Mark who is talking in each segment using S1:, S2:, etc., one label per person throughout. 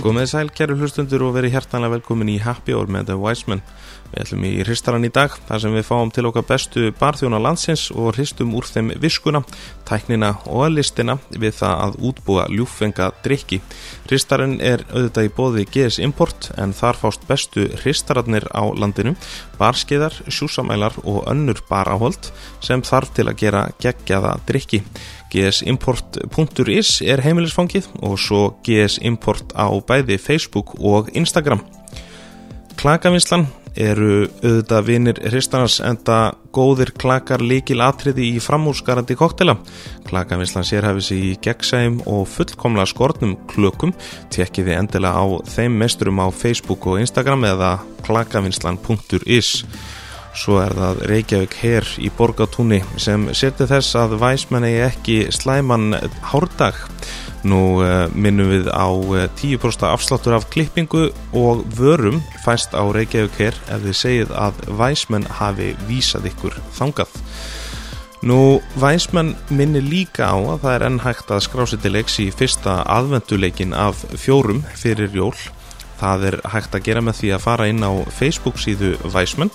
S1: Komið sæl, kæru hlustundur og verið hjertanlega velkomin í Happy Hour með The Wiseman. Við ætlum í hristaran í dag, þar sem við fáum til okkar bestu barþjóna landsins og hristum úr þeim viskuna, tæknina og listina við það að útbúa ljúfenga drikki. Hristarinn er auðvitað í bóði GS Import en þar fást bestu hristararnir á landinu, barskeiðar, sjúsamælar og önnur baráhold sem þarf til að gera geggjaða drikki. gsimport.is er heimilisfangið og svo GS Import á bæði Facebook og Instagram. Klakavinslan eru auðvitað vinir hristanars enda góðir klakar líkil atriði í framúrskarandi koktela. Klakavinslan sérhæfis í gegnsæm og fullkomlega skornum klökum. Tjekkiði endilega á þeim mesturum á Facebook og Instagram eða klakavinslan.is. Svo er það Reykjavík her í Borgatúni sem seti þess að væsmenn eigi ekki slæman hárdag. Nú eh, minnum við á eh, 10% afsláttur af klippingu og vörum fæst á Reykjavík her ef þið segið að væsmenn hafi vísað ykkur þangað. Nú, væsmenn minni líka á að það er enn hægt að skrá sér til leiks í fyrsta aðvenduleikin af fjórum fyrir jól. Það er hægt að gera með því að fara inn á Facebook síðu væsmenn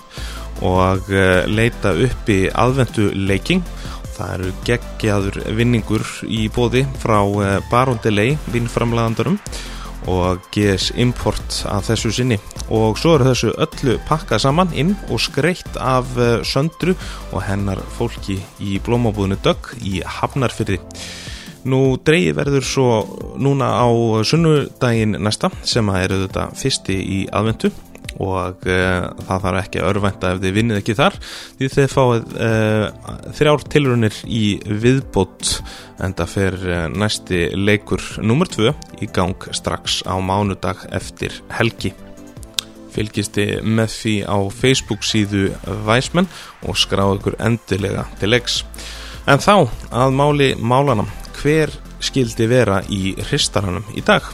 S1: og eh, leita uppi aðvenduleiking. Það eru geggjaður vinningur í bóði frá eh, Baron Delay, vinnframlegandurum og GS Import að þessu sinni og svo eru þessu öllu pakkað saman inn og skreitt af eh, söndru og hennar fólki í blómabúðinu Dögg í Hafnarfyrði Nú dreigi verður svo núna á sunnudaginn næsta sem að eru þetta fyrsti í aðventu og uh, það þarf ekki að örvænta ef þið vinnið ekki þar því þið fáið uh, þrjár tilrunir í viðbót en það fer uh, næsti leikur nummer 2 í gang strax á mánudag eftir helgi fylgist þið með því á Facebook síðu Væsmenn og skráðu ykkur endilega til leiks. En þá að máli málanam, hver skildi vera í hristaranum í dag?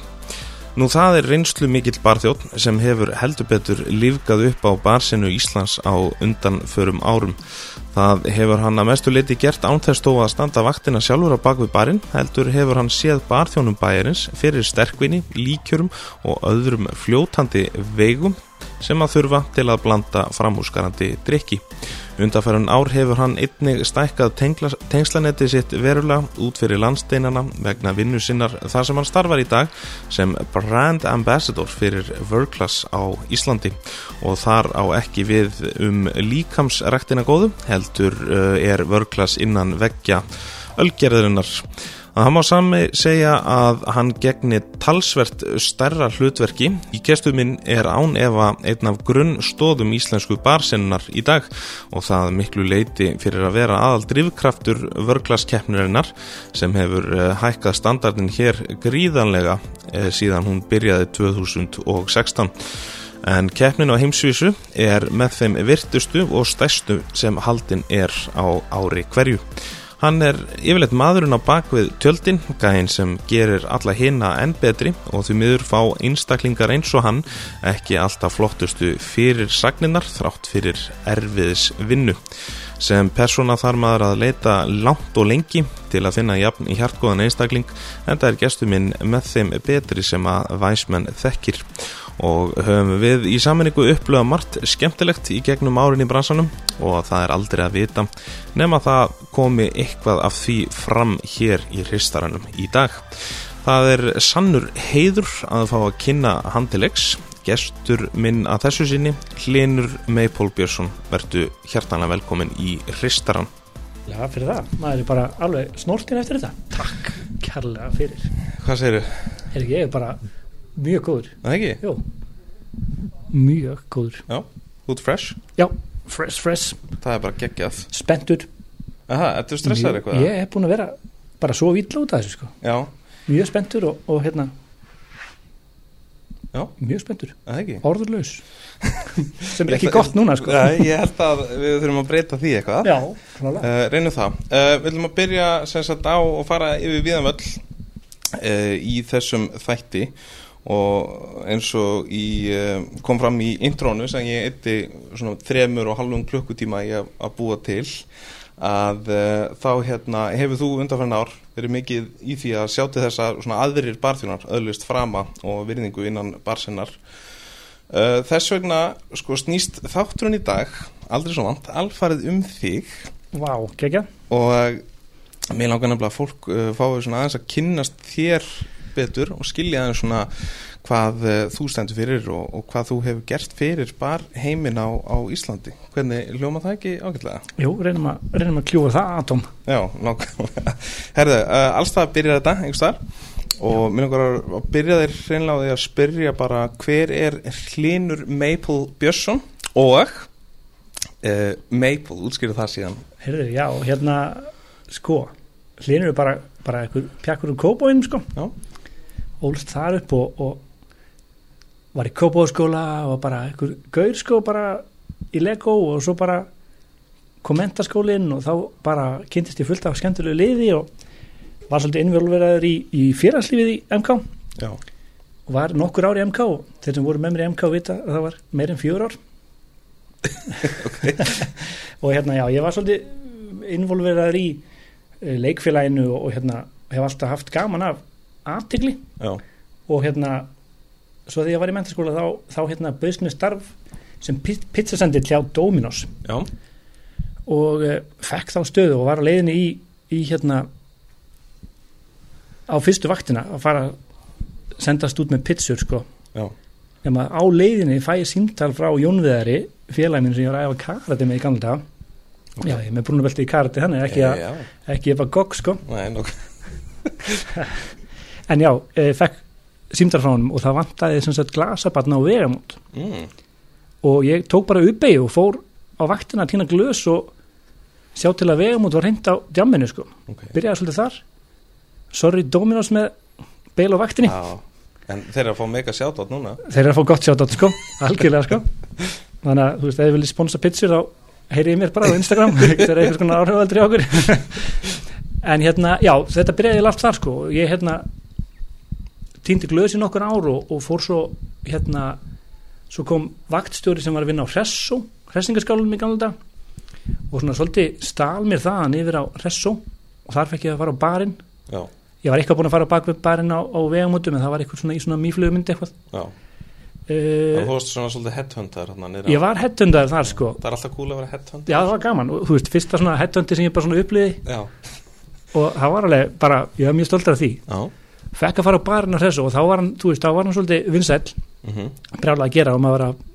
S1: Nú það er reynslu mikill barþjótt sem hefur heldur betur lífgað upp á barsinu Íslands á undanförum árum. Það hefur hann að mestu leiti gert án þess þó að standa vaktina sjálfur á bakvið barinn, heldur hefur hann séð barþjónum bæjarins fyrir sterkvinni, líkjörum og öðrum fljótandi veigum sem að þurfa til að blanda framhúsgarandi drikki. Undarfæran ár hefur hann einnig stækkað tengla- tengslanetti sitt verulega út fyrir landsteinana vegna vinnu sinnar þar sem hann starfar í dag sem brand ambassador fyrir Workclass á Íslandi og þar á ekki við um líkamsræktina góðu heldur uh, er Workclass innan veggja ölgerðarinnar að hann má sami segja að hann gegni talsvert stærra hlutverki. Í gestum minn er án efa einn af grunnstóðum íslensku barsinnar í dag og það miklu leiti fyrir að vera aðal drivkraftur vörglaskeppnurinnar sem hefur eh, hækkað standardin hér gríðanlega eh, síðan hún byrjaði 2016 en keppnin á heimsvísu er með þeim virtustu og stærstu sem haldin er á ári hverju. Hann er yfirleitt maðurinn á bakvið tjöldin, gæinn sem gerir alla hina enn betri og því miður fá einstaklingar eins og hann ekki alltaf flottustu fyrir sagninnar þrátt fyrir erfiðis vinnu. Sem persóna þarf maður að leita langt og lengi til að finna jafn í hjartgóðan einstakling en það er gestu minn með þeim betri sem að væsmenn þekkir og höfum við í sammenningu upplöða margt skemmtilegt í gegnum árin í bransanum og það er aldrei að vita nema það komi eitthvað af því fram hér í hristaranum í dag. Það er sannur heiður að fá að kynna handilegs, gestur minn að þessu sinni, Hlinur Meipól Björnsson, verðu hjertanlega velkomin í hristaran.
S2: Já, fyrir það. Maður er bara alveg snorkin eftir þetta. Takk. Kærlega fyrir.
S1: Hvað segirðu?
S2: Er ekki, ég er bara mjög góður.
S1: Það ekki?
S2: Jó. Mjög góður.
S1: Já, út fresh.
S2: Já, fresh, fresh,
S1: Það er bara geggjað.
S2: spenntur.
S1: Aha, ertu
S2: Mjög- Ég hef búin að vera bara svo vill út af þessu, sko.
S1: Já,
S2: Mjög spenntur og, og hérna,
S1: Já.
S2: mjög spenntur.
S1: það ekki?
S2: Orðurlaus. Sem er
S1: Ég
S2: ekki
S1: ætla-
S2: gott núna, sko.
S1: Nei, ég held að við þurfum að breyta því eitthvað
S2: Já, klálega.
S1: uh, Reynum það uh, Við viljum að byrja sem sagt á og fara yfir viðanvöll uh, í þessum þætti og eins og í, uh, kom fram í intrónu sem ég eitti svona þremur og halvum klukkutíma í að, að búa til að uh, þá hérna, hefur þú undanfærin ár verið mikið í því að sjá til þess að svona aðrir barþjónar öðlust frama og virðingu innan barsinnar uh, þess vegna sko snýst þátturinn í dag aldrei svo vant, alfarið um þig
S2: Vá, gegja
S1: og mér langar nefnilega að fólk uh, fái svona aðeins að kynnast þér betur og skilja aðeins svona hvað uh, þú stendur fyrir og, og hvað þú hefur gert fyrir bar heimin á, á Íslandi hvernig ljóma það ekki ágætlega?
S2: Jú, reynum að, reynum að kljúfa það atom
S1: Já, nákvæmlega. Herðu, uh, allstað byrjar þetta, einhvers þar og mér langar að að byrja þér hreinlega á því að spyrja bara hver er Hlinur Maple Björnsson og uh, Maple, útskýrðu það síðan
S2: Heyrðu, já, hérna, sko Hlinur er bara, bara einhver pjakkur um kópóinum, sko
S1: Já.
S2: Ólst þar upp og, og var í kópóskóla og bara einhver gaur, sko, bara í Lego og svo bara kom mentaskólinn og þá bara kynntist ég fullt af skemmtilegu liði og var svolítið innvjólveraður í, í félagslífið í MK
S1: Já,
S2: og var nokkur ár í MK og þeir sem voru með mér í MK vita að það var meir en fjör ár og hérna já, ég var svolítið involveraður í eh, leikfélaginu og, og hérna hef alltaf haft gaman af aðtigli
S1: já,
S2: og hérna svo því ég var í mentaskóla þá, þá hérna bauðst mér starf sem pi- pizzasendi hljá Dominos
S1: já,
S2: og uh, fekk þá stöðu og var á leiðinni í, í hérna á fyrstu vaktina að fara að sendast út með pizzur sko
S1: já,
S2: nema á leiðinni fæ ég símtal frá Jónviðari félagminn sem ég var að æfa karate með í gamla dag
S1: Ok.
S2: já, ég er með brúnabelti í karate þannig ekki,
S1: já,
S2: að,
S1: Eh, já,
S2: ekki ég bara gogg sko
S1: nei, nokk,
S2: en já, eh, fekk símtal frá honum og það vantaði sem sagt glasabatna á vegamót
S1: mm,
S2: og ég tók bara uppeyju og fór á vaktina að týna glös og sjá til að vegamót var reynd á djamminu sko
S1: ok.
S2: byrjaði svolítið þar sorry Dominos með beil á vaktinni
S1: Já, en þeir eru að fá mega sjátt átt núna.
S2: þeir eru að fá gott sjátt sko, algjörlega sko þannig að þú veist, ef þið viljið sponsa pizzur þá heyrið ég mér bara á Instagram þeir eru eitthvað svona áhrifaldri okkur en hérna, já, þetta byrjaði eiginlega allt þar sko, og ég hérna týndi glöðs í nokkur ár og, og fór svo hérna, svo kom vaktstjóri sem var að vinna á Hressó Hressingaskálunum í gamla dag og svona svolítið stal mér þaðan yfir á Hressó og þar fekk ég að fara á barinn
S1: Já,
S2: ég var eitthvað búin að fara á bakvið barinn á, á vegamótum en það var eitthvað svona í svona mýflugumynd eitthvað
S1: já. En
S2: uh,
S1: þú varst svona svolítið headhunter hérna niður.
S2: ég var hettundar þar sko
S1: Það er alltaf cool að vera headhunter.
S2: já það var gaman og þú veist fyrsta svona hettundi sem ég bara svona uppliði
S1: Já,
S2: og það var alveg bara ég var mjög stoltur af því
S1: já,
S2: fekk að fara á barinn á þessu og þá var hann þú veist þá var hann svolítið vinsæll
S1: mhm,
S2: brjálega að gera og maður var að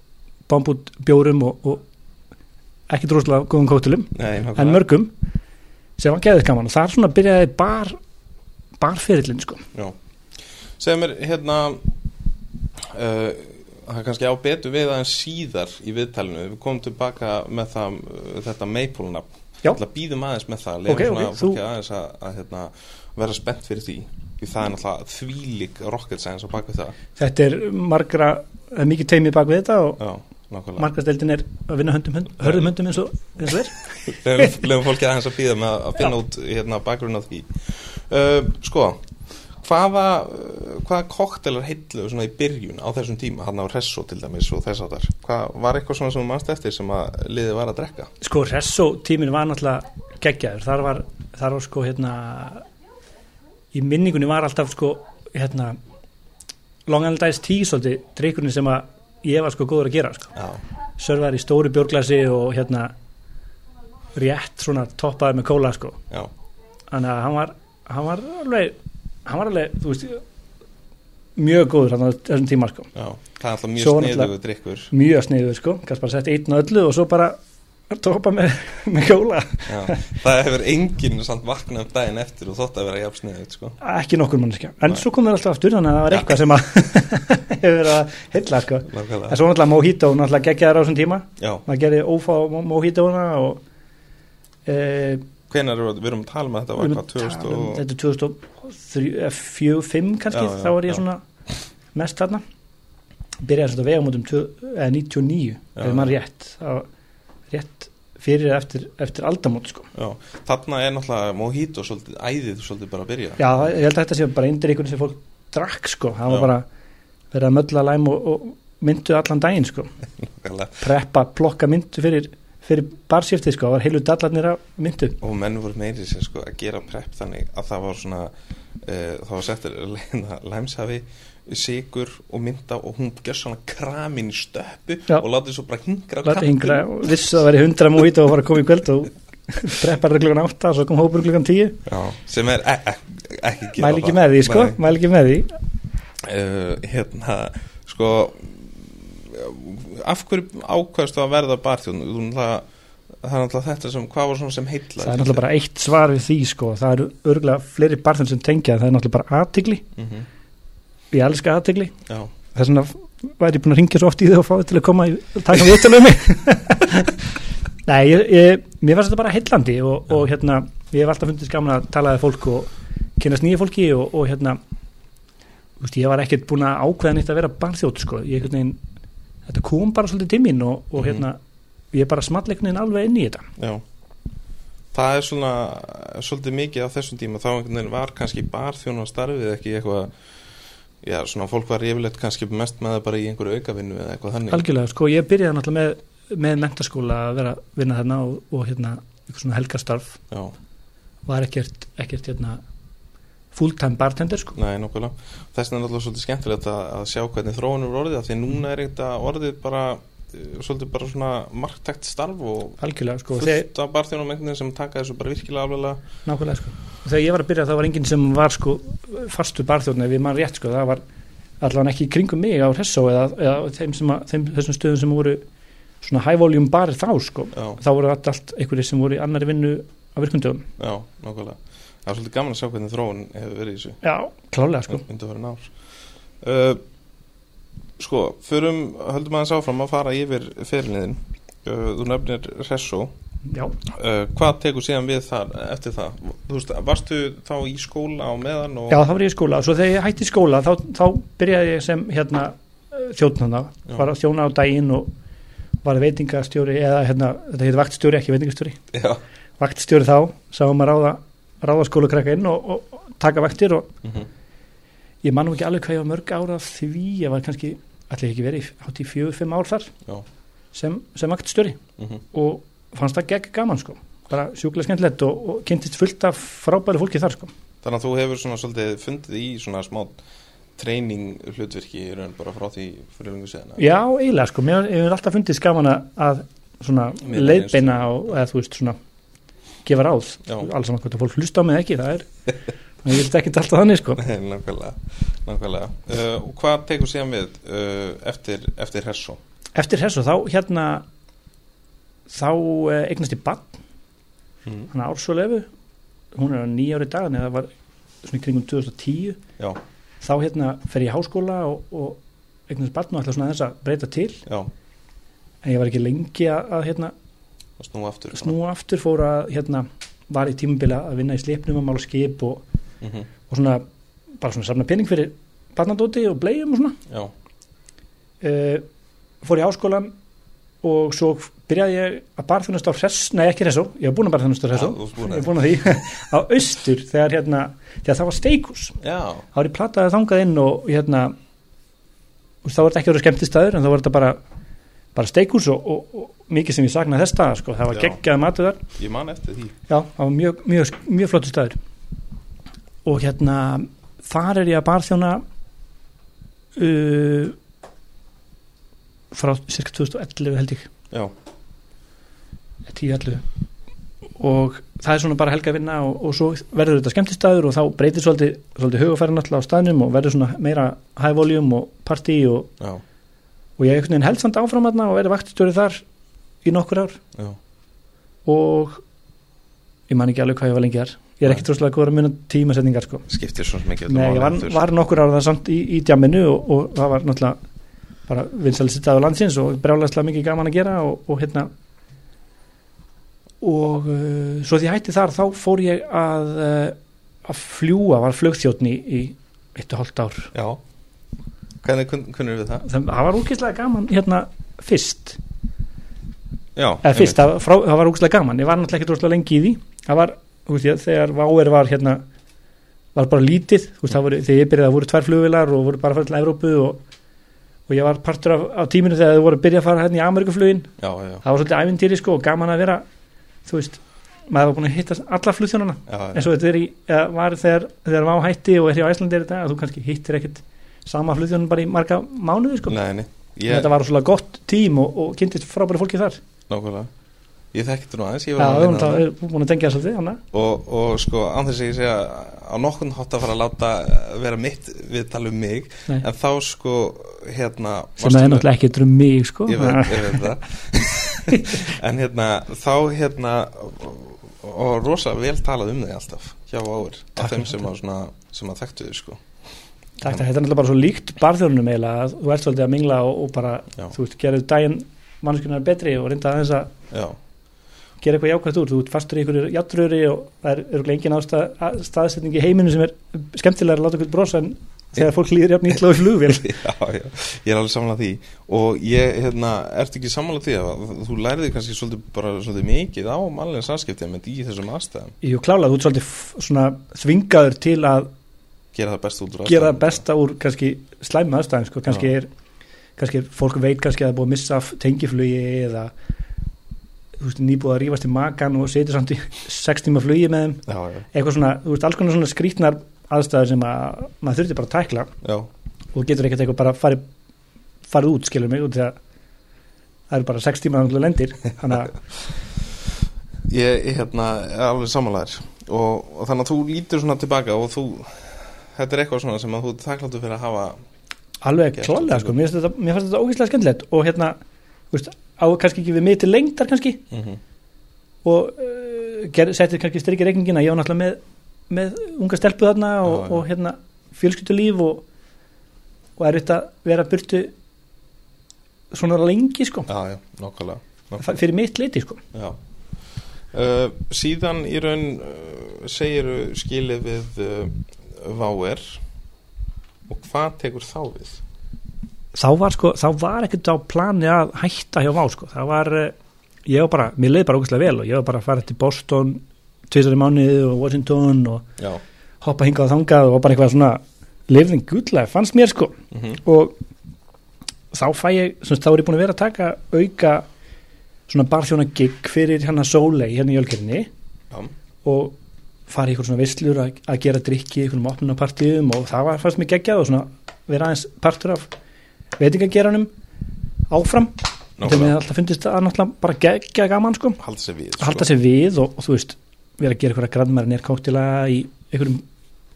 S2: bomba út bjórum og, og ekki droslega góðum kóttilum
S1: nei, nákvæmlega.
S2: en mörgum sem var geðið gaman og þar svona byrjaði bar barferillin sko
S1: Já, segðu mér hérna uh, það er kannski á betur við aðeins síðar í viðtalinu, við komum tilbaka með það, uh, þetta Maple-nafn
S2: Já.
S1: Það býðum aðeins með það,
S2: Ok,
S1: leiðum
S2: ok,
S1: svona
S2: þú-
S1: fólki aðeins að, að hérna, vera spennt fyrir því því það er náttúrulega þvílík rocket science á bak við það
S2: þetta er margra það er mikið teimið bak við þetta og
S1: Já, nákvæmlega
S2: markasteldin er að vinna höndum, hönd, hörðum höndum eins og, eins og er
S1: Leðum, leðum fólki aðeins að býða með að- að finna út hérna, bakgrunn á því uh, Sko Hvaða, uh, hvaða koktelar heilluðu svona í byrjun á þessum tíma, hann á Resso til dæmis og þess að þar, hvað var eitthvað svona sem þú manst eftir sem að liðið var að drekka?
S2: sko Resso tíminn var náttúrulega geggjaður, þar var, þar var sko hérna í minningunni var alltaf sko hérna Long Island Ice Tea svolítið, drikkurinn sem að ég var sko góður að gera sko
S1: Já,
S2: sörvar í stóru björglasi og hérna rétt svona toppaði með kóla sko
S1: já,
S2: þannig að hann var, hann var alveg hann var alveg, þú veist mjög góður hann á þessum tíma sko
S1: já, það er alltaf mjög
S2: Svo var
S1: sniðugu drikkur
S2: mjög sniður sko, kannski bara sett einn og öllu og svo bara toppa með, með kjóla
S1: já. Það hefur enginn samt vaknað um daginn eftir og þótt að vera jafn sniðugt, sko
S2: ekki nokkur mannskja, en
S1: Nei.
S2: svo kom það alltaf aftur þannig að það var
S1: Já.
S2: eitthvað sem að hefur verið að hylla sko, en
S1: Nákvæmlega,
S2: svo náttúrulega Mojito náttúrulega geggjaður á þessum tíma,
S1: já,
S2: maður gerði ófá Mo- Mojitouna og e,
S1: hvenær erum við, við erum að tala um að þetta var hvað, 2000 og
S2: þetta er 2004-2005 kannski,
S1: Já, já,
S2: þá var ég
S1: já.
S2: svona mest þarna byrjaði svona að vega mútum 99,
S1: Já.
S2: ef maður rétt það var rétt fyrir eða eftir, eftir aldamót sko
S1: Já, þarna er náttúrulega Mojito svolítið, æðið svolítið bara að byrja
S2: Já, það- ég held að þetta sé bara yndir einhvern sem fólk drakk sko, það var
S1: Já.
S2: bara verið að mölla læm og, og myndu allan daginn sko,
S1: Nákvæmlega.
S2: preppa, plokka myndu fyrir fyrir barshifti sko, var heilu dallarnir af myndu
S1: og menn voru meiri sér sko að gera prep þannig að það var svona uh, það var settur hérna, læmshafi sigur og mynda og hún gerð svona kramin í stöppu
S2: Já.
S1: og látið svo bara hingra á
S2: Læt
S1: kappinn.
S2: yngra, vissu að það væri hundra múið og var að koma í kvöld og preppaði klukkan átta og svo kom hópur klukkan tíu
S1: Já, sem er e e ekki gera
S2: mæli ekki
S1: það.
S2: með því sko,
S1: Nei.
S2: mæli ekki með því
S1: uh, hérna sko af hverju ákvæðstu að verða barþjón Þú náttúrulega- það er náttúrulega þetta sem hvað var svona sem heilla
S2: það er náttúrulega bara eitt svar við því sko, það eru örgulega fleiri barnum sem tengja það er náttúrulega bara aðtigli, ég elska aðtigli
S1: Mhm. já,
S2: þess vegna væri ég búin að ringja svo oft í þau og fá þau til að koma í, taka viðtölu um mig nei, ég, ég, mér fannst þetta bara heillandi og, og hérna, ég hef alltaf fundist gaman að talaði fólk og kynast nýja fólki og, og hérna þú veist, ég var ekkert búin að ákveða neitt að vera barnþjótt sko, ég einhvern veginn þetta kom bara svolítið dimmin og, og
S1: Mhm.
S2: hérna ég bara small einhvern veginn alveg inn í þetta
S1: já það er svona svolítið mikið á þessum tíma þá einhvern veginn var kannski barþjón og starfið ekki eitthvað já, svona fólk var yfirleitt kannski mest með það bara í einhverju aukavinnu eða eitthvað þannig
S2: Algjörlega, sko, ég byrjaði náttúrulega með, með mentaskóla að vera að vinna þarna og, og hérna, eitthvað svona helgastarf
S1: já,
S2: var ekkert, ekkert hérna fulltime bartender, sko
S1: nei, nokkulega þess vegna er náttúrulega svolítið skemmtilegt að, að sjá hvernig þróunum er orðið, af því núna er eitthvað orðið bara, eh, svolítið bara svona marktækt starf og
S2: Algjörlega, sko, þegar,
S1: fullt af barþjónum einhvern sem taka þessu bara virkilega alveglega
S2: nákvæmlega, sko og þegar ég var að byrja þá var enginn sem var, sko fastu barþjóðn, ef ég man rétt, sko það var allan ekki í kringum mig á Hressó eða, eða þeim sem að, þeim, þessum stöðum sem voru svona high volume barir þá, sko
S1: já,
S2: þá voru allt, allt einhverjir sem voru í annari vinnu á virkundum,
S1: já, nákvæmlega það er svolítið gaman að sjá hvernig þróun hefur verið í þessu
S2: já, klálega, sko
S1: undir fyrir nár uh, sko, förum höldum aðeins áfram að fara yfir fyrirliðin uh, þú nefnir Resso uh,
S2: já,
S1: hvað tekur síðan við þar eftir það þú veist, varstu þá í skóla á meðan og
S2: Já, þá var ég í skóla og svo þegar ég hætti í skóla þá, þá byrjaði ég sem hérna þjóðnanda,
S1: Já.
S2: var að þjóna á daginn og var veitingastjóri eða hérna, þetta heit vaktstjóri, ekki veitingastjóri
S1: já.
S2: vaktstjóri þá, sáum að ráða ráða skólakrakka inn og, og, og taka vaktir og
S1: mhm,
S2: ég manum ekki alveg hvað ég var mörg ára af því, ég var kannski allir ekki verið, hátt í fjögur, fimm ár þar
S1: Já.
S2: sem, sem vaktstjóri
S1: mhm,
S2: og fannst það gegn gaman sko bara sjúklega skemmtilegt og, og kynntist fullt af frábæru fólki þar sko
S1: þannig að þú hefur svona svolítið fundið í svona smá treyning hlutverki í raun bara frá því fyrir lengur séðan
S2: Já, eiginlega sko, mér mér hefur alltaf fundið skaman að svona
S1: Miðla
S2: leiðbeina og eða þú veist svona gefa ráð,
S1: Já.
S2: alls saman hvort að fólk hlusta á mig eða ekki, það er ég vil ekki alltaf þannig sko,
S1: Nei, nákvæmlega, nákvæmlega. Uh, og hvað tekur síðan við uh, eftir, eftir Hersó?
S2: eftir þessu þá hérna þá eh, eignast ég bann,
S1: Mm.
S2: hann ársólefu hún er á nýja ári dagan eða var svona í kringum 2010
S1: Já,
S2: þá hérna fer ég í háskóla og, og eignast bann og ætla svona þess að breyta til
S1: já,
S2: en ég var ekki lengi að, að hérna
S1: og snúa aftur.
S2: snúa aftur fór að hérna var í tímabila að vinna í sleipnum að mála skip og,
S1: Mm
S2: og svona bara svona safna pening fyrir barnadóti og bleiðum og svona
S1: Já,
S2: uh, fór ég áskólan og svo byrjaði ég að barþjónast á hress, nei ekki hressó, ég var búin að barþjónast á
S1: já,
S2: hressó,
S1: þú ert búin
S2: ég
S1: að
S2: var búin að því á austur þegar hérna, þegar það var steikus
S1: Já,
S2: þá var ég plattaði þangað inn og hérna og þá var þetta ekki verið skemmtistæður en þá var þetta bara, bara steikus og, og, og mikið sem ég saknaði þess staðar sko, það var
S1: Já.
S2: geggjað matur þar
S1: ég man eftir því.
S2: Já, það var mjög, mjög, mjög flottu staður og hérna þar er ég að barþjóna uh, frá cirka 2011 held ég
S1: Já,
S2: 10-11 og það er svona bara helga vinna og, og svo verður þetta skemmtistaður og þá breytir svolítið, svolítið hugafærin alltaf á staðnum og verður svona meira high volume og party og,
S1: já,
S2: og ég einhvern veginn held samt áfram þarna og verður vaktstjóri þar í nokkur ár
S1: já,
S2: og ég man ekki alveg hvað ég var lengi þar ég er ekki trúslega góður að muna tímasetningar sko.
S1: skiptir svo mikið.
S2: Nei, ég var, var nokkur ára það samt í, í djamminu og, og það var náttúrulega bara vinsælisti dagur landsins og brjálæslega mikið gaman að gera og, og hérna og uh, svo því ég hætti þar þá fór ég að uh, að fljúa, var flugþjóttni í eitt og hálft ár
S1: Já, hvernig kun- kunnur við það?
S2: það, það var úkislega gaman hérna fyrst
S1: Já,
S2: eða fyrst,
S1: einmitt.
S2: það, var frá, það var ógustlega gaman ég var náttúrulega ekki droslega lengi í því það var, þú veist ég, þegar Váer var hérna var bara lítið, þú veist það voru þegar ég byrjaði það voru tvær flugvilar og voru bara að fara til Evrópu og, og ég var partur af, af tíminu þegar þau voru að byrja að fara hérna í Amerikaflugin
S1: já, já,
S2: það var svolítið ævintýri sko og gaman að vera þú veist, maður var búin að hitta alla flugþjónana
S1: já, já.
S2: eins og þetta er í, eða, var þegar, þegar má hætti og er hjá Æslandi er þetta að þú kannski hittir ekkit sama flugþjónun bara í marga mánuði sko
S1: Nei, nei,
S2: yeah.
S1: Mm, ég,
S2: þetta var svolítið gott tím og, og kynntist frábæri fólki þar
S1: nákvæmlega Ég þekki þetta nú aðeins, ég
S2: Já,
S1: var að
S2: við erum
S1: vinna
S2: það-
S1: það
S2: erum búin að tengja þess að þið
S1: og, og sko, án þess að ég segja á nokkurn hátt að fara að láta eh, vera mitt viðtal um mig
S2: Nei.
S1: en þá sko, hérna
S2: sem það er náttúrulega ekki drum mig sko
S1: ég veit, ég veit það en hérna, þá hérna og rosa vel talað um þig alltaf hjá áur, af
S2: Takk.
S1: þeim sem að, svona, sem að þekktu þig sko
S2: Takk, takk, þetta er náttúrulega bara svo líkt barþjónunum eiginlega að þú ert svolítið að mingla og, og bara,
S1: Já.
S2: þú veist, gerðu daginn mannskunar betri og reynda aðeins að
S1: já,
S2: gera eitthvað jákvæmt úr, þú ert fastur í einhverju játtröðri og það er eru engin ástað að- staðsetning í heiminu sem er skemmtilega að láta eitthvað brosa en þegar fólk líður jafn ítla og flugvél
S1: já, já, ég er alveg samlega því og ég, hérna, ertu ekki samlega því að þú læriði kannski svolítið bara svolítið mikið á mannlega samskipti með í þessum aðstæðum,
S2: Jú, klála, þú ert svolítið f- svona þvingaður til að
S1: gera það best út úr
S2: gera
S1: aðstæðum.
S2: það besta úr kannski slæma aðstæðum sko. kannski er, kannski er fólk veit kannski að það er búið að missa af tengiflugi eða þú veist, nýbúið að rífast í makan og setja samt í sex tíma flugi með þeim
S1: já, já,
S2: eitthvað svona, þú veist, alls konar svona skrítnar aðstæður sem að maður þurfti bara að tækla
S1: já,
S2: og getur ekkert eitthvað bara farið farið út, skilur mig, út því að það eru bara sex tíma að þú lendir þannig að,
S1: Ég, ég, hérna, er alveg samanlæður og, og þannig að þú lítur svona tilbaka og þú, þetta er eitthvað svona sem að þú er þakkláttu fyrir að hafa
S2: alveg
S1: Gert
S2: klálega,
S1: þetta
S2: sko, mér finnst þetta, mér finnst þetta ógeðslega skemmtilegt og hérna, þú veist, á kannski ekki við mig til lengdar kannski
S1: mm -hmm.
S2: og uh, ger, settir kannski styrki reikningina ég var náttúrulega með, með unga stelpu þarna og,
S1: Já, já.
S2: og hérna fjölskyldulíf og, og er þetta vera burtu svona lengi sko
S1: Já, já, nokkulega,
S2: F-
S1: nokkulega.
S2: fyrir mitt leiti sko
S1: Já. Uh, síðan í raun uh, segir skilið við uh, váer og hvað tekur þá við?
S2: þá var sko, þá var ekkert á plani að hætta hjá Vá sko, það var eh, ég var bara, mér leiði bara ógæslega vel og ég var bara að fara til Boston tvisar í mánuði og Washington og
S1: Já,
S2: hoppa hingað og þangað og bara eitthvað svona lifðin gullega, fannst mér sko
S1: mm -hmm.
S2: og þá fæ ég, sem sagt, þá er ég búin að vera að taka auka svona barþjóna gig fyrir hérna sólei hérna í jölkerinni
S1: já,
S2: og fara í eitthvað svona visslur að, að gera drikki, eitthvað opnunapartíðum og það var fannst mér geggjað og svona vera aðeins partur af veitingageranum áfram, þegar mér
S1: nokkulega,
S2: alltaf fundist að náttúrulega bara geggja gaman sko,
S1: halda sér við
S2: halda sér við og, og þú veist, vera að gera eitthvað grannmæri nérkóktila í einhverjum,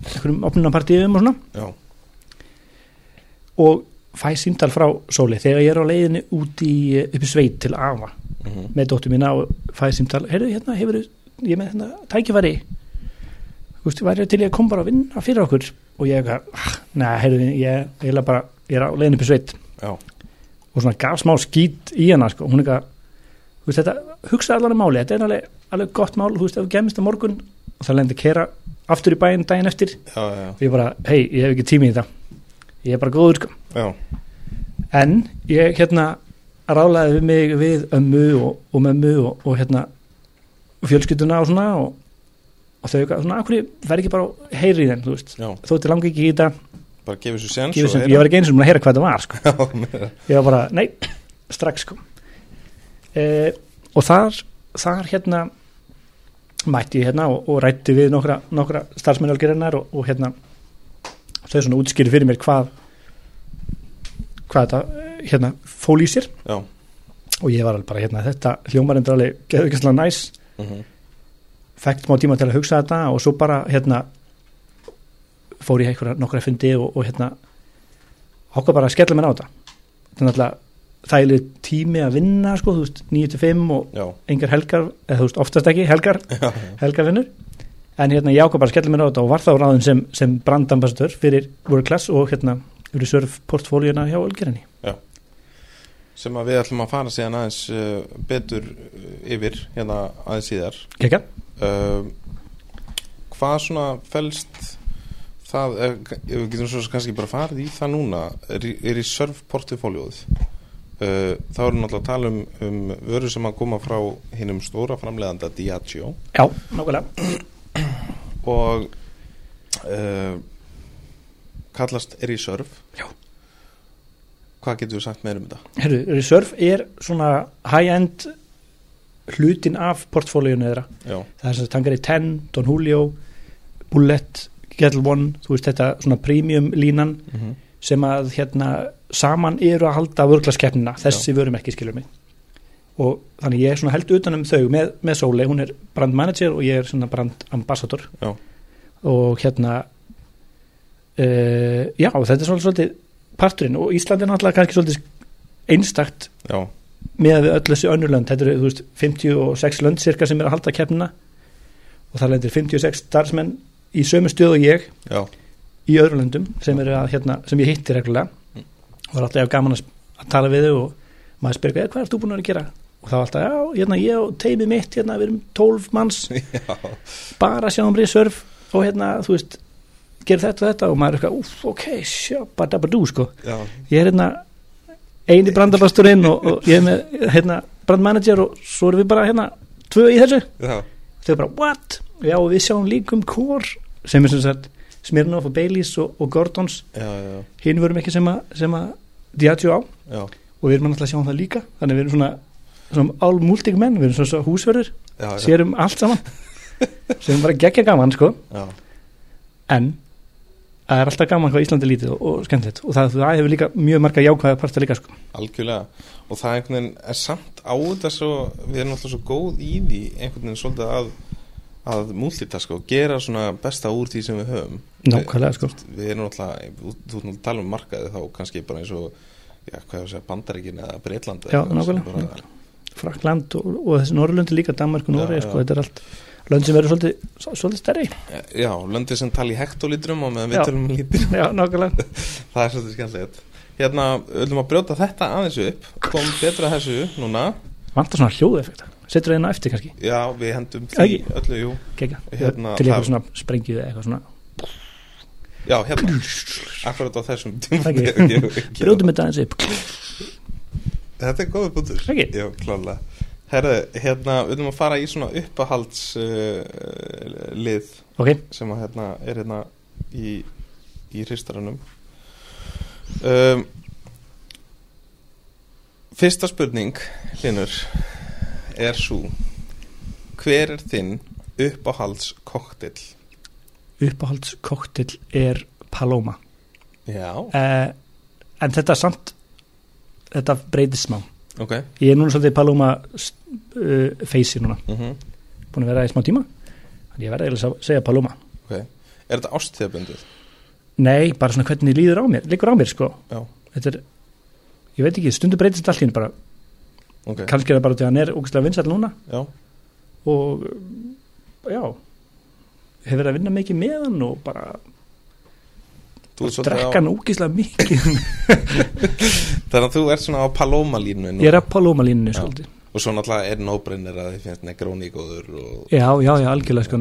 S2: einhverjum opnunapartíðum og svona
S1: Já,
S2: og fæ síndal frá sóli þegar ég er á leiðinni út í uppi sveit til afa
S1: mm -hmm.
S2: með dóttur mína og fæ síndal heyrðu hérna hefur ég er með hérna tækifæri þú veist, væri til ég að kom bara að vinna fyrir okkur og ég eitthvað, ah, neða, heyrðu, ég, ég, er bara, ég er á leiðinni upp í sveit
S1: já,
S2: og svona gaf smá skít í hana sko. hún eitthvað, þú veist, þetta hugsa allan um máli, þetta er alveg, alveg gott mál þú veist, ef við gemist á morgun og það lendi að kera aftur í bæinn daginn eftir
S1: já, já,
S2: og ég bara, hei, ég hef ekki tími í þetta ég er bara góður sko
S1: já,
S2: en ég hérna rálaði við mig við ömmu og, og mömmu og, og hérna fjölskylduna og svona og, og þau eitthvað, svona, akkur verð ekki bara að heyra í þeim, þú veist,
S1: já,
S2: þó þetta langi ekki í þetta
S1: bara gefið sér sens
S2: gefur
S1: og
S2: sem,
S1: heyra.
S2: ég var ekki eins og mér að heyra hvað það var sko.
S1: Já, meira.
S2: ég var bara, nei, strax sko e, og þar þar hérna mætti ég hérna og, og rætti við nokkra, nokkra starfsmennalgerinnar og, og hérna þau svona útskýri fyrir mér hvað hvað þetta eh, hérna fól í sér
S1: já,
S2: og ég var alveg bara hérna þetta hljómarindur alveg geðvikingslega næs
S1: mm -hmm.
S2: fækt má tíma til að hugsa þetta og svo bara hérna fór ég einhverja nokkra fundi og, og hérna ákvað bara að skella mér á þetta þetta er náttúrulega þægileg tími að vinna sko, þú veist, 9-5 og
S1: já,
S2: engar helgar, eða þú veist, oftast ekki helgar,
S1: já, já,
S2: helgarvinnur en hérna ég ákvað bara að skella mér á þetta og var þá ráðin sem, sem brandambassadör fyrir World Class og hérna reserve portfóliuna hjá Ölgerinni
S1: sem að við ætlum að fara síðan aðeins uh, betur uh, yfir hérna aðeins síðar
S2: Kekja?
S1: uh, hvað svona felst það, eh, ef við getum svo sem kannski bara farið í það núna er, í- er í surf portfóljóð uh, þá erum náttúrulega að tala um, um vöru sem að koma frá hinnum stóra framleiðanda Diageo
S2: Já, nákvæmlega
S1: og ehm, uh, kallast er í surf
S2: Já.
S1: Hvað getur við sagt meira um þetta?
S2: Herru, Reserve er svona high-end hlutin af portfólíunni þeirra
S1: Já,
S2: það er sem sagt Tangari 10, Don Julio Bullet, Kettle One þú veist þetta svona premium línan
S1: mm -hmm.
S2: sem að hérna saman eru að halda vörglaskeppnina þessi vörum ekki skilur mig og þannig ég er svona held utanum þau með, með Sóley, hún er brand manager og ég er svona brand ambassador
S1: Já.
S2: og hérna uh, já þetta er svona svolítið parturinn og Ísland er náttúrulega kannski svolítið einstakt
S1: já,
S2: með öll þessi önnur lönd, þetta eru þú veist 56 lönd cirka sem er að halda keppnina og það lendir 56 starfsmenn í sömu stöð og ég
S1: já,
S2: í öðru löndum sem, eru að, hérna, sem ég hitti reglulega og það er alltaf gaman að, að tala við þau og maður spyrir "Eh, hvað ert þú búin að vera að gera og það var alltaf, já, hérna, ég og teimi mitt hérna, við erum 12 manns,
S1: já,
S2: bara sjáum reserve og hérna, þú veist gerir þetta og þetta og maður er eitthvað, úf, ok, sjá, bara dabba dú, sko
S1: já,
S2: ég er hérna eini brandabasturinn og, og ég er með hérna brandmanager og svo erum við bara hérna tvö í þessu,
S1: já,
S2: þau bara what? Já og við sjáum líkum kór sem er sem sagt Smirnoff og Baileys og, og Gordons,
S1: já, já,
S2: hinn verum ekki sem að, sem að Diageo á
S1: já,
S2: og við erum náttúrulega að sjá um það líka þannig við erum svona, svona álmúltig menn, við erum svona, svona húsverður,
S1: já, já,
S2: sérum allt saman sem bara geggja gaman sko
S1: já,
S2: en það er alltaf gaman hvað Íslandi lítið og, og skemmtilegt og það, það hefur líka mjög marga jákvæða parta líka sko
S1: algjörlega og það einhvern veginn er samt á þetta svo, við erum alltaf svo góð í því einhvern veginn svolítið að að múltitaska og gera svona besta úr því sem við höfum
S2: Nákvæmlega sko
S1: við erum alltaf, þú þú ert nú að tala um markaði þá kannski bara eins og já, hvað er að segja, Bandaríkin eða Breitland eða
S2: Já,
S1: eitthvað sem
S2: nákvæmlega.
S1: bara-
S2: Frakland og, og þessi Norrlöndi líka Danmark og Noregi
S1: Já,
S2: sko,
S1: já.
S2: þetta er allt lönd sem eru svolítið, svolítið stærri
S1: Já, löndið sem tala í hektolítrum og meðan
S2: Já.
S1: við tölum í lítrum
S2: Já, nákvæmlega
S1: Það er svolítið skemmtilegt Hérna, öllum að brjóta þetta aðeins upp Kom betra að þessu núna
S2: Vantar svona hljóðu effekta Settur það inn á eftir kannski
S1: Já, við hendum því
S2: Æi.
S1: öllu, jú
S2: Kekja
S1: Hérna,
S2: Til
S1: það-
S2: eitthvað svona sprengið eða eitthvað svona
S1: Já, hérna, akkurat á þessum tíma
S2: Ekki. Brjóðum þetta aðeins upp
S1: Þetta er góður bútur
S2: Ekki.
S1: Já, klálega Herðu, hérna, öllum að fara í svona uppahalds uh, lið
S2: Ok,
S1: sem að, hérna, er hérna í, í hristaranum um, Fyrsta spurning, Hlinur, er svo Hver er þinn uppáhalds koktill?
S2: uppáhalds koktill er Paloma
S1: Já,
S2: eh, En þetta samt Þetta breytist smá
S1: ok
S2: Ég er núna svolítið Paloma uh, Feysi núna,
S1: mm
S2: búin að vera í smá tíma Þannig ég verði eiginlega að segja Paloma
S1: Er þetta ástíðabundið?
S2: Nei, bara svona hvernig líður á mér, liggur á mér sko
S1: Já.
S2: Þetta er, ég veit ekki, stundu breytist allt hérna bara,
S1: Ok,
S2: kannski er það bara því að hann er ógustlega vinsall núna
S1: já,
S2: og já, hefur verið að vinna mikið með hann og bara
S1: þú ert svolítið
S2: drekka
S1: á
S2: hann ógustlega mikið
S1: Þannig að þú ert svona á Paloma línu
S2: Ég er að sko, palóma línunni
S1: Já.
S2: svolítið
S1: Og svo náttúrulega er nóbrinnir að þið finnst negróni góður og
S2: Já, já, já, algjörlega sko,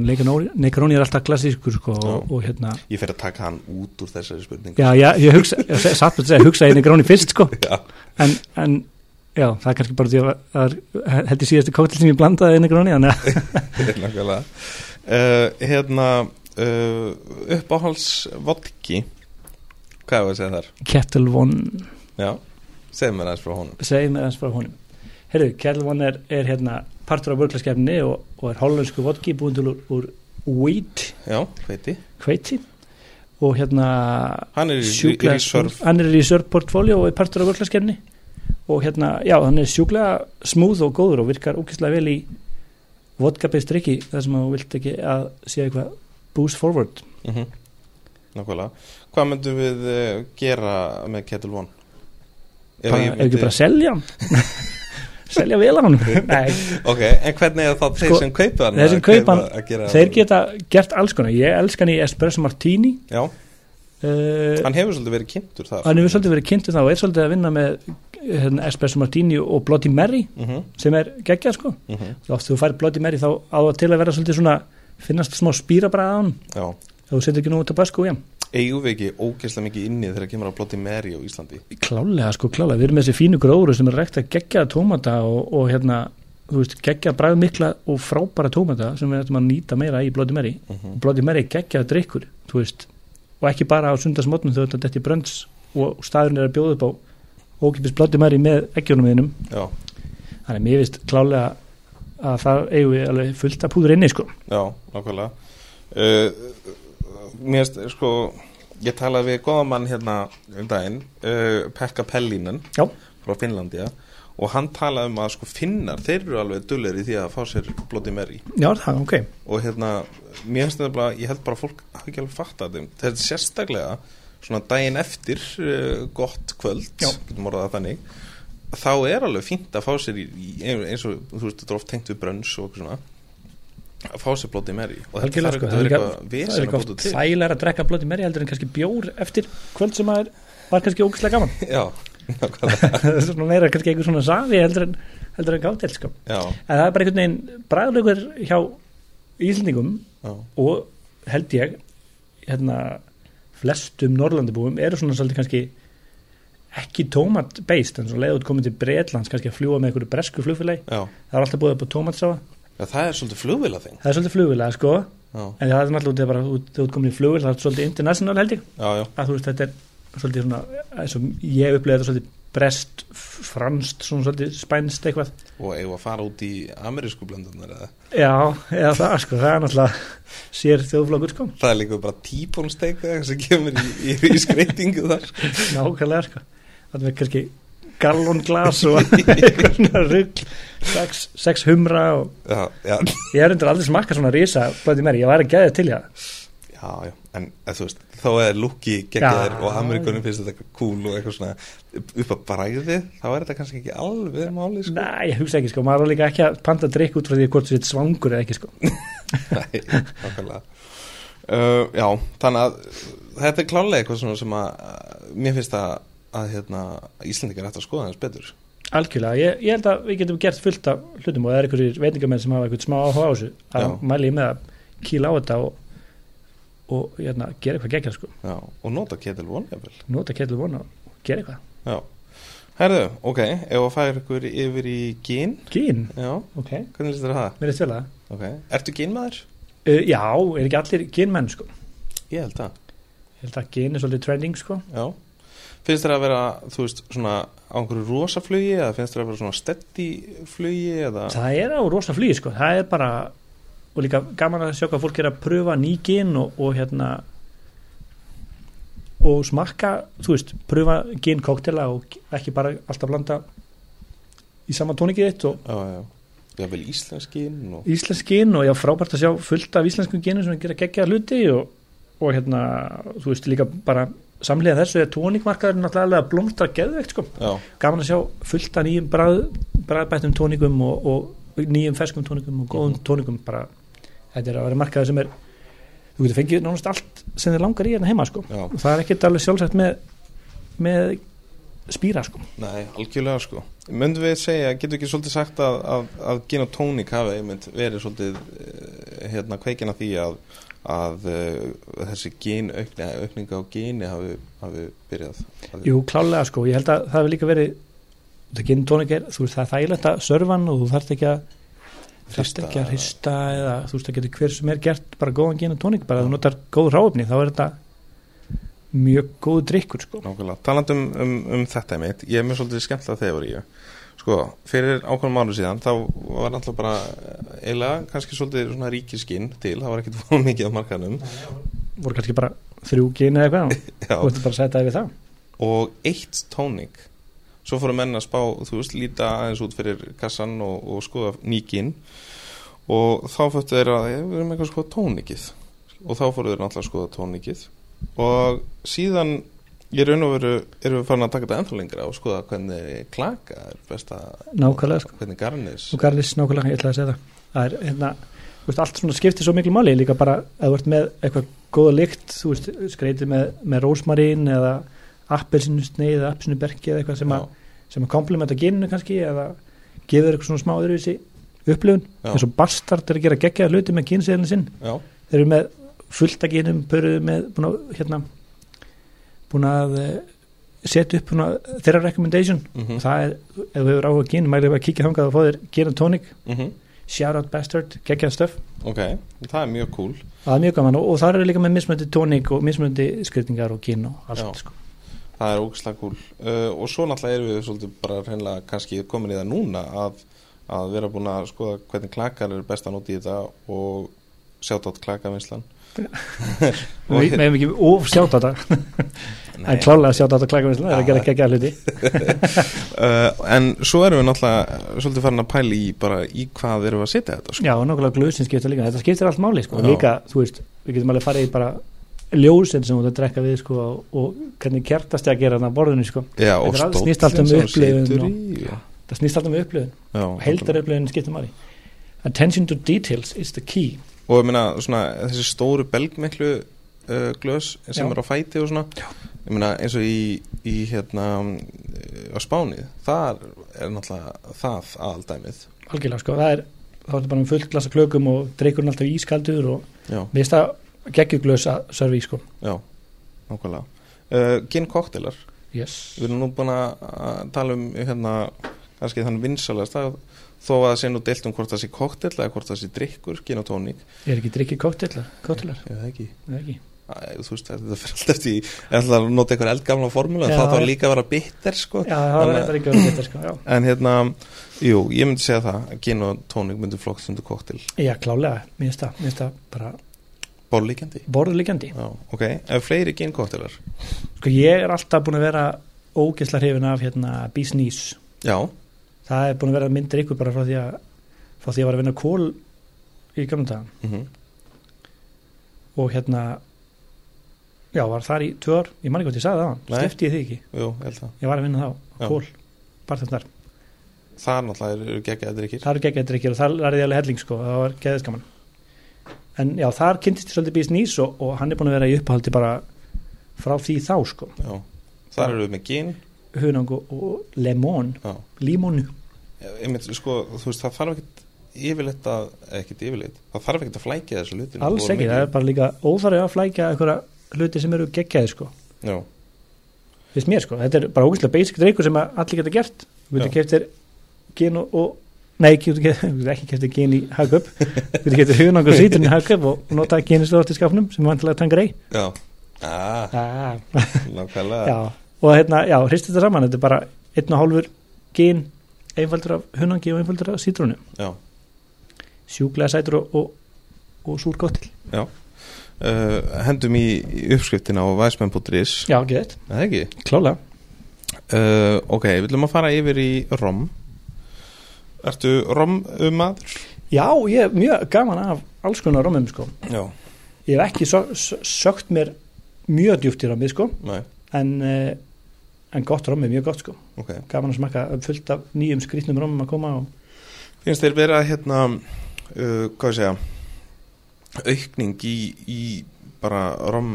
S2: Negroni er alltaf klassískur sko og,
S1: Já.
S2: og hérna
S1: Ég fer að taka hann út úr þessari spurningu
S2: Já, já, ég hugsa, ég se- satt að segja, hugsaði Negroni fyrst sko
S1: já.
S2: en, en já, það er kannski bara því að það er held ég síðasti kóttil sem ég blandaði Negroni, þannig að
S1: Nákvæmlega uh, Hérna uh, Uppáhalds vodki Hvað er að segja þar?
S2: Kettle One
S1: Já, segðu mér aðeins frá honum
S2: segið mér aðeins frá honum Herru, Kjellvon er, er hérna partur af vörglaskefni og, og er hollensku vodki búin til úr, úr wheat
S1: Já, veiti
S2: kveiti og hérna
S1: Hann er í, í, í
S2: sjúklega,
S1: reserve
S2: hann er í reserve portfolio og er partur af vörglaskefni og hérna, já, hann er sjúklega smúð og góður og virkar úkislega vel í vodka-based drikki þar sem þú vilt ekki að sé eitthvað boost forward
S1: mm Nákvæmlega Hvað myndum við uh, gera með Kettle One? Ef
S2: bara,
S1: ég
S2: ef ekki bara selja hann selja vel á hann Nei,
S1: Ok, en hvernig er það þeir
S2: Sko,
S1: sem kaupa hann?
S2: þeir sem
S1: að
S2: kaupa hann,
S1: að gera-
S2: þeir geta gert alls konar ég elska hann í Espresso Martini
S1: Já,
S2: uh,
S1: hann hefur svolítið verið kynntur þar
S2: hann hefur svolítið verið kynntu þá og er svolítið að vinna með eh, hérna, Espresso Martini og Bloody Mary
S1: mm -hmm,
S2: sem er geggjað sko
S1: mm
S2: oft þú fær Bloody Mary þá á það til að vera svolítið svona finnast smá spýra bara að hann
S1: Já
S2: ef þú setur ekki nú tabasco í hann
S1: Eigum við ekki ógeðslega mikið inni þegar kemur að Bloody Mary á Íslandi?
S2: klálega sko klálega, við erum með þessi fínu gróður sem er rekt að geggja tómata og, og hérna þú veist, geggja bræðmikla og frábæra tómata sem við ættum að nýta meira í Bloody Mary
S1: Mm -hmm.
S2: Bloody Mary geggjaða drikkur þú veist, og ekki bara á sundarsmótnum þegar þetta detti brönds og staðurinn er að bjóða upp á ókipis blöndumæri með eggjónum þínum
S1: já,
S2: þannig að mér finnst klálega að það eigum við alveg fullt að púður inni sko.
S1: já, nákvæmlega uh, Mér erst, sko ég talaði við góðan mann hérna um daginn, uh, Pekka Pellinen
S2: Já.
S1: frá Finnlandia og hann talaði um að sko finnar, þeir eru alveg dullir í því að fá sér blóti meri
S2: Já, það, ok
S1: og hérna, mér finnst þetta bara ég held bara að fólk hafi ekki alveg fatt að þeim þetta er sérstaklega svona daginn eftir uh, gott kvöld
S2: Já.
S1: getum orðað það þannig þá er alveg fínt að fá sér í, í, eins og þú veist, þetta er oft tengt við brönns og eitthvað svona að fá sér blóti meri og þetta
S2: Algjörlega,
S1: þarf ekki
S2: sko, það
S1: að
S2: er
S1: vera
S2: líka-
S1: eitthvað
S2: það er
S1: vesen að
S2: líka
S1: búta
S2: oft
S1: til
S2: þægilega að drekka blóti meri heldur en kannski bjór eftir kvöld sem að var kannski ógustlega gaman
S1: já, nákvæmlega
S2: það er svona meira kannski einhver svona safi heldur en, heldur en gátel sko.
S1: já,
S2: en það er bara einhvern veginn bræðulegur hjá Íslendingum
S1: já,
S2: og held ég hérna, flestum Norrlandabúum eru svona svolítið kannski ekki tómat based en svo leiðut komið til Breitlands kannski að fljúa með einhverju bresku flugfélagi
S1: já.
S2: það er alltaf búið upp á tómatsáa
S1: Já, það er svolítið flugvila þing
S2: það er svolítið flugfélagi sko
S1: já,
S2: en það er náttúrulega út af bara út- þegar þú ert komin í flugvél það er svolítið international held ég
S1: já, já,
S2: að þú veist þetta er svolítið svona eins og ég upplega þetta svolítið brest, franst, svona svolítið spænst eitthvað
S1: og eigum að fara út í amerísku blöndunar eða
S2: já, eða það sko, það er náttúrulega sér þjóðflokkur sko,
S1: það er líka bara tíbónsteik sem kemur í, í, í skreitingu þar
S2: nákvæmlega sko þannig er kannski gallon glas og eitthvað svona rugg sex, sex humra og
S1: já, já,
S2: ég er undir aldrei smakka svona risa blöndi mér, ég væri að geða til í það
S1: já, já, en að, þú veist, þá er lukki
S2: Já.
S1: geggjæðir og Amerikunum finnst þetta eitthvað cool og eitthvað svona upp að bræði, þá er þetta kannski ekki alveg máli, sko.
S2: næ, ég hugsa ekki sko, maður er líka ekki að panta drikk út frá því hvort þú sétt svangur eða ekki sko
S1: Nei, nákvæmlega. Uh, já, þannig að þetta er klálega eitthvað svona sem að uh, mér finnst að, að hérna, Íslendingar ætti að skoða hans betur.
S2: Algjörlega, ég, ég held að við getum gert fullt af hlutum og það er einhverjir veitingamenn sem hafa einhvern smá áhuga á þessu að
S1: Já.
S2: mæli ég með að kýla á þetta og, og hérna, gera eitthvað geggjað sko,
S1: Já, og nota Ketil Vonjafell.
S2: nota kettil vona og gera eitthvað.
S1: Já. Herðu, ok, ef að færa ykkur yfir í gín,
S2: Gín,
S1: já,
S2: ok,
S1: hvernig líst þér að það?
S2: mér er stjála það.
S1: Ok, ertu gínmaður?
S2: Uh, já, er ekki allir gínmenn sko,
S1: Ég held að.
S2: ég held að gín er svolítið trending sko.
S1: Já, finnst þér að vera, þú veist, svona á einhverju rosaflugi eða finnst þér að vera svona stetti flugi eða,
S2: Það er á rosa flýi sko, það er bara, og líka gaman að sjá hvað fólk er að pröfa ný gín og, og hérna, og smakka, þú veist, pröfa gin koktela og ekki bara alltaf blanda í sama tónikið þitt og
S1: já, já, já, vel íslenskinn og,
S2: íslensk gin og já, frábært að sjá fullt af íslenskum ginum sem gera geggja hluti og, og hérna, þú veist, líka bara samlega þessu er tónikmarkaðurinn náttúrulega að blómstra geðveikt, sko.
S1: já,
S2: Gaman að sjá fullt af nýjum brað, braðbættum tónikum og, og nýjum ferskum tónikum og góðum
S1: Mhm.
S2: tónikum bara, þetta er að vera markaður sem er þú getur fengið nánast allt sem þið langar í hérna heima, sko.
S1: já,
S2: Og það er ekkert alveg sjálfsagt með, með spýra sko.
S1: nei, algjörlega sko. Möndum við segja, getur ekki svolítið sagt að, að, að gin og tónik hafi einmitt verið svolítið, eh, hérna, kveikina því að, að uh, þessi gin, aukning, aukning á gini hafi, hafi byrjað. að-
S2: Jú, klálega sko, ég held að það hefur líka verið það gin tónik er, þú veist, það er þægilegt að sörfan og þú þarft ekki að þarft
S1: Hrista
S2: ekki að
S1: eða-
S2: hrista eða þú veist, það getur hver sem er gert bara góðan gin og tónik, bara að þú notar góð ráfni þá er þetta mjög góð drikkur sko.
S1: Nákvæmlega, talandi um, um, um þetta mitt, ég er mér svolítið skemmtilega þegar ég sko, fyrir ákveðum mánu síðan þá var alltaf bara eh, eiginlega kannski svolítið svona ríkiskinn til það var ekkit fórum mikið á markanum
S2: voru kannski bara þrjú gin eða eitthvað og
S1: Já.
S2: þú veist bara að setja það við það
S1: og eitt tónik svo fórum menn að spá, þú veist, líta aðeins út fyrir kassan og, og skoða nýkinn og þá fóttu þeir að "Eh, við erum eitthvað að skoða tónikið og þá fóru þeir náttúrulega að skoða tónikið og síðan ég raun og veru, erum við farin að taka þetta ennþá lengra og skoða hvernig klaka er best að
S2: nákvæmlega sko,
S1: hvernig garnis
S2: og garlis nákvæmlega, ég ætla að segja það það er hérna, þú veist, allt svona skiptir svo miklu máli líka bara að þú ert með eitthvað góða lykt, þú veist, skreitið með, með rósmarín eða appelsinu sneið eða appelsinu eða eitthvað sem að sem að komplementa geninu kannski eða gefur eitthvað svona smá öðruvísi upplifun,
S1: Já.
S2: eins og bastard er að gera geggjaða hluti með genseðlinn sinn
S1: já,
S2: þeir eru með fullt að genum pöruðu með búin að, hérna, búin að eh, setja upp búin að, þeirra recommendation
S1: mm -hmm.
S2: það er, ef þú hefur áhuga gen mælið að kíkja þangað og fá þér gen og tónik shout out bastard, geggjaða stöf
S1: mhm. ok, það er mjög cool
S2: það er mjög gaman og, og það eru líka með mismöndi tónik og mismöndi skrifningar og gen og
S1: Já.
S2: allt sko.
S1: það er ógislega gúl uh, og svo náttúrulega erum við svolítið bara hreinlega kannski komin í það núna að, að vera búin að skoða hvernig klakar er best að nota í þetta og sjátt átt klakavinslan
S2: Og við meðum ekki of sjátt á þetta en klálega sjátt á þetta klakavinsla það
S1: Já.
S2: er ekki ekki að hluti
S1: uh, en svo erum við náttúrulega svolítið farin að pæla í bara í hvað erum við að setja þetta sko.
S2: Já, og nákvæmlega glösin skiptir líka, þetta skiptir allt máli sko.
S1: Já.
S2: líka, þú veist, við getum alveg farið í bara ljósin sem þú ert að drekka við sko, og hvernig kertast ég að gera þarna á borðinu sko.
S1: Já, og
S2: Þetta er allt-
S1: stóllinn
S2: snýst allt um
S1: sem þú
S2: upplifun
S1: situr
S2: og-
S1: í, já.
S2: það snýst alltaf með upplöðun
S1: Já,
S2: og heldarupplöðun skiptir máli Attention to details is the key
S1: og ég meina svona þessi stóru belgmiklu uh, glös sem
S2: Já.
S1: er á fæti og svona Já. ég meina eins og í, í hérna uh, á Spánið þar er náttúrulega það aðaldæmið
S2: algjörlega, sko, það er þá er þetta bara með fullt glasa klökum og dreikurinn alltaf ískaldur og
S1: Já,
S2: við veist það geggjur glös að servi, sko
S1: já, nákvæmlega uh, Gin kokteilar,
S2: yes.
S1: við erum nú búin að að tala um hérna kannski þann vinsalast að þó að það sé nú deilt um hvort það sé kokteil eða hvort það sé drikkur, gin og tóník
S2: er ekki drikkið kóttelar, kóttelar
S1: ég veit það ekki
S2: ekki
S1: Æ, þú veist, þetta fyrir alltaf eftir ég ætla að nota einhver eldgamla formúlu en
S2: Já,
S1: það
S2: já.
S1: þá líka að vera bitter sko.
S2: Já, það var
S1: Þannig-
S2: reyndar ekki að geta, sko, já
S1: En hérna, jú, ég myndi segja það Gin og tónik myndi flokkst undir koktil
S2: Já, klálega, mér finnst það, mér finnst það bara
S1: Borlíkjandi
S2: borðurliggjandi
S1: Já, ok, ef fleiri gin koktilar
S2: Sko ég er alltaf búin að vera ógisla hrifin af hérna bísnýs
S1: Já,
S2: það er búin að vera myndir ykkur bara frá því að frá því að ég var að vinna kól í gamla dagann
S1: mm
S2: og hérna já, var þar í tvö ár, ég man ekki hvort ég sagði það á hann
S1: Nei.
S2: stifti ég því ekki,
S1: jú, ég held það
S2: ég var að vinna þá
S1: Já.
S2: á kól, barþjóðnar,
S1: Það náttúrulega eru geggjaði drikkir
S2: það eru geggjaðir ekki og það lærði ég alveg helling sko, það var geðiskaman en já, þar kynntist ég svolítið bísnýs og, og hann er búin að vera í upphaldi bara frá því þá sko,
S1: Já, þar eru við með gin
S2: hunang og, og lemon,
S1: Já,
S2: limonu
S1: ég myndi, sko, þú veist, það þarf ekkit yfirleitt að, ekkit yfirleitt það þarf ekkit að flækja þessu lutin
S2: alls ekki, það er bara líka óþarið að flækja einhverja hluti sem eru geggjaði sko
S1: Já,
S2: finnst mér sko, þetta er bara ógæslega basic dreikur sem að allir geta gert þú getur
S1: Já.
S2: keft þér gen og, og nei, getur keypt- þú getur ekki keft þér gen í hagkaup þú getur keft þér hugnang og sýturinn í hagkaup og nota genið stórt í skapnum sem er vantilega tangrei
S1: já Ah,
S2: ah,
S1: nákvæmlega
S2: já. og hérna, já, hristi þetta saman þetta er bara einn og hálfur gen einfaldur af hunangi og einfaldur af sýturinu
S1: Já.
S2: sjúklega sætur og, og, og súr gott til
S1: Uh, Hendum í í uppskriftina á væsmenn.is
S2: já, ekki þetta,
S1: Það ekki?
S2: klálega
S1: Uh, ok, við viljum að fara yfir í rom Ertu rom maður?
S2: já, ég er mjög gaman af alls konar rómum sko
S1: Já,
S2: ég hef ekki sö- sö- sökt mér mjög djúpt í rómið sko
S1: nei,
S2: en, eh, en gott rom er mjög gott sko
S1: ok
S2: gaman að smakka fullt af nýjum skrýtnum romum að koma og
S1: Finnst þér vera hérna uh, hvað ég segja aukning í, í bara rom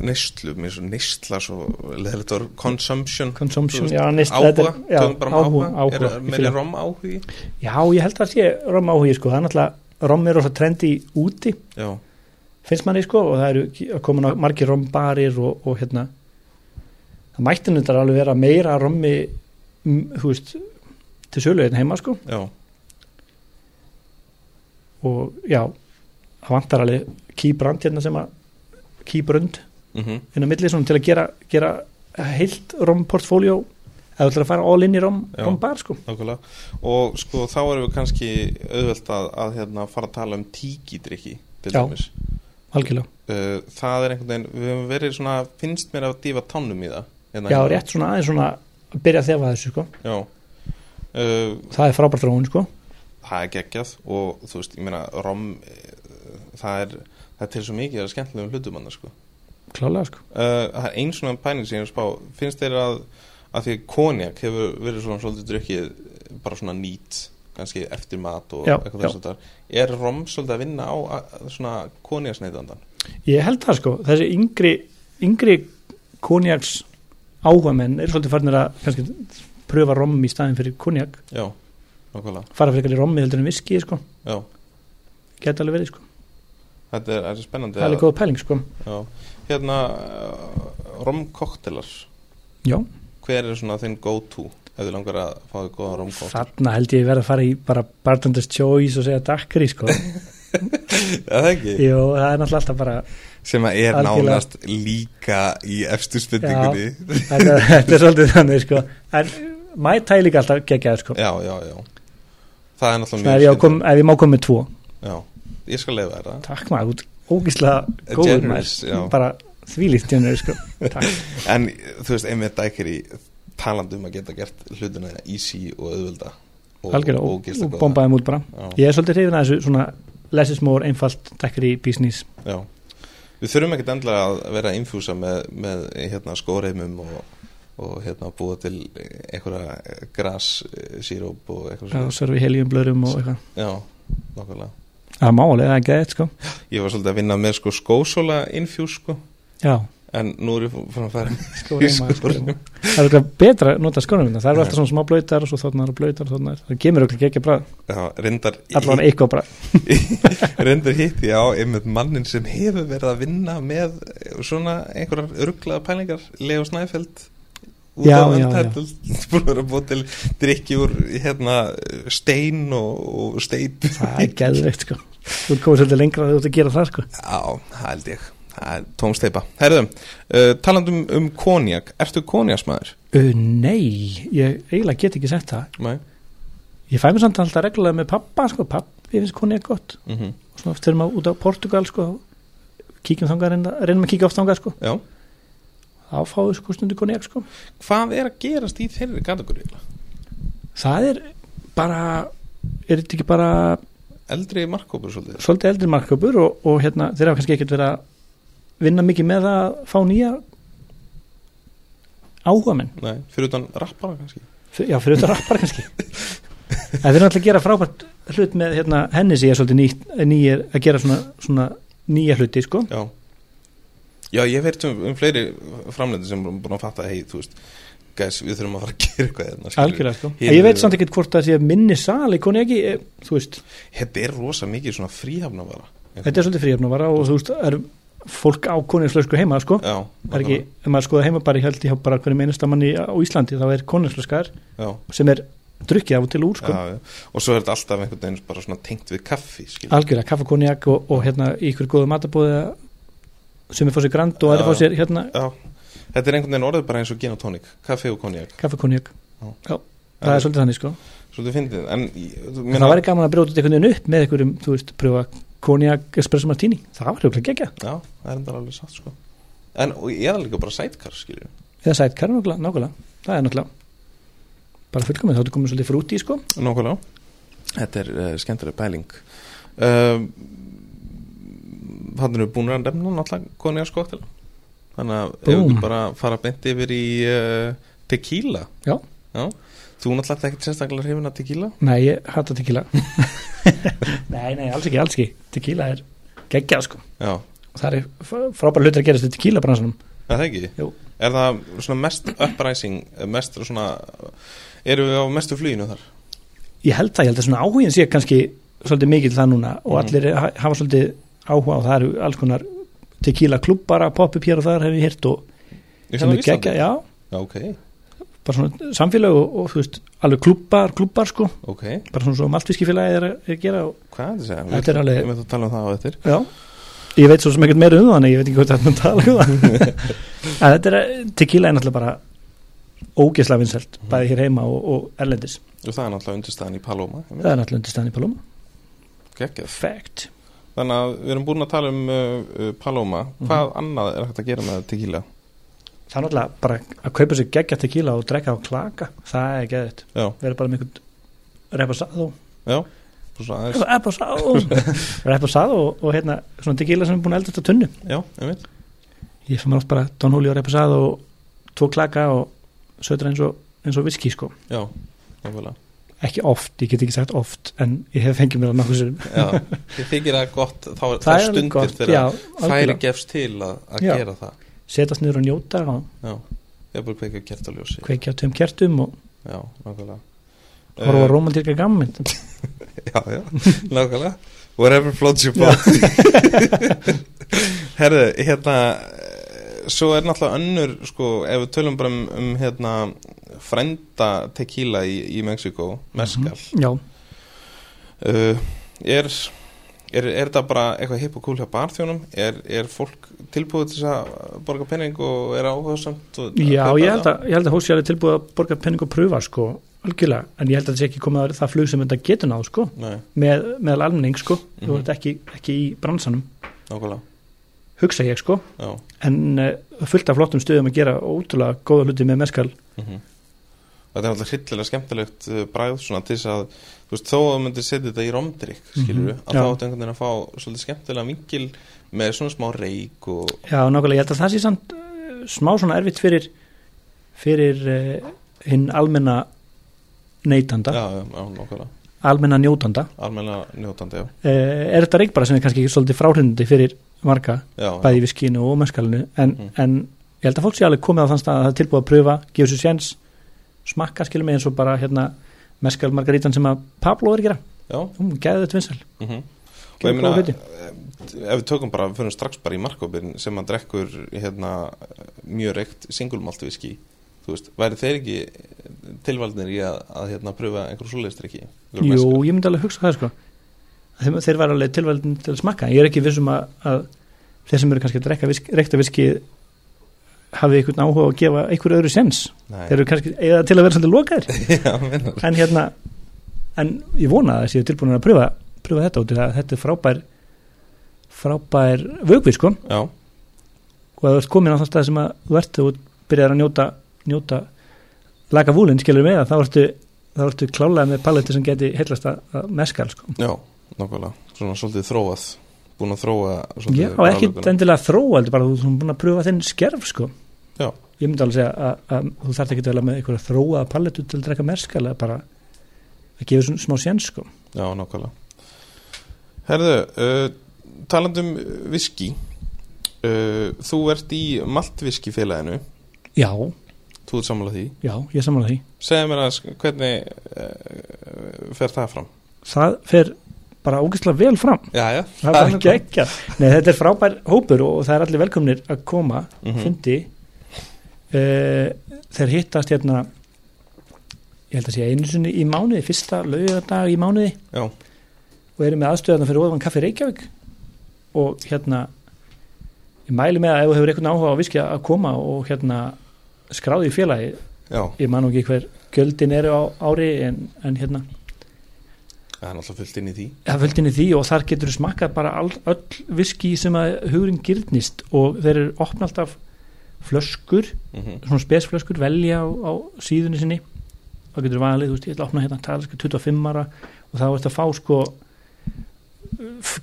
S1: neyslu, mér er svo neysla svo leðilegt orð, consumption Þú
S2: consumption,
S1: veist,
S2: já, neist,
S1: áhuga,
S2: þetta er, já,
S1: tökum bara um áhuga,
S2: áhuga,
S1: er,
S2: ég
S1: meiri
S2: fíla.
S1: rom áhugi
S2: já, ég held að sé rom áhugi sko, það er náttúrulega rom er rosa trendi úti,
S1: Já,
S2: finnst manni sko og það eru ki- að koma ná- margir rombarir og, og hérna það mætti þetta alveg vera meira rommi mm, þú veist til sölu einn heima sko
S1: já,
S2: og já, það vantar alveg kýbrand hérna sem að kýbrund
S1: mhm
S2: inn á milli svona til að gera, gera heilt romportfóljó eða ætlar að fara all in í rom,
S1: Já.
S2: rombar sko.
S1: Nákvæmlega. Og sko þá erum við kannski auðvelt að, að hérna, fara að tala um tíkidrykki til
S2: Já.
S1: dæmis.
S2: algjörlega,
S1: Uh, það er einhvern veginn, við höfum verið svona, finnst mér að dífa tánum í það. Hérna,
S2: já rétt svona aðeins svona að byrja að þefa þessu sko,
S1: Já. Uh,
S2: það er frábært rón sko,
S1: það er geggjað og þú veist, ég meina, rom, uh, það er, það er til svo mikið að skemmtilegum hlutum annars sko.
S2: klálega sko
S1: Uh, það er einn svona pæning sem ég er að spá, finnst þeir að, að því að konjak hefur verið svona svolítið drykkið eh, bara svona nýtt, kannski eftir mat og
S2: Já,
S1: eitthvað
S2: já.
S1: þess að það er rom svolítið að vinna á að, svona konjaksneitandan?
S2: ég held það sko, þessi yngri yngri konjaks áhugamenn er svolítið farnir að kannski pröfa rom í staðin fyrir konjak
S1: Já, nákvæmlega,
S2: fara fyrir eitthvað í rommi heldur en viski sko
S1: já.
S2: geta alveg verið sko,
S1: Þetta er, þetta er spennandi.
S2: það er alveg góð pæling sko
S1: Já. Hérna, uh, romkoktelar,
S2: já,
S1: hver er svona þinn go-to ef þú langar að fá þig góðan romkoktel?
S2: þarna held ég verið að fara í bara bartender's choice og segja dakkri sko
S1: það ekki
S2: Jú, það er náttúrulega alltaf bara
S1: sem að er
S2: Algjörlega.
S1: nánast líka í efstu spendingunni
S2: þetta, þetta er svolítið þannig sko. en mæta ég líka alltaf geggjaði sko.
S1: já, já, já það er náttúrulega
S2: Svona, ef, ég á kom, ef ég má koma með tvo
S1: já, ég skal leiða þetta
S2: takk maður, þú ert ógíslega góður
S1: Generous, já.
S2: maður bara þvílíkt generous, sko. takk,
S1: en þú veist, einmitt dækir í talandi um að geta gert hlutina þeirra easy og auðvölda og,
S2: algjörlega,
S1: og,
S2: og,
S1: ógeðslega
S2: og
S1: góða.
S2: bombaði mút bara
S1: já,
S2: ég er svolítið hrifin að þessu svona less is more, einfalt, takkir í business
S1: já. við þurfum ekkert endilega að vera að infjúsa með, með hérna, skóreimum og, og hérna, búa til einhverja grassíróp og eitthvað
S2: og
S1: svona
S2: servi heljum blöðrum og eitthvað
S1: já, nokkulega
S2: það er málega, það er gæðið sko.
S1: ég var svolítið að vinna með sko skósóla infjús sko
S2: já,
S1: en nú er ég fann að fara
S2: skóreima,
S1: Skóreima.
S2: skóreima. það er eitthvað betra að nota skórum það eru alltaf svona smá blöytar og svo þóttnar og blöytar þóttnar. það kemur okkur ekki bara,
S1: já, reyndar,
S2: allavega eitthvað bara
S1: reyndar hitti ég á einmitt mannin sem hefur verið að vinna með svona einhverjar örglaða pælingar Leo Snæfeld út
S2: Já,
S1: á
S2: já, já.
S1: Untitled, búin að vera að búa til drikki úr hérna stein og, og steip
S2: það er gæðveikt sko þú komur svolítið lengra að þú ert að gera það sko
S1: Já, það held ég Það er tómsteipa. Herðum, uh, talandum um konjak, ertu konjaksmaður?
S2: uh, nei, ég eiginlega get ekki sett það
S1: Nei.
S2: ég fæ mér samt alltaf reglulega með pappa sko, pappi finnst koni er gott
S1: Mm
S2: og svona oft erum við út á Portugal sko kíkjum þangað, reynda- reynum að kíkja oft þangað sko
S1: Já.
S2: þá fáum við sko stundu koni ekki sko
S1: Hvað er að gerast í þeirri kategóri?
S2: það er bara er þetta ekki bara
S1: Eldri markkópur svolítið.
S2: svolítið eldri marköpur og, og hérna, þeir hafa kannski ekkert verið að vinna mikið með það að fá nýja áhuga menn
S1: Nei, fyrir utan rappara kannski.
S2: F- Já, fyrir auðvitað rappar kannski En við erum alltaf að gera frábært hlut með hérna, henni sem ég er svolítið nýtt, nýjir að gera svona, svona nýja hluti sko.
S1: Já. Já, ég hef heyrt um, um fleiri framleiti sem eru búin að fatta, hei, þú veist, guys, við þurfum að fara að gera eitthvað hérna. skilur við.
S2: algjörlega sko.
S1: Hinir-
S2: Ég veit samt ekkert hvort það sé minni sali, koni ekki, eh, þú veist
S1: Þetta er rosa mikið svona fríhafna bara.
S2: þetta er svolítið fríöfnavara og þú veist það er fólk á konislösku heima sko.
S1: Já.
S2: það er ekki, ef maður skoða heima bara ég held ég bara hvernig einasta manni á Íslandi þá er konislöskar
S1: Já.
S2: sem er drukkið af og til úr sko.
S1: Já, já. Og svo er þetta alltaf einhvern veginn bara svona tengt við kaffi, skilur.
S2: algjörlega, kaffakoniak og, og hérna í ykkur góðu matabóði sem er fá sér grand og
S1: Já,
S2: aðri fá
S1: já.
S2: sér hérna,
S1: Já. Þetta er einhvern veginn orðið bara eins og gin og tónik, kaffi og konjak.
S2: kaffakoniak
S1: Já.
S2: Já, það er svolítið þannig sko
S1: Svolítið fyndið, en... ég- þú-
S2: En
S1: meina-
S2: það væri gaman að brjóta þetta einhvern veginn upp með einhverjum, þú veist, pröfa konjak espresso martini, það var hljóklega gegja
S1: Já, það er enda alveg satt, sko. En og ég er líka bara sætkar, skilur.
S2: eða sætkar nákvæmlega, nákvæmlega, það er nákvæmlega bara fullkomið, þá ertu komin svolítið frúti sko,
S1: Nákvæmlega Þetta er uh, skemmtileg pæling um, Þannig erum við búin að nefna náttúrulega konið að skoktela Þannig að ef við
S2: Búm.
S1: ekki bara fara beint yfir í uh, tequila
S2: Já.
S1: Þú náttúrulega ert ekkert sérstaklega hrifin að tequila
S2: nei, ég hata tequila nei, nei, alls ekki, alls ekki tequila er gegja sko
S1: Já,
S2: og það er f- frábæra hlutir að gerast í tequila bransanum
S1: er það ekki?
S2: Jú.
S1: Er það svona mest uppræsing, mest svona Erum við á mestu fluginu þar?
S2: ég held það, ég held að svona áhugin sé kannski svolítið mikill það núna og
S1: Mhm.
S2: allir ha- hafa svolítið áhuga og það eru alls konar tequila klubbara, pop-up hér og þar hef ég hirt og
S1: Ég
S2: sem
S1: hérna á
S2: er gegja,
S1: Íslandi?
S2: já,
S1: Já, ok,
S2: bara svona samfélag og, og þú veist, alveg klubbar, klubbar sko,
S1: ok
S2: bara svona svo maltvískifélagi er, að- er að gera og
S1: Hvað er það að segja?
S2: Þetta er alveg-
S1: Við ætlum að tala um það á eftir
S2: já, ég veit svo sem ekkert meira um það en ég veit ekki hvað þetta er að tala um það en þetta er, tequila er náttúrulega bara ógeðslega vinsælt,
S1: Mhm.
S2: bæði hér heima og, og erlendis,
S1: Og það er náttúrulega undirstaðan í Paloma
S2: það er náttúrulega undir staðan í Paloma,
S1: Gekkjað
S2: fact
S1: Þannig að við erum búin að tala um uh, uh, Paloma, hvað annað er hægt að gera með tequila?
S2: það er náttúrulega bara að kaupa sér geggja tequila og drekka á klaka, það er geðið
S1: Já,
S2: verður bara með einhvern repasado
S1: já, Bara svona aðeins
S2: repasado repasado og, og hérna svona tequila sem er búin að eldast á tunnu
S1: Já, einmitt
S2: ég fæ mér oft bara Don Julio Reposado og tvo klaka og sötra eins og, eins og viski sko
S1: Já, nákvæmlega
S2: ekki oft, ég get ekki sagt oft en ég hef fengið mér að nokkuð sér
S1: Já, ég þykir það gott, þá er það stundir þegar
S2: já,
S1: færi
S2: algjörlega.
S1: gefst til að, að
S2: Já.
S1: gera það
S2: setast niður og njóta og
S1: Já, ég er bara að kveika kertaljósi
S2: kveikja á tveim kertum og
S1: Já, nákvæmlega
S2: horfa
S1: Eh,
S2: á romantíka gammynd
S1: Já, já, nákvæmlega Whatever floats your boat Herðu, hérna eh, Svo er náttúrulega önnur sko, ef við tölum bara um, um hérna, frænda
S2: Mhm.
S1: tequila í, í Mexiko, meskal
S2: já,
S1: uh, er er, er þetta bara eitthvað hipp og cool hjá barþjónum? Er, er fólk tilbúið til þess að borga penning og er áhugaðsamt? og-
S2: Já,
S1: kaupa
S2: ég held
S1: þetta?
S2: að, ég held að hósi alveg tilbúið að borga penning og pröfa sko, algjörlega, en ég held að þetta sé ekki komið að það flug sem þetta getur náð sko,
S1: Nei,
S2: með, meðal almenning sko,
S1: Mhm.
S2: þú ert ekki, ekki í bransanum,
S1: nákvæmlega,
S2: hugsa ég sko,
S1: já.
S2: en uh, fullt af flottum stöðum að gera ótrúlega góða hluti með meskal
S1: Mm
S2: Mhm.
S1: Þetta er alltaf hryllilega skemmtilegt uh, bræð svona til þess að, þú veist, þó að þú myndir setja þetta í romdrykk, skilur við,
S2: Mhm,
S1: að
S2: já.
S1: þá áttu einhvern veginn að fá svolítið skemmtilega vingil með svona smá reik og,
S2: Já, nákvæmlega, ég held að það sé samt uh, smá svona erfitt fyrir fyrir uh, hinn almenna neytanda,
S1: já, já, já, nákvæmlega,
S2: almenna njótanda
S1: almenna njótandi, já,
S2: uh, er þetta reik bara sem er kannski svolítið fráhrindandi fyrir marga,
S1: já, já,
S2: bæði við skinu og mennskalinu, en,
S1: Mhm.
S2: en ég held að fólk sé alveg komið á þann stað að það er tilbúið að pröfa gefa sér séns, smakka skilum mig eins og bara hérna meskal margarítan sem að Pablo er að gera,
S1: já,
S2: hún gæði þetta vinsal
S1: mhm. Og ég
S2: Gerðu
S1: meina,
S2: góða hluti.
S1: eh, ef við tökum bara, við fyrir strax bara í markkópin sem að drekkur hérna eh, mjög reykt singulmaltviski, þú veist, væri þeir ekki tilvaldnir í að, að hérna pröfa einhver svoleiðstrykki?
S2: Jú, ég myndi alveg hugsa það sko þeir, þeir væri alveg tilvældin til að smakka ég er ekki vissum að, að þeir sem eru kannski að drekka visk, reykta viski hafi einhvern áhuga á að gefa einhverju öðru sens
S1: Nei,
S2: þeir eru kannski eða til að vera svolítið lokaðir
S1: já, minna,
S2: en hérna, en ég vona að það séu tilbúin að pröfa, pröfa þetta út í það að þetta er frábær frábær vögvið sko
S1: já.
S2: og að þú ert komin á þann stað sem að þú ert þú byrjar að njóta, njóta laga vúlinn skilur með það þá ertu, þá ertu klálega með paletti sem geti heillast að, að meskal sko
S1: Já, nákvæmlega, svona svolítið þróað búin að þróa
S2: Já,
S1: svolítið
S2: og ekki
S1: raflökunum.
S2: endilega þróa, heldur bara að þú ert búin að pröfa þinn skerf sko.
S1: Já.
S2: Ég myndi alveg segja að, að þú þarft ekki að vera með einhverja þróaða palletu til að drekka merskal eða bara að gefa svona smá séns sko.
S1: Já, nákvæmlega Herðu, uh, talandum viski uh, þú ert í maltviski félaginu
S2: Já,
S1: þú ert sammála því
S2: já, ég samanlega því.
S1: segðu mér að hvernig uh, fer það fram
S2: Það fer bara ógeðslega vel fram.
S1: Já, já,
S2: Það er ekki ekki. Nei, þetta er frábær hópur og, og það er allir velkomnir að koma
S1: mm
S2: fundi uh, þeir hittast hérna ég held að sé einu sinni í mánuði fyrsta laugardag í mánuði
S1: Já.
S2: og erum með aðstöðan fyrir ofan kaffi Reykjavík og hérna ég mæli með að ef þú hefur eitthvað áhuga á viski að koma og hérna skráði í félagi,
S1: Já,
S2: ég man nú ekki hver göldin eru á ári en, en hérna
S1: það er náttúrulega fullt inn í því
S2: það völdinni því og þar getur þú smakkað bara all, öll viski sem að hugurinn gyrnist og þeir eru opna alltaf flöskur
S1: mm
S2: svona spesflöskur velja á, á síðunni sinni þá getur valið, þú veist, ég ætla að opna hérna taliska 25 ára og þá ertu að fá sko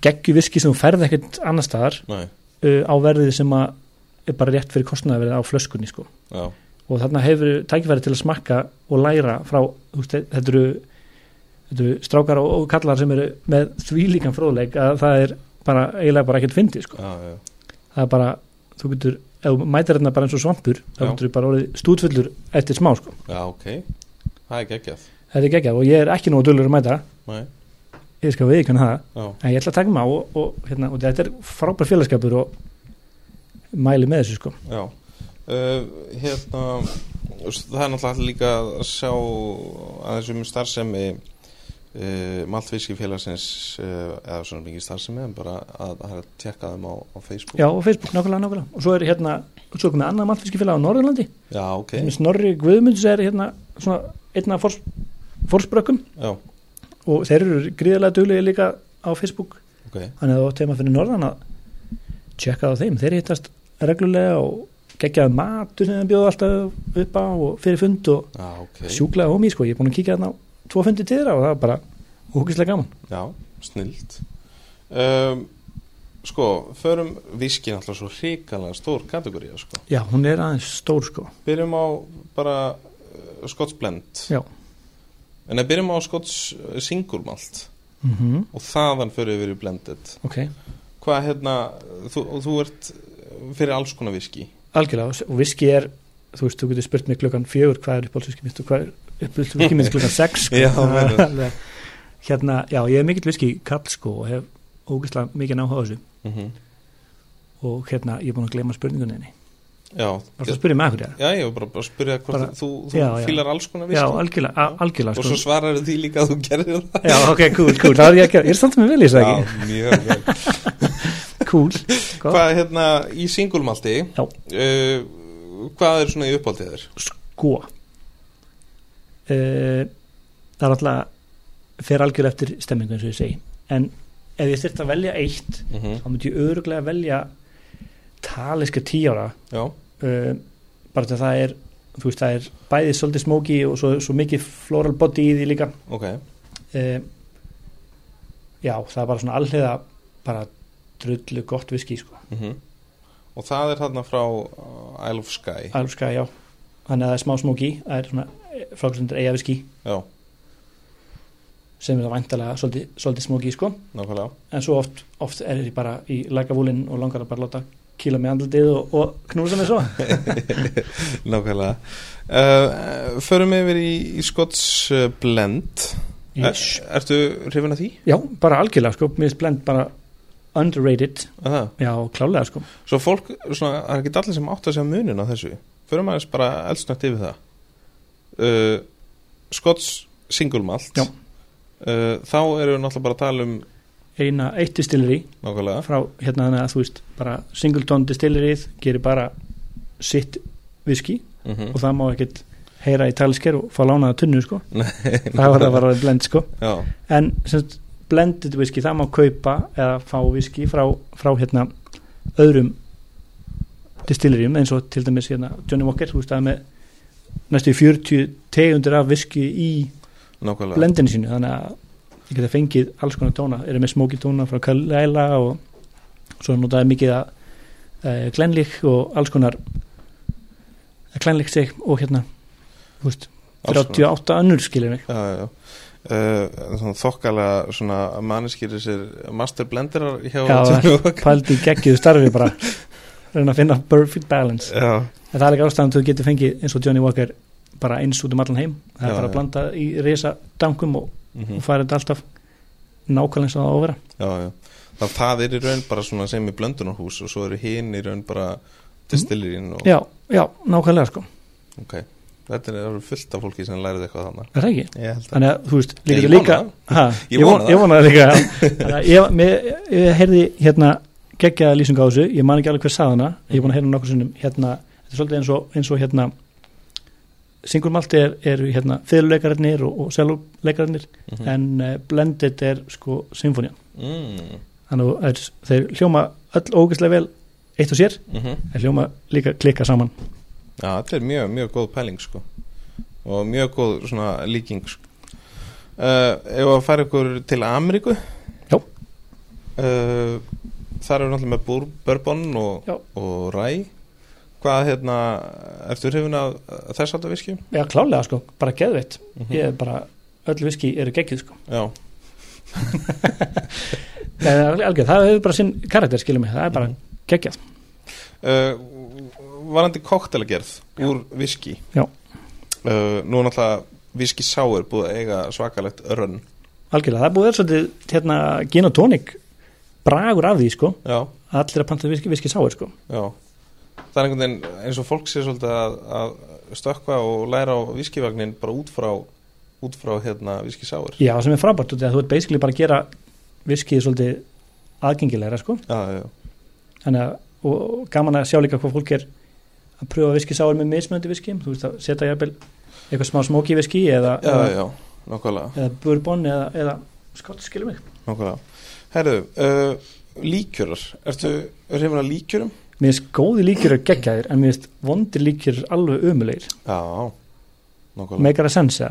S2: geggju viski sem þú ferð ekkert annar staðar
S1: Nei,
S2: uh, á verðið sem að er bara rétt fyrir kostnaðverðið á flöskunni sko
S1: já,
S2: og þarna hefur tækifæri til að smakka og læra frá, þú veist, þetta eru þetta eru strákar og, og kallar sem eru með þvílíkan fróðleik að það er bara, eiginlega bara ekkert fyndið sko
S1: já, já,
S2: það er bara, þú getur ef þú mætir hérna bara eins og svampur þá
S1: Já.
S2: getur þú bara orðið stútfullur eftir smá sko.
S1: já, ok Það er geggjað
S2: þetta er geggjað og ég er ekki nógu dullur að mæta
S1: Nei,
S2: ég skal við ekki hann það,
S1: já,
S2: en ég ætla að taka mig á og, og, hérna, og þetta er frábær félagskapur og mæli með þessu sko.
S1: Já, uh, hérna, það er náttúrulega líka að sjá aðeins um starfsemi uh, Maltvískifélagsins uh, eða svona mikið starfsemi en bara að það er að tjekka þeim á, á Facebook
S2: já, og Facebook, nákvæmlega, nákvæmlega og svo er hérna, svo er komið annað maltfiskifélag á Norðurlandi
S1: Já, ok,
S2: okay. Snorri Guðmunds er hérna svona einna fors, forsbrökkum
S1: já,
S2: og þeir eru gríðarlega duglegir líka á Facebook
S1: ok
S2: þannig að þú átt heima fyrir norðan að tjekka á þeim, þeir hittast reglulega og geggjaðu matur sem þeir bjóðu alltaf upp á og fyrir fund og
S1: Já, ok,
S2: sjúklega homi sko, ég er búin að kíkja þarna á tvo fundi til þeirra og það er bara ógislega gaman
S1: já, snild um, Sko, förum víski er náttúrulega svo hrikalega stór kategóri sko.
S2: Já, hún er aðeins stór sko
S1: Byrjum á bara uh, skottsblend
S2: Já.
S1: En að byrjum á skotts uh, singulmalt
S2: mm
S1: og þaðan fyrir yfir í blended
S2: Ok,
S1: hvað hérna, þú, þú ert fyrir alls konar viski
S2: algjörlega og viski er, þú veist, þú getur spurt mig klukkan fjögur hvað er uppáhaldsviski mitt og hvað er uppáhaldsviski mitt klukkan sex sko.
S1: Já,
S2: Það er
S1: meinar.
S2: alveg- Hérna, já, ég er mikill viski kall sko og hef ógislega mikið náhuga á þessu
S1: mm -hmm.
S2: og hérna, ég er búin að gleyma spurningunni henni
S1: já,
S2: varstu að spyrja mig akkur ég
S1: já, ég var bara, bara að spyrja hvort
S2: Bara-
S1: þú, þú
S2: já, já.
S1: fílar alls konar
S2: já,
S1: veislu
S2: algjörlega, a- algjörlega
S1: og svo
S2: sko.
S1: svarar því líka að þú gerir það
S2: já, ok, cool, cool, það er ég að gera ég er samt með vel í þessu ekki,
S1: já, mjög vel
S2: cool Gott.
S1: hvað hérna í singulmaldi
S2: Já.
S1: uh, hvað er svona í uppáldið þér
S2: sko uh, það er alltaf fer algjörlega eftir stemmingu eins og ég segi en ef ég þyrfti að velja eitt
S1: mm
S2: þá myndi ég öruglega velja taliska tíjára
S1: já,
S2: uh, bara til að það er þú veist það er bæði svolítið smóki og svo, svo mikið floral body í því líka
S1: ok
S2: uh, já það er bara svona alliða bara drullu gott viski sko
S1: mm og það er þarna frá uh, Isle of Sky
S2: alveg já þannig að það er smá smóki það er svona frákvæmstundur eiga viski
S1: já,
S2: sem er það væntalega svolítið, svolítið smóki sko.
S1: nákvæmlega
S2: en svo oft, oft er ég bara í lagavúlinn og langar að bara láta kýla mig andlitið og, og knúsa mig svo
S1: nákvæmlega uh, förum yfir í, í Skots uh, blend
S2: yes.
S1: er, ertu hrifin af því?
S2: já, bara algjörlega sko, mér finnst blend bara underrated,
S1: Að það?
S2: já, klálega sko
S1: svo fólk, svona, það er ekki allir sem átt að segja munin á þessu förum aðeins bara eldsnögt yfir það uh, Skots singulmalt
S2: Já.
S1: Uh, þá erum við náttúrulega bara að tala um
S2: eina eitt distilleri
S1: nákvæmlega
S2: frá hérna þannig að þú veist bara singleton distillerið gerir bara sitt viski
S1: mm
S2: og það má ekkert heyra í talisker og fá lánaða tunnu sko
S1: Nei,
S2: það var það var alveg blend sko
S1: já,
S2: en semst, blended whisky það má kaupa eða fá whisky frá, frá hérna öðrum distilleríum eins og til dæmis hérna Johnny Walker, þú veist það er með næstu í 40 tegundir af whisky í
S1: nákvæmlega
S2: blendinu sínu þannig að ég geta fengið alls konar tóna eru með smoky tóna frá Kalela og svo notaði mikið að e, glenlik og alls konar glenlik sig og hérna þú veist,
S1: Alls konar.
S2: 38 önnur skilur mig
S1: Já, já, já. Uh, svona þokkalega svona manneskýri sér master blenderar hjá
S2: Já,
S1: Johnny Walker.
S2: pældi í geggiðu starfi bara reyna að finna perfect balance
S1: já,
S2: en það er ekki ástæðan til þú getur fengið eins og Johnny Walker bara eins út um allan heim það er
S1: Já,
S2: bara
S1: já.
S2: að blanda í reysa dankum og,
S1: mhm,
S2: og fara þetta alltaf nákvæmlega eins og það á að vera
S1: já, já. Það, það er í raun bara svona sem í blöndunarhús og svo eru hinn í raun bara distillirinn og
S2: já, já, nákvæmlega sko,
S1: ok, þetta er alveg fullt af fólki sem lærið eitthvað þannig
S2: er það ekki?
S1: ég held að
S2: þannig að þú veist,
S1: Ég
S2: líka
S1: vona
S2: líka
S1: það.
S2: ha,
S1: Ég
S2: ég,
S1: vona
S2: von,
S1: það.
S2: ég vona það líka Þannig að ég, mér, ég heyrði hérna geggjaða lýsing á þessu, ég man ekki alveg hver saðana ég er búin að heyrða nokkur sinnum hérna, þetta er svolítið eins og, eins og hérna singulmalti er, er hérna fyrirleikararnir og, og selvleikararnir
S1: Mhm.
S2: en uh, blended er sko symfónia
S1: mm,
S2: þannig að er, þeir hljóma öll ógeðslega vel eitt og sér,
S1: mhm.
S2: þeir hljóma líka klikka saman
S1: Já, þetta er mjög, mjög góð pæling sko og mjög góð svona líking sko. uh, Ef að fara ykkur til Ameríku
S2: Já.
S1: uh, Þar eru náttúrulega með búr, bourbon og,
S2: Já.
S1: og ræ Hvað hérna, ertu hrifin af uh, þess alltaf viskjum?
S2: já klálega sko, bara geðveitt
S1: Mm
S2: ég er bara, öll viski eru geggjuð sko
S1: Já,
S2: Nei, það er alveg- algjörð, það hefur bara sinn karakter skilum mig, það er bara
S1: Mhm.
S2: geggjað
S1: uh, Varandi koktelagerð úr viski
S2: Já.
S1: uh, Nú er náttúrulega viski sáir búið að eiga svakalegt rönn
S2: algjörlega, það er búið að vera svolítið hérna, gin og tónik bragur af því sko,
S1: Já,
S2: allir að panta viski, viski sáir sko,
S1: Já, það er einhvern veginn eins og fólk sé svolítið að, að stökkva og læra á viskivagnin bara út frá, út frá hérna viskisáur.
S2: já sem er frábært út af því að þú ert basically bara að gera viskið svolítið aðgengilegra sko,
S1: Já, já, já.
S2: þannig að og, og gaman að sjá líka hvað fólk er að pröfa viski sáir með mismöndi viski þú veist að setja jafnvel eitthvað smá smóki viski eða,
S1: Já, já,
S2: eða,
S1: já, nákvæmlega,
S2: eða bourbon eða, eða skott skilum mig,
S1: nákvæmlega. Herðu, uh, líkjörar, ertu hrifin að líkjörum?
S2: mér finnst góði líkjur að geggjaðir en mér finnst vondir líkjur alveg umulegir,
S1: Já, nákvæmlega.
S2: meikar að sensa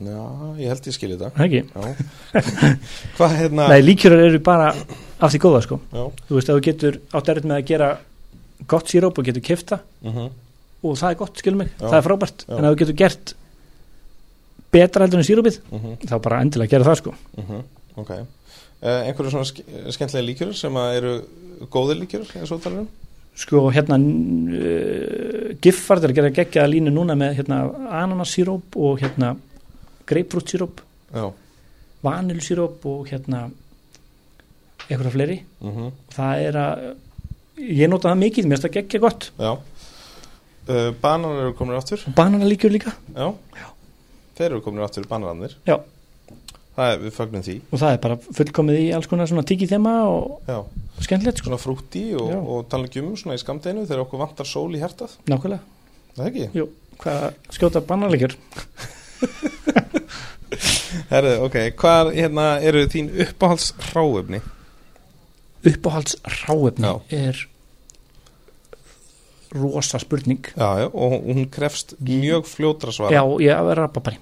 S1: Já, ég held ég skilja þetta.
S2: ekki
S1: Já. Hvað hérna?
S2: Nei, líkjörar eru bara af því góða sko
S1: Já,
S2: Þú veist, ef þú getur átt erfitt með að gera gott síróp og getur kifta
S1: mhm,
S2: og það er gott, skilum mig,
S1: Já.
S2: það er frábært
S1: Já.
S2: en ef þú getur gert betra heldur en sírópið,
S1: mhm,
S2: þá bara endilega gera það sko
S1: mhm, ok. Uh, einhverju svona ske skemmtilega líkjörar sem að eru góðir líkjörar, eins og um? talarum?
S2: Sko, hérna uh, Giffard er að gera geggjaða línu núna með hérna ananassíróp og hérna grapefruit síróp,
S1: Já,
S2: vanil síróp og hérna eitthvað fleiri
S1: mhm.
S2: það er að ég nota það mikið, mér finnst það geggja gott
S1: Já, uh, Bananar eru komin aftur
S2: og bananalíkjur líka
S1: Já. Þeir eru komin aftur bananarnir
S2: Já.
S1: Það er, við fagnum því
S2: og það er bara fullkomið í alls konar svona tiki þema og
S1: Já.
S2: skemmtilegt sko.
S1: Svona frútti og,
S2: Já.
S1: og tala ekki um svona í skamdeginu þegar okkur vantar sól í hjartað
S2: nákvæmlega,
S1: Það er ekki?
S2: hvað skjóta bananalíkjur
S1: Herðu, ok, hvað hérna, eru þín uppáhalds hráöfni?
S2: uppáhalds ráefni
S1: Já.
S2: er rosa spurning
S1: Já, já, og hún- hún krefst mjög fljótra svara
S2: Já, ég hef rababari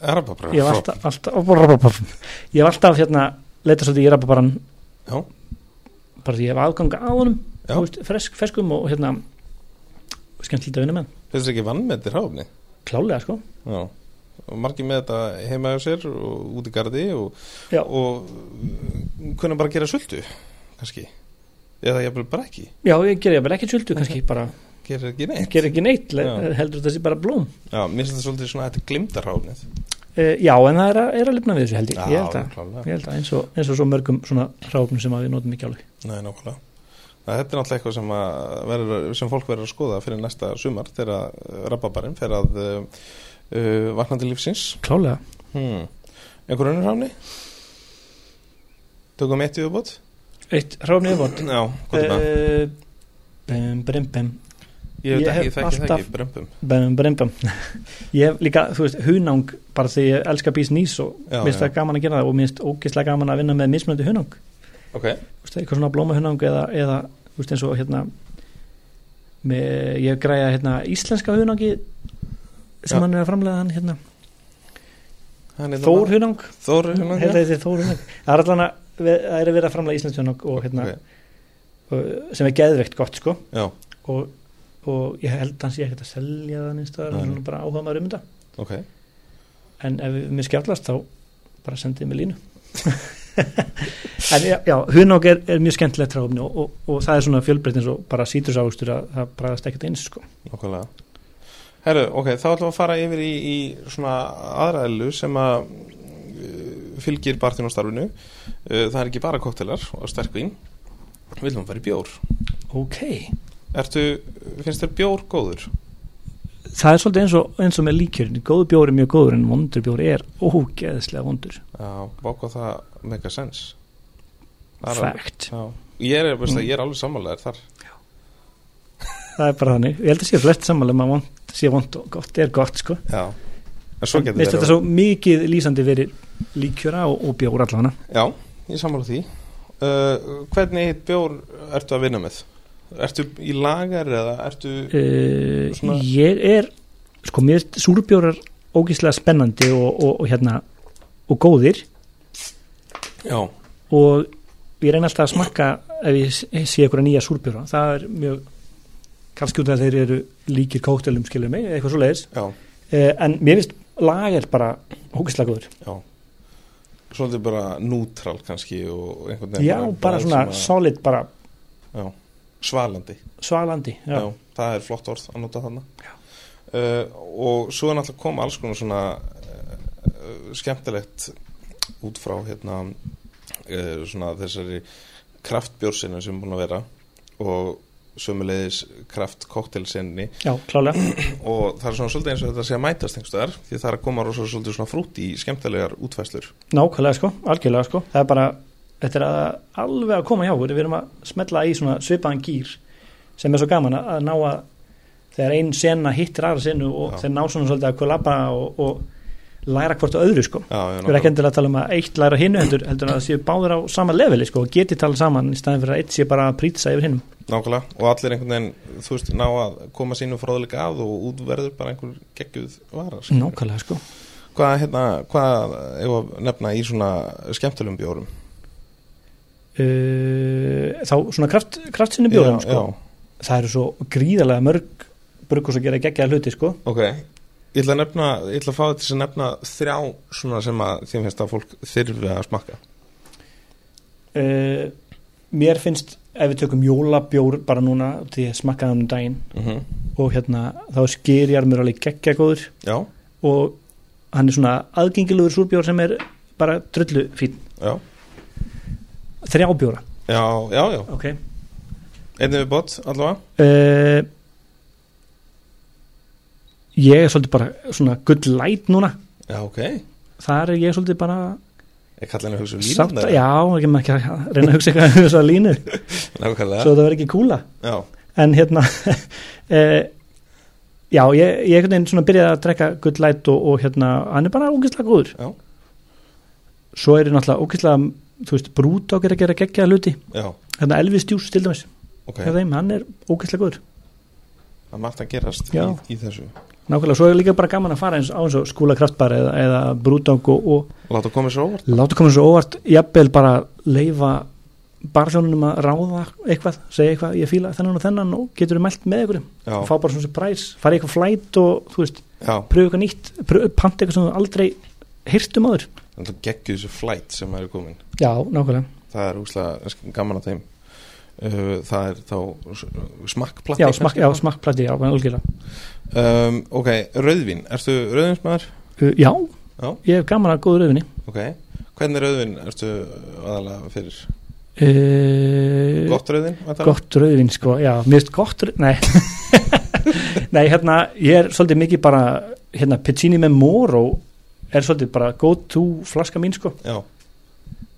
S1: Arababra
S2: Ég hef alltaf, alltaf, rababab. ég hef alltaf hérna, leita svolítið í rababaran
S1: Já.
S2: bara því ég hef aðganga á honum
S1: Já.
S2: þú veist, fresk, ferskum og hérna skemmtilegt að vinna með hann.
S1: Finnst þér ekki vannmetir hráöfni?
S2: klálega sko
S1: Já og margir með þetta heima hjá sér og út í gardi og,
S2: Já.
S1: og mm, kunna bara gera sultu kannski, eða jafnvel bara ekki
S2: Já, ég gerir vel ekkert sultu kannski bara,
S1: gerir ekki neitt
S2: gerir ekki neitt le-
S1: Já.
S2: heldur þessi bara blóm
S1: Já, mér finnst þetta svolítið svona að þetta glimtar hráfnið
S2: uh, Já, en það er að, er að lifna við þessu held ég ég held að,
S1: klálega
S2: ég held að eins, og, eins og svo mörgum svona ráfnum sem að við notum ekki alveg
S1: Nei, nákvæmlega Það, Þetta er náttúrulega eitthvað sem, að verður, sem fólk verður að skoða fyrir næsta sumar þegar uh, rababarinn fer að uh, uh, vakna til lífsins
S2: Klálega
S1: hmm. Einhver önnur hráfni? Tökum eitt í uppbót?
S2: Eitt ráfni yfirbót
S1: Já, hvað er það?
S2: Eh, Bum, brim, bum
S1: Ég
S2: ég
S1: veit ekki,
S2: hef
S1: þekki, alltaf...
S2: alltaf-
S1: þekki, brömpum
S2: Bum, brim, bum Ég hef líka, þú veist, hunang bara því ég elska bís nýs og
S1: Já,
S2: mér finnst
S1: já.
S2: það gaman að gera það og mér finnst ógeðslega gaman að vinna með mismunandi hunang
S1: Ok,
S2: Þú veist, eitthvað svona blómahunang eða, eða þú veist, eins og hérna með, ég græja hérna íslenska hunangi sem
S1: Já.
S2: hann er að framlega hann hérna
S1: hann er
S2: Þór hunang,
S1: Þór
S2: hérna þetta er Þór hunang Það er allan að, það er að vera að framlega íslenska hunang og hérna,
S1: Ok,
S2: og, sem er geðveikt gott sko
S1: Já,
S2: og, og ég held að hann sé ekkert að selja það neins staðar,
S1: Nei.
S2: hann er bara áhuga maður um þetta
S1: ok
S2: en ef mér skjallast þá bara sendið mér línu en já, já hunang er, er mjög skemmtilegt ráfni og, og, og það er svona fjölbreytn eins og bara sítrusávustur að það bræðast ekkert eins sko.
S1: Nákvæmlega Herru, ok, þá ætlum við að fara yfir í, í svona aðræðlu sem að uh, fylgir barðin á starfinu uh, Það er ekki bara koktelar og sterkvín Við viljum fara í bjór
S2: ok,
S1: Ertu, finnst þér bjór góður?
S2: það er svolítið eins og, eins og með líkjörn, góð bjór er mjög góður en vondur bjór er ógeðslega vondur
S1: Já, báka það mega sens Það er alveg-
S2: fact,
S1: Já, ég er, veist, mm. ég er alveg sammálaðir þar
S2: það er bara þannig ég held að sé flest sammála um að vond sé vond og gott er gott sko
S1: Já En svo
S2: En
S1: getur
S2: mér
S1: verið-
S2: finnst þetta svo mikið lýsandi verið líkjöra og, og bjór allavega
S1: Já, ég sammála því uh, Hvernig bjór ertu að vinna með? Ertu í lagar eða ertu
S2: uh,
S1: Svona-
S2: ég er sko mér finnst súrbjórar ógíslega spennandi og, og, og hérna og góðir
S1: Já,
S2: og ég reyna alltaf að smakka ef ég s- sé einhverja nýja súrbjóra það er mjög kannski út af að þeir eru líkir kóktelum skilur mig, eða eitthvað svo leiðis
S1: já,
S2: uh, en mér finnst lager bara ógíslega góður
S1: já Svolítið bara nútral kannski og einhvern veginn
S2: já, bara svona
S1: sem
S2: solid bara
S1: að- já, Svalandi
S2: svalandi
S1: já.
S2: já,
S1: það er flott orð að nota þarna
S2: Já.
S1: uh, Og svo er náttúrulega koma alls konar svona uh, skemmtilegt út frá hérna uh, svona þessari kraftbjórsinni sem er búin að vera og sömuleiðis kraftkoktelsinni
S2: já klálega
S1: og það er svona svolítið eins og þetta sé að mætast einhverstaðar því það er að koma rosa svolítið svona frútt í skemmtilegar útfæslur
S2: Nákvæmlega sko, algjörlega sko það er bara, þetta er að alveg að koma hjá okkur við erum að smetla í svona svipaðan gýr sem er svo gaman að, að ná að þegar ein sena hittir aðra senu og
S1: Já.
S2: þeir ná svona svolítið að kollaba og, og læra hvort á öðru sko
S1: Já, já,
S2: við erum ekki endilega að tala um að eitt læra hinnu heldur, heldur að það séu báður á sama leveli sko og geti tala saman í staðin fyrir að eitt sé bara að prýtsa yfir hinnum
S1: Nákvæmlega, og allir einhvern veginn, þú veist, ná að koma sínum fráðleika að og út verður bara einhver geggjuð varar. skilur.
S2: Nákvæmlega sko
S1: Hvað, hérna, hvað eigum við að nefna í svona skemmtilegum bjórum?
S2: uh, Þá svona kraft, kraftsinni bjóðum
S1: já,
S2: sko það eru svo gríðarlega mörg brukus að gera geggja hluti sko
S1: Já, ok. Ég ætla að nefna, ég ætla að fá þetta sem nefna þrjá svona sem að þið finnst að fólk þyrfi að smakka.
S2: uh, mér finnst ef við tökum jólabjór bara núna því ég smakkaði hann um daginn
S1: Mm
S2: og hérna þá er skýrjar mér alveg geggja góður
S1: Já,
S2: og hann er svona aðgengilegur súrbjór sem er bara drullu fín
S1: já,
S2: þrjábjóra
S1: já, já, já.
S2: okay. Eh,
S1: Einnig við bótt allavega.
S2: uh, ég er svolítið bara svona good light núna
S1: Já, ok.
S2: þar er ég svolítið bara
S1: Ég kalla henni að hugsa um
S2: samt,
S1: línan
S2: já, ekki maður ekki að reyna að hugsa eitthvað um þessar línu,
S1: Nákvæmlega.
S2: svo það verður ekki kúla
S1: Já,
S2: en hérna e, já, ég, ég einhvern veginn svona byrjaði að drekka good light og, og hérna, hann er bara ógeðslega góður
S1: Já.
S2: svo er ég náttúrulega ógeðslega, þú veist, brúta er að gera geggjaða hluti,
S1: já,
S2: hérna Elvis Djús til dæmis,
S1: ok.
S2: hjá þeim, hann er ógeðslega góður
S1: Það margt að gerast í,
S2: Já.
S1: í þessu.
S2: nákvæmlega, svo er líka bara gaman að fara eins á eins og skúla kraftbar eða, eða brúdang og, og
S1: Láta komið svo óvart.
S2: láta koma svo óvart jafnvel bara leifa barþjónunum að ráða eitthvað segja eitthvað, ég fíla þennan og þennan og getur mælt með ykkur,
S1: Já,
S2: fá bara svona surprise fara í eitthvað flæt og þú veist
S1: já.
S2: pröfu eitthvað nýtt, pröfu, panta eitthvað sem þú aldrei hirtum áður.
S1: Þannig að geggju þessu flight sem maður er komin.
S2: Já, nákvæmlega.
S1: Það er úslega gaman að þeim. Uh, það er þá s- smakkplatti.
S2: Já,
S1: kannski?
S2: smakk, já, smakkplati, já, algjörlega.
S1: Um, ok, rauðvin. Ertu rauðvinsmaður?
S2: Uh, já,
S1: Já.
S2: ég hef gaman að góður auðvinni.
S1: Ok. Hvernig rauðvin ertu aðalega fyrir?
S2: Uh,
S1: Gott rauðvin? væntanlega?
S2: Gott rauðvin, sko, já, mér finnst gott rauðvin, nei. nei, hérna, ég er svolítið mikið bara, hérna, Piccini með Moro er svolítið bara go to flaska mín, sko.
S1: Já,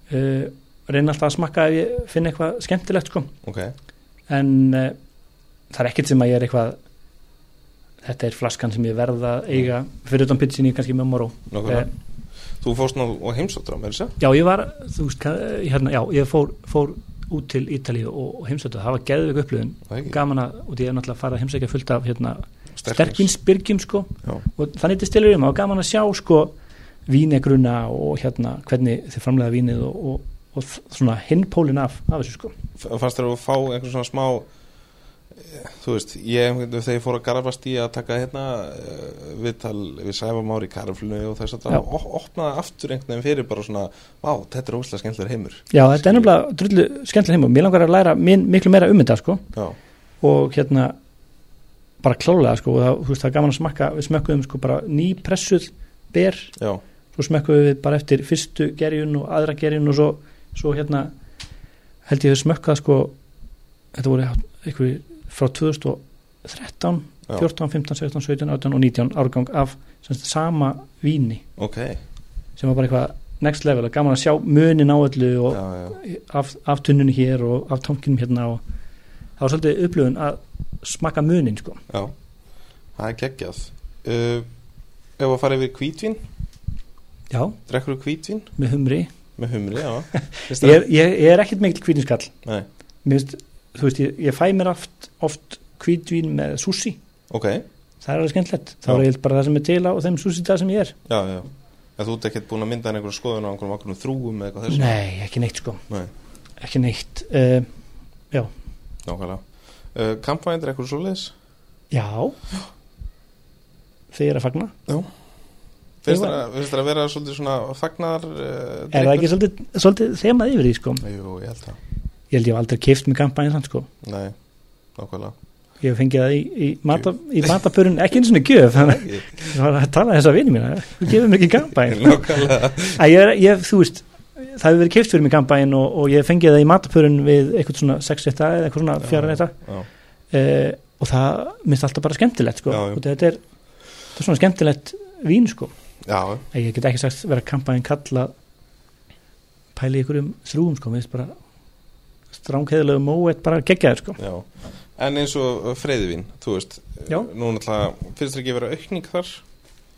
S2: Uh, reyna alltaf að smakka ef ég finn eitthvað skemmtilegt, sko.
S1: ok.
S2: en uh, það er ekkert sem að ég er eitthvað þetta er flaskan sem ég verð að eiga fyrir utan pitsinni kannski með moró
S1: Nákvæmlega.
S2: eh,
S1: Þú fórst nú og heimsóttur á mér þess að?
S2: já ég var, þú veist hvað, eh, hérna, já, ég fór, fór út til Ítalíu og, og heimsættu það var geðveik upplöðin,
S1: Það ekki?
S2: gaman að og ég er náttúrulega að fara að heimsækja fullt af hérna,
S1: Sterkvins.
S2: sterkvinsbyrgjum sko
S1: Já.
S2: og þannig til stilur um, það var gaman að sjá sko vínegruna og hérna hvernig þið framlega vínið og, og, og svona hinpólin af, af þessu sko
S1: F- Fannst þér að fá einhvern svona smá eh, þú veist, ég einhvern veginn þegar ég fór að garfast í að taka hérna eh, viðtal við Sæfa Már í karflunu og þess að
S2: Já.
S1: það op- opnaði aftur einhvern veginn fyrir bara svona, vá, þetta er óslega skemmtilegur heimur
S2: Já, þetta er nefnilega drullu skemmtileg heim og mér langar að læra minn, miklu meira um þetta sko
S1: Já,
S2: og hérna bara klálega sko og það, þú veist, það er gaman að smakka við smökkuðum sko bara nýpressuð ber,
S1: já,
S2: svo smökkuðum við bara eftir fyrstu gerjun og aðra gerjun og svo, svo hérna held ég við smökkað sko þetta voru eitthvað frá 2013,
S1: já,
S2: 14, 15, 16, 17, 18 og 19 árgang af semst, sama víni
S1: ok já,
S2: sem var bara eitthvað next level og gaman að sjá munin á öllu og,
S1: já,
S2: af, af tunnunni hér og af tankinum hérna og það var svolítið upplöfun að smakka munin sko.
S1: já það er geggjað uh, Ef að fara yfir kvítvin,
S2: Já,
S1: drekkur þú kvítvin
S2: með humri
S1: með humri, já Finnst
S2: Ég
S1: þér
S2: er, ég, ég er ekkert mikill kvítinskall
S1: það- Nei,
S2: Mér finnst, þú veist, ég, ég fæ mér oft, oft kvítvín með sushi
S1: ok,
S2: það er alveg skemmtilegt, þá
S1: Já.
S2: er ég bara það sem er til á þeim sushi dag sem ég er
S1: já, já En þú ert ekkert búin að mynda einhverjum skoðun á einhverjum okkur þrúum eða eitthvað þessu
S2: Nei, ekki neitt sko
S1: Nei.
S2: ekki neitt uh,
S1: Nákvæmlega. Uh, Kampvæn, er eitthvað svoleiðis?
S2: Já þið er að fagna
S1: Finnst
S2: Ég var-
S1: þér að- finnst þér að vera svolítið svona fagnar? Uh,
S2: er það ekki svolítið, svolítið þemað yfir því sko
S1: Jú, ég held það.
S2: ég held ég hef aldrei kift með kampanjins sko
S1: Nei, nákvæmlega.
S2: Ég hef fengið það í, í, mata, í matapörun ekki eins og gjöf þannig
S1: Ég-
S2: að ég var að tala þess að vinni mína þú gefur mér ekki kampæn
S1: nákvæmlega.
S2: ég, er- ég, þú veist, það hefur verið keift fyrir mig kampæn og, og ég hef fengið það í matapörun við eitthvað svona sexrétta eða eitthvað svona fjáranetta
S1: Já,
S2: eh, og það minnst alltaf bara skemmtilegt sko.
S1: Já, já.
S2: og þetta er, þetta er svona skemmtilegt vín sko.
S1: já,
S2: En ég get ekki sagt vera kampæn kalla pæli ykkur um þrúum sko, minnst bara strángheðilegu móet bara geggjaður sko.
S1: já. En eins og freyðivín, þú veist, eh,
S2: Já.
S1: nú náttúrulega, finnst þér ekki vera aukning þar?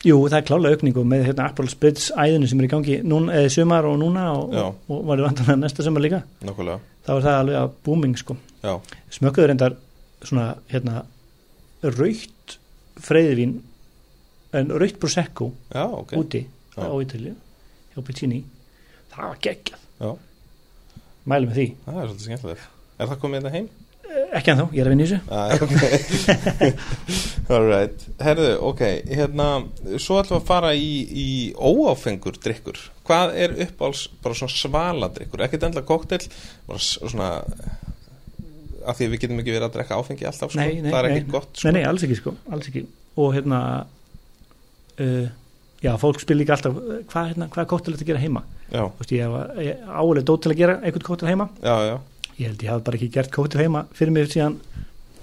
S2: Jú, það er klálega aukningu með hérna Apple Spritz æðinu sem er í gangi núna, eða í sumar og núna og,
S1: Já.
S2: og var vantanlega næsta sumar líka
S1: Nákvæmlega.
S2: þá er það alveg að booming sko
S1: Já.
S2: smökkuður reyndar svona hérna raukt freyðivín en raukt prosecco
S1: Já, ok.
S2: úti
S1: Já.
S2: á Ítalju hjá Piccini það var geggjað
S1: Já.
S2: mælum við því,
S1: Það er svolítið skemmtilegt. Er það komið þetta heim?
S2: Eh, ekki en þá, ég er að vinna í þessu
S1: Æ, ok. All right. Herðu, ok, hérna, svo ætlum við að fara í, í óáfengur drikkur. Hvað er uppáls bara svona svala drikkur? Ekkert endla koktel, bara s- svona, að því við getum ekki verið að drekka áfengi alltaf, sko.
S2: Nei, nei,
S1: það er
S2: nei.
S1: ekki gott,
S2: nei,
S1: sko.
S2: nei, alls ekki sko, alls ekki og hérna uh, já, fólk spyr líka alltaf eh, hvað hérna, hvað er kóttilegt að gera heima
S1: sko. Já,
S2: Þú veist, ég hef álega dót til að gera einhvern kóttil heima
S1: já, já,
S2: ég held ég haf bara ekki gert kóttil heima fyrir mig síðan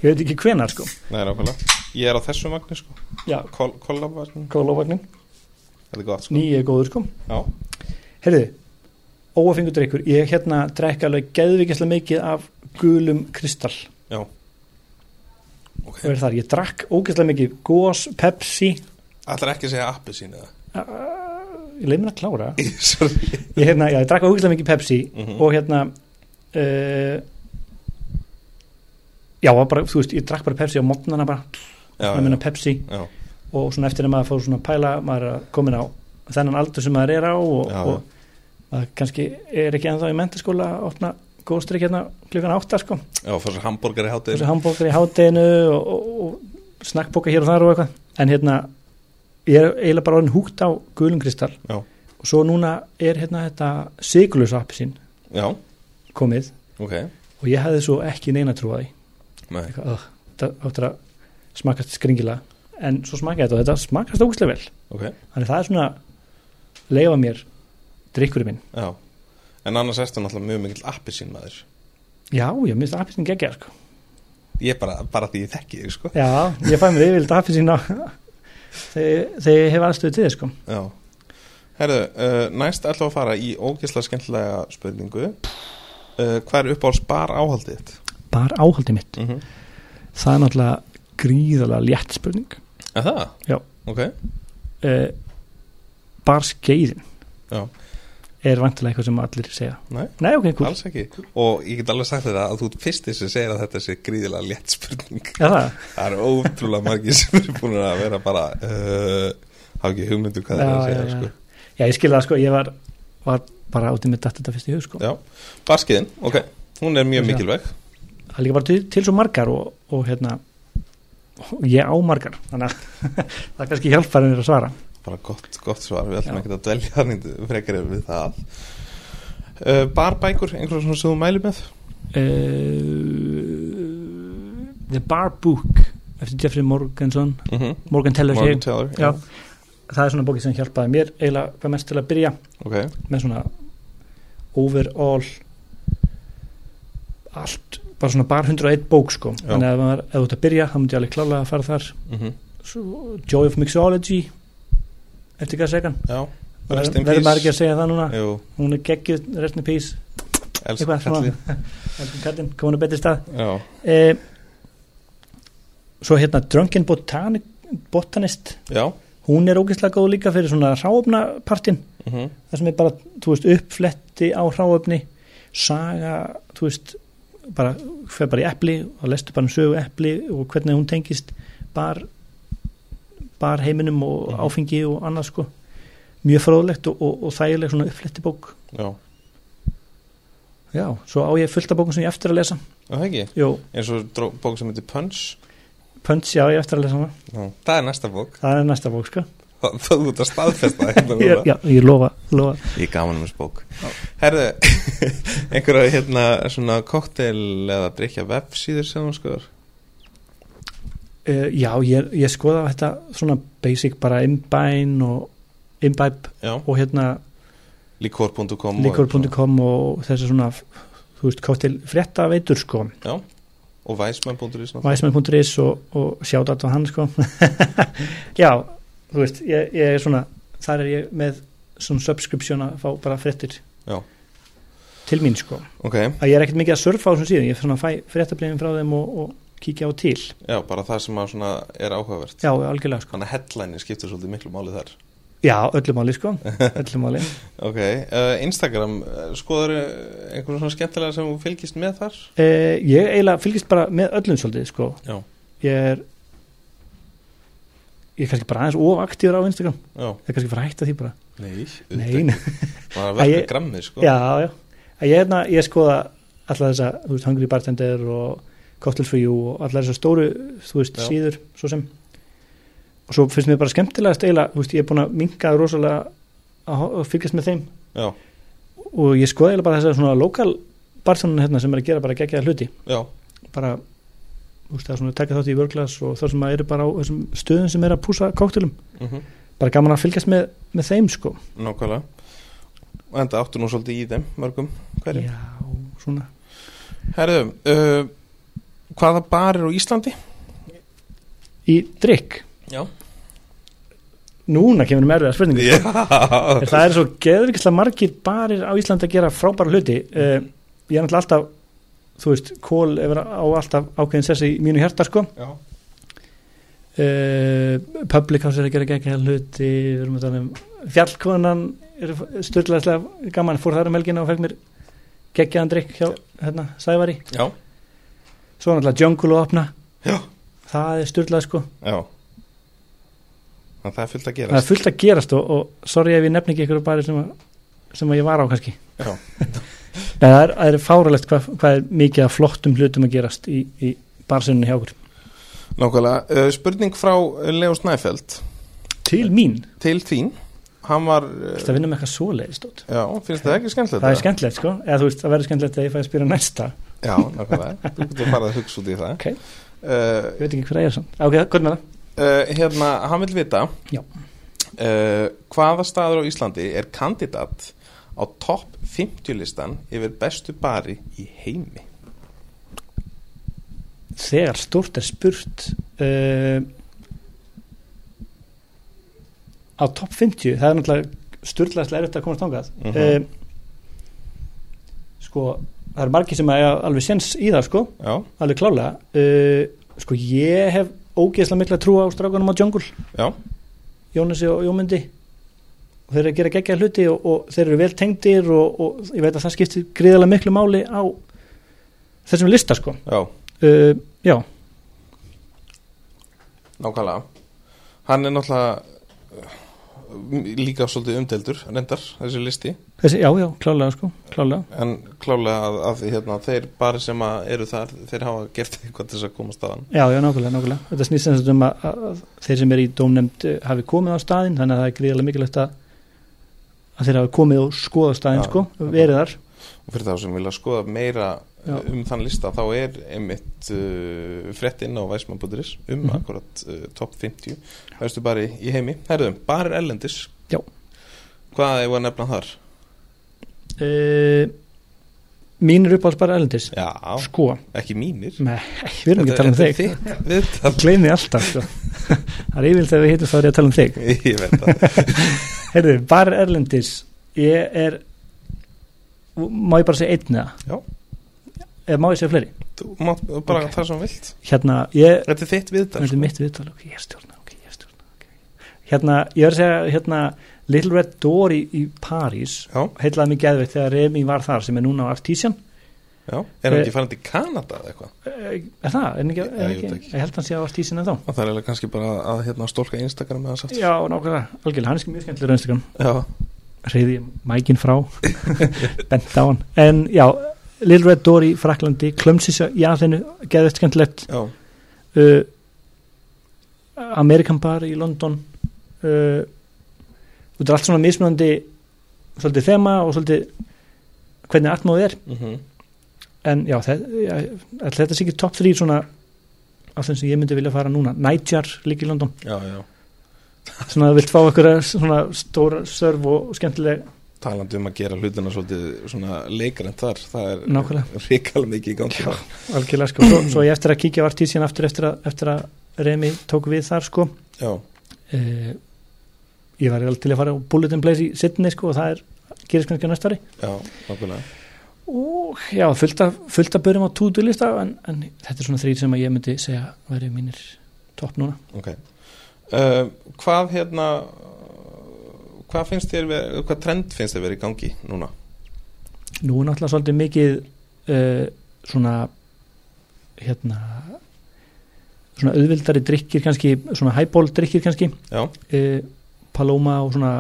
S2: ég veit ekki hvenar sko
S1: Nei, nákvæmlega. Ég er á þessu magni, sko.
S2: Já.
S1: Kol, kollabvagnin.
S2: Kólóvagnin,
S1: Þetta er gott, sko.
S2: nýi er góður sko
S1: Já.
S2: Herðu, óafengur drikkur ég hérna drekka alveg geðvikislega mikið af gulum kristall
S1: Ok.
S2: og er þar, ég drakk ógeðslega mikið gos, pepsi
S1: Ætlar ekki að segja appi sín eða?
S2: ég leið mér að klára
S1: Sorry.
S2: ég, hérna, já, ég drakk ógeðslega mikið Pepsi
S1: Mhm.
S2: og hérna uh, já, var bara, þú veist, ég drakk bara Pepsi á mótnana bara,
S1: Já,
S2: maður minna Pepsi
S1: já, já.
S2: og svona eftir að maður fór svona að pæla maður er komin á þennan aldur sem maður er á og,
S1: Já.
S2: og maður kannski er ekki ennþá í mentaskóla að opna góðstrykk hérna klukkan átta sko,
S1: Já, fór sér hambúrgar í hátíð.
S2: þessu hambúrgar í hátinu og, og, og snakkbóka hér og þar og eitthvað, en hérna ég er eiginlega bara orðin húgt á gulum kristall
S1: Já.
S2: og svo núna er hérna þetta sigurlösa appsinn
S1: Já,
S2: komið
S1: ok.
S2: og ég hefði svo ekki neina trú á því
S1: Nei.
S2: Eitthvað, "Ugh, þetta áttur að smakast skringilega en svo smakaði þetta og þetta smakast ógustlega vel
S1: Ok.
S2: þannig það er svona leifa mér drikkurinn minn
S1: Já. En annars ertu náttúrulega mjög mikill appi sín maður.
S2: já, ég minnst appelsín geggja sko.
S1: Ég bara, bara því ég þekki þig, sko.
S2: já, ég fæ mér yfirvilt appelsín á þegar þegar ég hef aðstöðu til þess sko.
S1: Já. Herðu, uh, næst ætlum við að fara í ógislega skemmtilega spurningu. Uh, hvað er uppáhalds bar áhaldið þitt?
S2: bara áhaldið mitt
S1: Mm -hmm.
S2: það er náttúrulega gríðalega létt spurning
S1: Það?
S2: Já.
S1: Ok.
S2: uh, bara skeiðin
S1: Já.
S2: er vantilega eitthvað sem allir segja
S1: Nei.
S2: nei, ok, cool,
S1: Alls ekki. Og ég get alveg sagt þetta að þú ert fyrsti sem segir að þetta sé gríðilega létt spurning.
S2: er það?
S1: Það eru ótrúlega margir sem eru búin að vera bara, uh, hafa ekki hugmyndu hvað það er að
S2: já,
S1: segja,
S2: já,
S1: sko.
S2: já. já, ég skilði það sko, ég var, var bara átið með datt þetta fyrst í hug sko.
S1: Já, barskiðin, ok, hún er mjög
S2: Já.
S1: mikilvæg
S2: það er líka bara til, til svo margar og, og hérna og ég á margar þannig að það kannski hjálpar en er að svara
S1: bara gott, gott svar, við ætlum
S2: Já.
S1: ekki að dvelja þannig frekar við það uh, Barbækur, einhverjum svona sem þú mælu með
S2: uh, The Bar Book eftir Jeffrey Morganson
S1: mm -hmm.
S2: Morgan Teller
S1: Morgan
S2: Morgan
S1: Taylor
S2: já, það er svona bókið sem hjálpaði mér eiginlega hvað mest til að byrja
S1: ok,
S2: með svona overall allt, bara svona bar 101 bók sko,
S1: Já.
S2: þannig að ef maður- ef þú ert að byrja þá myndi ég alveg klálega að fara þar
S1: mm
S2: Svo, Joy of Mixology eftir hvað segan
S1: já Rest in
S2: verður maður ekki
S1: peace
S2: að segja það núna
S1: Jú,
S2: hún er geggjuð, rest in peace
S1: elsku
S2: eitthvað svona
S1: kalli.
S2: Elsku kallinn, komin að betri stað
S1: Já,
S2: eh, svo hérna Drunken Botanic, Botanist
S1: já
S2: hún er ógeðslega góð líka fyrir svona hráöfna partinn
S1: mm -hmm.
S2: það sem er bara, þú veist, uppfletti á hráöfni saga, þú veist bara, fer bara í epli og lestu bara um sögu epli og hvernig hún tengist bar, bar heiminum og
S1: Mhm.
S2: áfengi og annað sko mjög fróðlegt og, og, og þægileg svona uppfletti bók
S1: já
S2: já, svo á ég fullt af bókum sem ég á eftir að lesa
S1: Já, það ekki,
S2: Jó,
S1: eins og dró- bók sem heitir Punch
S2: Punch, já, ég á eftir að lesa hana
S1: já. Það er næsta bók,
S2: það er næsta bók, sko
S1: það þú ert að staðfesta hérna
S2: ég,
S1: núna.
S2: já, ég lofa, lofa
S1: Ég gaman um þess bók Herðu, einhverja hérna svona koktel eða drikja vefsíður sem hún skoður
S2: uh, já, ég, ég skoða þetta svona basic bara inbæn og inbæp
S1: Já,
S2: og hérna
S1: likor.com
S2: likor.com og þessi svona þú veist, káttil frétta veitur sko
S1: og væsmenn.is náttúrulega.
S2: væsmenn.is og, og sjáta á hann sko já, þú veist, ég, ég er svona þar er ég með svona subscription að fá bara fréttir
S1: Já.
S2: til mín sko
S1: Ok,
S2: að ég er ekkert mikið að surfa á þessum síðan ég svona fæ fréttablefin frá þeim og, og kíkja á til
S1: já, bara það sem að svona er áhugavert
S2: já, algjörlega sko
S1: Þannig að headline skiptir svolítið miklu máli þar
S2: já, öllu máli sko, öllu máli
S1: Ok, uh, Instagram, uh, skoður einhverjum svona skemmtilega sem þú fylgist með þar?
S2: Eh, ég eiginlega fylgist bara með öllum svolítið sko
S1: Já.
S2: ég er ég er kannski bara aðeins ofaktíður á Instagram
S1: Já
S2: það er kannski bara að hætta því bara
S1: Nei,
S2: nei, nei.
S1: Var að
S2: Æ,
S1: verka
S2: ég-
S1: grammið sko
S2: já, já að ég, hefna, ég skoða alla þessa þú veist, Hungry Bartender og Cocktail for You og alla þessa stóru þú veist,
S1: Já.
S2: síður svo sem og svo finnst mér bara skemmtilegast eiginlega þú veist, ég er búin að minga rosalega að ho- að fylgjast með þeim
S1: Já,
S2: og ég skoða eiginlega bara þessa svona lokal barþjónun hérna sem er að gera bara geggjaða hluti
S1: já,
S2: bara þú veist, að svona taka þátt í vörglas og það sem að eru bara á þessum stöðum sem er að púsa kóktelum
S1: mhm
S2: bara gaman að fylgjast með, með þeim sko
S1: Nákvæmlega Og enda áttu nú svolítið í þeim mörgum hverjum
S2: já, svona
S1: Herðu, uh, hvaða bar er á Íslandi?
S2: í drikk
S1: Já.
S2: núna kemur um erfiða spurningu
S1: Já.
S2: En það er svo geðvikislega margir barir á Íslandi að gera frábæra hluti uh, ég er náttúrulega alltaf þú veist, kól er á alltaf ákveðin sessi í mínu hjarta sko
S1: Já.
S2: uh, Public House er að gera gegn hluti við erum að tala um fjallkonan er styrlaðislega gaman fór þar um helgina og fekk mér geggjaðan drikk hjá hérna, Sævari
S1: Já.
S2: svo er náttúrulega Jungle að opna
S1: Já.
S2: það er styrlað sko
S1: Já. Þannig að Það er fullt að
S2: það er
S1: gerast.
S2: fullt að gerast og, og sorry ef ég nefni ekki ykkur bara sem, að, sem að ég var á kannski
S1: Já.
S2: Nei, það er, það er fáralegt hvað, hvað er mikið af flottum hlutum að gerast í, í barsunni hjá okkur
S1: Nákvæmlega, uh, spurning frá uh, Leo Snæfeld
S2: til mín,
S1: til þín. Hann var,
S2: þetta
S1: uh,
S2: vinna með eitthvað svoleiðis dót.
S1: já, finnst það ekki skemmtilegt?
S2: það er skemmtilegt sko, eða þú veist það verður skemmtilegt að ég fæ að spyrja næsta
S1: Já, nákvæmlega, þú getur farað að hugsa út í það
S2: Ok.
S1: uh,
S2: ég veit ekki hver að ég er samt, ok, hvað með það?
S1: uh, Hérna, hann vil vita
S2: Já.
S1: uh, Hvaða staður á Íslandi er kandidat á topp 50 listan yfir bestu bari í heimi?
S2: þegar stort er spurt uh, á topp 50 það er náttúrulega styrlaðislega erfitt að komast þangað uh
S1: Mhm.
S2: sko, það eru margir sem að eiga alveg sens í það sko,
S1: Já,
S2: alveg klálega uh, sko, ég hef ógeðslega mikla trú á strákunum á Jungle
S1: já,
S2: Jónasi og Jómundi og þeir eru að gera geggja hluti og, og þeir eru vel tengdir og, og ég veit að það skiptir gríðarlega miklu máli á þessum lista sko
S1: já,
S2: uh, já,
S1: nákvæmlega Hann er náttúrulega uh, líka svolítið umdeldur, reyndar, þessi listi
S2: þessi, já, já, klálega sko klálega,
S1: en klálega að, að hérna, þeir bara sem að eru þar, þeir hafa gert eitthvað til þess að komast að hann
S2: já, já, nákvæmlega, nákvæmlega þetta snýst sem sagt um að, að að þeir sem eru í dómnefnd eh, hafi komið á staðinn þannig að það er gríðarlega mikilvægt að að þeir hafi komið og skoða staðinn
S1: Já,
S2: sko,
S1: já.
S2: verið þar
S1: og fyrir þá sem vilja skoða meira
S2: Já.
S1: um þann lista þá er einmitt uh, frett inn á væsmann.is um
S2: Mhm.
S1: akkurat uh, top 50 hægstu bara í heimi, herðum, bara er ellendis
S2: Já.
S1: hvað er að nefna þar?
S2: uh, mínir uppáhalds bara elendis
S1: Já,
S2: sko,
S1: ekki mínir
S2: með, við erum ekki að tala um þig
S1: við
S2: Ég gleymi alltaf sko. Það er yfirlega þegar við hittum þá er ég að tala um þig
S1: ég veit það,
S2: Heyrðu, Bar Erlendis Ég er Má ég bara segja einn eða?
S1: Já.
S2: Eða má ég segja fleiri?
S1: þú mátt bara
S2: Ok.
S1: okay. það sem þú vilt
S2: Hérna, ég
S1: þetta er þitt viðtal sko.
S2: Þetta er mitt viðtal, ok, ég er stjórna, ok, ég er stjórna okay. Hérna, ég er að segja hérna, Little Red Door í, í París
S1: Já.
S2: Heillaði mig geðveitt þegar Remi var þar sem er núna á Artísjan
S1: Já, er hann
S2: Eh,
S1: ekki farin til Kanada eða eitthvað?
S2: Er það? Er ekki,
S1: Já,
S2: er
S1: ég veit
S2: ekki,
S1: ekki.
S2: ég held hann sé á Artísjan en þá
S1: Og Það er eiginlega kannski bara að hérna, stólka Instagram með þess aftur
S2: Já, nákvæmlega, algjörlega, hann er sko mjög skemmtilega raunstakam
S1: Já,
S2: reyði mækin frá bent á hann en já, Little Red Door í Fraklandi klömsis í aðeinu, geðvægt skemmtilegt
S1: já,
S2: uh, Amerikan Bar í London uh, þetta er allt svona mismunandi svolítið þema og svolítið hvernig atmóð er
S1: mm
S2: en já, þe- já, ætli þetta sé ekki topp 3 svona af þeim sem ég myndi vilja fara núna Nightjar líka í London
S1: já, já
S2: svona vilt fá ykkur svona stóra sörf og skemmtileg
S1: talandi um að gera hlutina svolítið svona leikrænt þar, það er
S2: Nákvæmlega.
S1: ríkala mikið í gangi þar.
S2: algjörlega sko, svo, svo ég eftir að kíkja á artísían aftur eftir að, eftir að Remi tók við þar sko
S1: já,
S2: uh, ég var alveg til að fara á Bulletin Place í Sydney sko og það er gerist kannski á næsta ári
S1: já, nákvæmlega
S2: og já, fullt af, fullt af börum á tútulista en, en þetta er svona þrýr sem að ég myndi segja væri mínir topp núna
S1: ok uh, hvað hérna hvað finnst þér verið, hvað trend finnst þér verið í gangi núna?
S2: nú er náttúrulega svolítið mikið uh, svona hérna svona auðvildari drikkir kannski svona highball drikkir kannski
S1: já,
S2: uh, Paloma og svona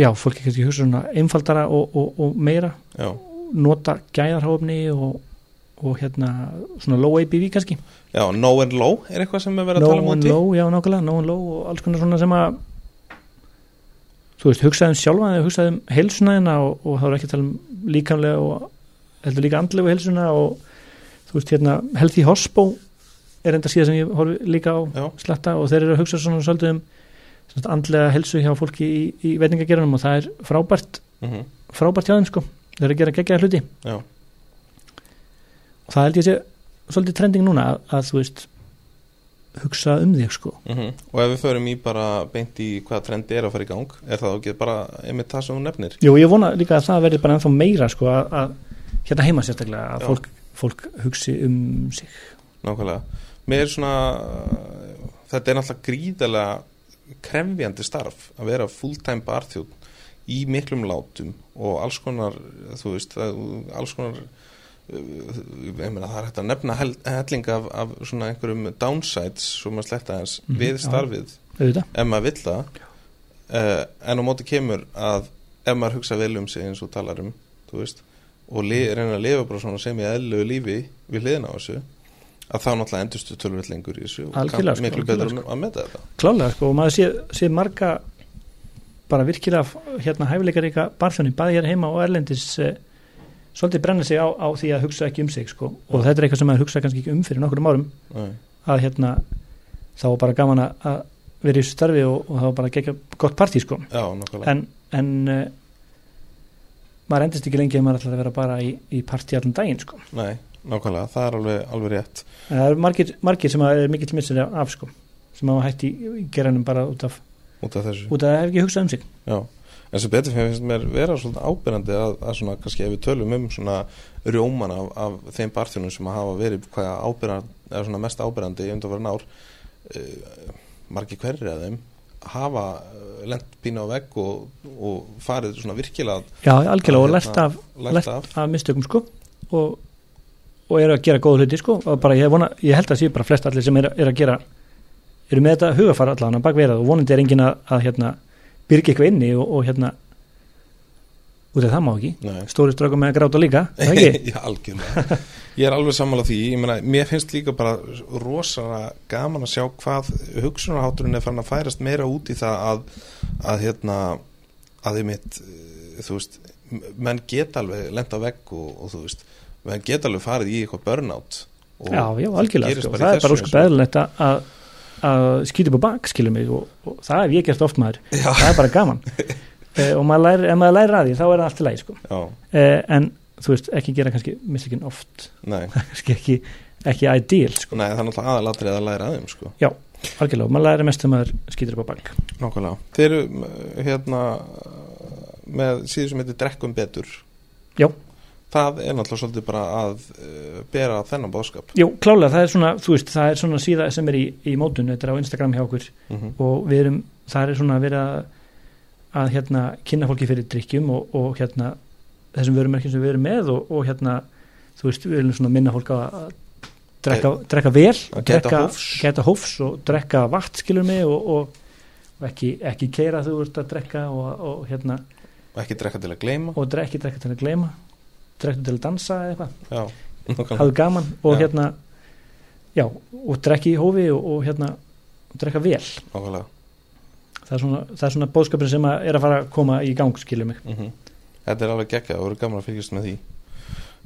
S2: já, fólki kannski hugsa um svona einfaldara og, og, og meira
S1: já,
S2: nota gæðarháfni og, og hérna svona low ABV kannski
S1: já, no and low er eitthvað sem er verið að
S2: no
S1: tala um
S2: and
S1: úti?
S2: low, já nákvæmlega, no and low og alls konar svona sem að þú veist, um hugsaðum sjálfa eða hugsaðum heilsunaðina og, og þá er ekki að tala um líkamlega og heldur líka andlegu heilsuna og þú veist hérna Healthy Hospo er enda síðan sem ég horfi líka á
S1: Já.
S2: slatta og þeir eru að hugsa svona svolítið um svona, andlega heilsu hjá fólki í, í veitingagerunum og það er frábært
S1: Mhm.
S2: frábært hjá þeim sko, þeir eru að gera geggjaða hluti
S1: Já.
S2: það held ég sé svolítið trending núna að, að þú veist hugsa um þig sko
S1: mhm. Og ef við förum í bara beint í hvaða trendi er að fara í gang er það ekki bara einmitt það sem hún nefnir
S2: Jú, ég vona líka að það verði bara ennþá meira sko að, að hérna heima sérstaklega að
S1: Já.
S2: fólk, fólk hugsi um sig
S1: Nákvæmlega Mér er svona Þetta er náttúrulega gríðalega krefjandi starf að vera fulltime barþjóð í miklum látum og alls konar þú veist, það- alls konar uh, ég meina það er hægt að nefna hel- helling af, af svona einhverjum downsides svo maður sletta hans
S2: Mhm,
S1: við
S2: já.
S1: starfið
S2: auðvitað,
S1: ef maður vill það uh, en á móti kemur að ef maður hugsa vel um sig eins og talar um þú veist, og li, reyna að lifa bara svona sem í eðlilegu lífi við hliðina á þessu að þá náttúrulega endustu tölvöld lengur í þessu og
S2: Algjörlega, sko,
S1: miklu
S2: algjörlega,
S1: betur að meta þetta
S2: klálega sko og maður sé, sé marga bara virkilega hérna hæfileikaríka barþjóni, bæði hér heima og erlendis eh, svolítið brenna sig á, á því að hugsa ekki um sig sko og þetta er eitthvað sem maður hugsa kannski ekki um fyrir nokkrum árum
S1: Nei.
S2: að hérna þá var bara gaman að að vera í þessu starfi og, og þá var bara gegja gott partí sko
S1: já, nákvæmlega,
S2: en, en uh, maður endist ekki lengi ef maður ætlar að vera bara í, í partí allan daginn sko
S1: Nei, nákvæmlega, það er alveg, alveg rétt
S2: en það eru margir, margir sem að er mikill missir af sko sem hafa hætt í í geranum bara út af
S1: út af þessu
S2: út af að hef ekki hugsað um sig
S1: Já, en sem betur fyrir finnst mér vera svolítið ábyrjandi að, að svona kannski ef við tölum um svona rjóman af, af þeim barþjónum sem hafa verið hvaða ábyrjandi, eða svona mest ábyrjandi í undanverðin ár uh, margi hverjir af þeim hafa eh, lent pínu á vegg og, og farið svona virkilega
S2: já, algjörlega og
S1: Hérna,
S2: lært af,
S1: lært af
S2: af mistökum sko og, og eru að gera góð hluti sko og bara ég, vona, ég held að séu bara flest allir sem eru er að gera eru með þetta hugafara allan að bakverða og vonandi er engin að, að hérna, byrgi eitthvað inni og, og hérna út af það má ekki
S1: Nei.
S2: stóri strákum með að gráta líka er það ekki?
S1: Já, algjörlega. Ég er alveg sammála því, ég meina, mér finnst líka bara rosalega gaman að sjá hvað hugsunarhátturinn er fann að færast meira út í það að, að hérna, að ég mitt, þú veist, m- menn geta alveg lent á vegg og, og þú veist, menn geta alveg farið í eitthvað burnout. og
S2: já, já, algjörlega
S1: gerist
S2: sko.
S1: bara í
S2: það er
S1: þessu
S2: bara
S1: eins
S2: óskup
S1: og-
S2: eðlilegt að- að að skýta upp á bak skilum mig og, og það hef ég gert oft maður
S1: Já.
S2: það er bara gaman e, og maður læri, ef maður læri að því þá er það allt í lægi sko.
S1: Já,
S2: e, en þú veist ekki gera kannski mistökin oft
S1: nei,
S2: kannski ekki, ekki ideal sko.
S1: nei, það er náttúrulega aðalatrið að læra aðeim, sko.
S2: já, algjörlega, maður læri mest þegar maður skýtur upp á bak
S1: Nákvæmlega. Þeir eru, m- hérna, með síður sem heitir Drekkum betur.
S2: já,
S1: Það er náttúrulega svolítið bara að uh, bera þennan bóðskap.
S2: jú, klálega, það er svona þú veist, það er svona síða sem er í, í mótun þetta er á Instagram hjá okkur
S1: Mm
S2: og við erum, það er svona að vera að hérna kynna fólki fyrir drikkjum og, og hérna þessum vörumerkjum sem við erum með og, og hérna þú veist, við erum svona að minna fólk á að drekka, drekka vel
S1: Eh, Að gæta
S2: drekka,
S1: hófs.
S2: gæta hófs og drekka vatn skilur mig og, og, og ekki, ekki keira þú ert að drekka og, og hérna,
S1: Ekki drekka til að gleyma.
S2: og drekki drekka til að gleyma drekka til að dansa eða eitthvað
S1: Já, nákvæmlega.
S2: hafðu gaman og
S1: Já.
S2: hérna já, og drekki í hófi og, og hérna drekka vel
S1: nákvæmlega.
S2: það er svona, það er svona bóðskapin sem að er að fara að koma í gang skilur mig
S1: Mm Þetta er alveg geggjað og verður gaman að fylgjast með því.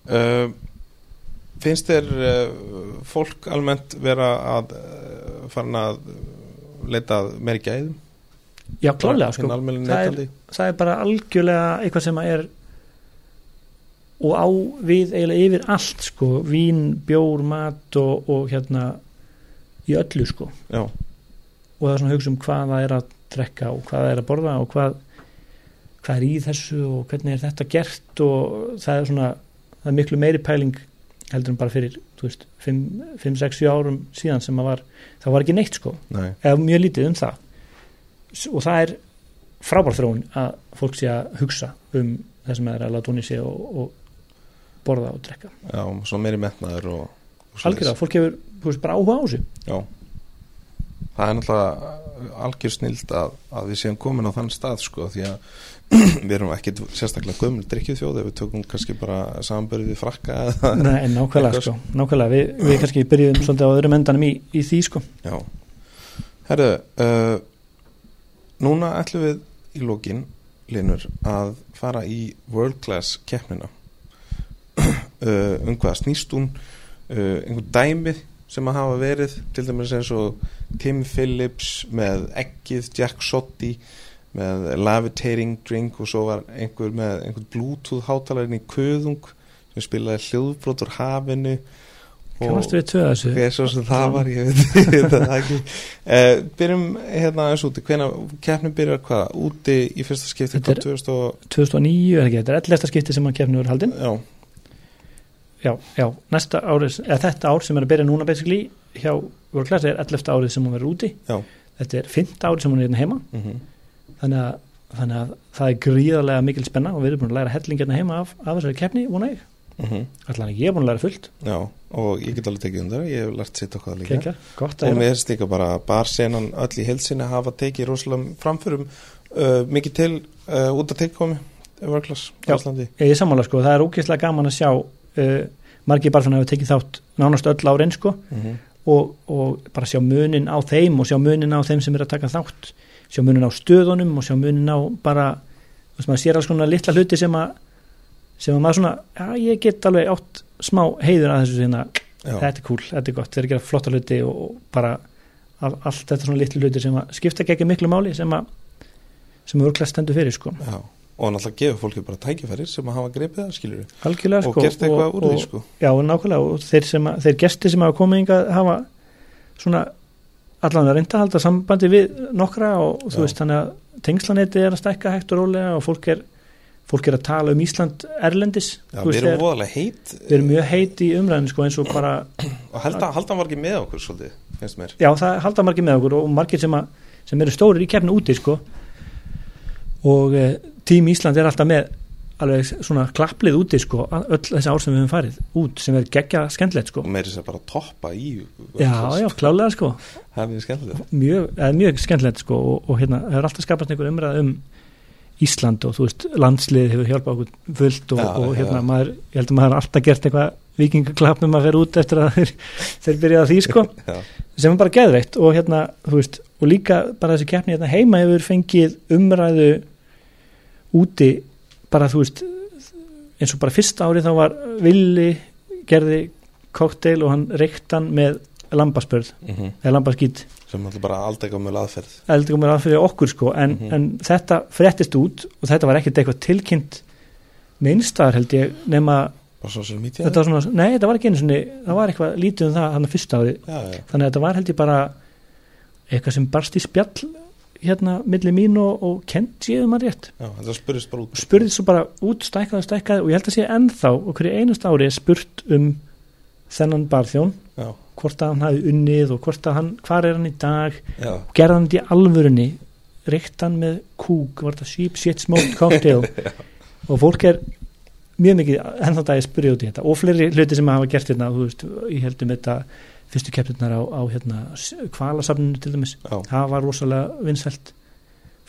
S1: Uh, finnst þér uh, fólk almennt vera að uh, farin að uh, leita að meiri gæðum?
S2: já klálega
S1: Hinn
S2: sko,
S1: almenni
S2: Það er-
S1: neytandi?
S2: það er bara algjörlega eitthvað sem að er og á við eiginlega yfir allt sko, vín, bjór, mat og, og hérna í öllu sko
S1: Já,
S2: og það er svona að hugsa um hvað það er að drekka og hvað það er að borða og hvað, hvað er í þessu og hvernig er þetta gert og það er svona það er miklu meiri pæling heldur en bara fyrir 5-6 árum síðan sem að var, það var ekki neitt sko
S1: nei,
S2: eða mjög lítið um það S- og það er frábær þróun að fólk sé að hugsa um það sem er að láta hún í sig og, og borða og drekka
S1: já, svona meiri metnaður og, og svoleiðis.
S2: algjörða, fólk hefur þú veist, bara áhuga á þessu
S1: Já Það er náttúrulega algjör snild að, að við séum komin á þann stað sko því að við erum ekki sérstaklega gömul drikkjufjóð ef við tökum kannski bara samanbörðið við frakka eða
S2: Nei, en nákvæmlega,
S1: Eitthvað
S2: sko, nákvæmlega við, við kannski byrjuðum svolítið á öðrum endanum í, í því sko.
S1: Já Herðu, uh, núna ætlum við í lokin Linur að fara í World Class keppnina uh, um hvað snýst hún uh, einhver dæmi sem að hafa verið til dæmis eins og Tim Phillips með Eggið, Jack Sotti með Lavitating Drink og svo var einhver með einhver Bluetooth hátalarinn í köðung sem spilaði hljóðbrot úr hafinu
S2: Kannastu við tvöða þessu?
S1: hver svo sem það var, ég veit, ég veit það ekki uh, Byrjum hérna aðeins úti hvena keppnum byrjar hvað, úti í fyrsta skipti
S2: Þetta er-
S1: hvað 2000 og
S2: 2009 er ekki, þetta er 11. skipti sem að kefni verið haldin
S1: já,
S2: já, já, næsta árið, eða þetta ár sem er að byrja núna basically hjá World Class er 11. árið sem hún verður úti
S1: Já.
S2: þetta er 5. árið sem hún er hérna heima
S1: mhm
S2: þannig að, þannig að það er gríðarlega mikil spenna og við erum búin að læra helling hérna heima af, af þessari keppni, vona ég
S1: mhm,
S2: allan að ég er búin að læra fullt,
S1: Já, og ég get alveg tekið undir það, ég hef lært sitt okkar líka
S2: kekja, gott
S1: og
S2: að
S1: mér
S2: hérna
S1: finnst líka bara barsenan öll í helsini hafa tekið rosalega framförum uh, mikið til uh, út að tilkomi vörklass
S2: Já.
S1: á Íslandi
S2: ég er sammála sko, það er ógeðslega gaman að sjá uh, margir barfann hafa tekið þátt nánast öll árin sko
S1: Mhm,
S2: og, og bara sjá munin á þeim og sjá munin á þeim sem er að taka þátt sjá munin á stöðunum og sjá munin á bara, þú veist maður sér alls konar litla hluti sem að sem að maður svona, já ég get alveg átt smá heiður að þessu sinna
S1: já,
S2: þetta er cool, þetta er gott, þeir eru að gera flotta hluti og, og bara all, allt þetta svona litla hluti sem að skipta ekki ekki miklu máli sem að sem að örglega stendur fyrir sko
S1: já. og náttúrulega gefur fólki bara tækifæri sem að hafa greipið það skilur
S2: algjörlega
S1: og
S2: sko
S1: gert eitthvað úr því sko
S2: Já, nákvæmlega og þeir, sem, að- þeir gesti sem hafa komið hingað hafa svona allan að reynda að halda sambandi við nokkra og
S1: Já.
S2: þú veist þannig að tengslanetti er að stekka hægt og rólega og fólk er, fólk er að tala um Ísland erlendis
S1: Já,
S2: Þú
S1: við erum
S2: þegar-
S1: voðalega heit
S2: við erum mjög heit í umræðinu sko eins og bara
S1: og halda, haldan var ekki með okkur svolítið, finnst mér
S2: já það halda margir með okkur og margir sem, að, sem eru stórir í kefni úti sko og e, tím Ísland er alltaf með alveg svona klapplið úti sko öll þessi ár sem við höfum farið út sem er geggja skemmtilegt sko
S1: og meiri sér bara að toppa í
S2: Já, já, klálega sko
S1: það er mjög skemmtilegt
S2: mjög, eða mjög skemmtilegt sko og, og hérna, það er alltaf skapast einhver umræð um Ísland og þú veist landslið hefur hjálpað okkur fullt og,
S1: Já,
S2: og
S1: já,
S2: hérna
S1: já.
S2: maður, ég held að maður hafi alltaf gert eitthvað vikingaklapnum að vera út eftir að þeir, þeir byrjaði að því sko
S1: Já.
S2: sem er bara geðveikt og hérna þú veist, og líka bara þessi keppni hérna heima hefur fengið umræðu úti bara þú veist eins og bara fyrsta ári þá var Villi gerði kokteil og hann reyktan með lambaspörð
S1: Mhm.
S2: eða lambaskýt
S1: sem náttúrulega bara aldrei gömul aðferð
S2: eldur komur að fyrir okkur sko en,
S1: Mhm.
S2: en þetta fréttist út og þetta var ekkert eitthvað tilkynnt minnstaðar held ég nema
S1: bara svo sem mítið
S2: þetta var svona, nei þetta var ekki einu sinni það var eitthvað lítið um það hann að fyrsta ári
S1: já, já.
S2: þannig að þetta var held ég bara eitthvað sem barst í spjall hérna milli mín og, og kent ég um að rétt
S1: Já, þetta spurðist bara út
S2: og spurði svo bara út stækkaði og stækkaði og ég held að sé ennþá og hverju einast ári er spurt um þennan barþjón
S1: já,
S2: hvort að hann hafi unnið og hvort að hann, hvar er hann í dag
S1: já,
S2: gerði hann þetta í alvörunni reykti hann með kúk var þetta sheep shit smoked cocktail og fólk er mjög mikið ennþá dag að spyrja út í þetta og fleiri hluti sem hafa gert hérna þú veist, ég heldum þetta fyrstu keppnirnar á, á hérna, kvalasafninu til dæmis
S1: já,
S2: það var rosalega vinsælt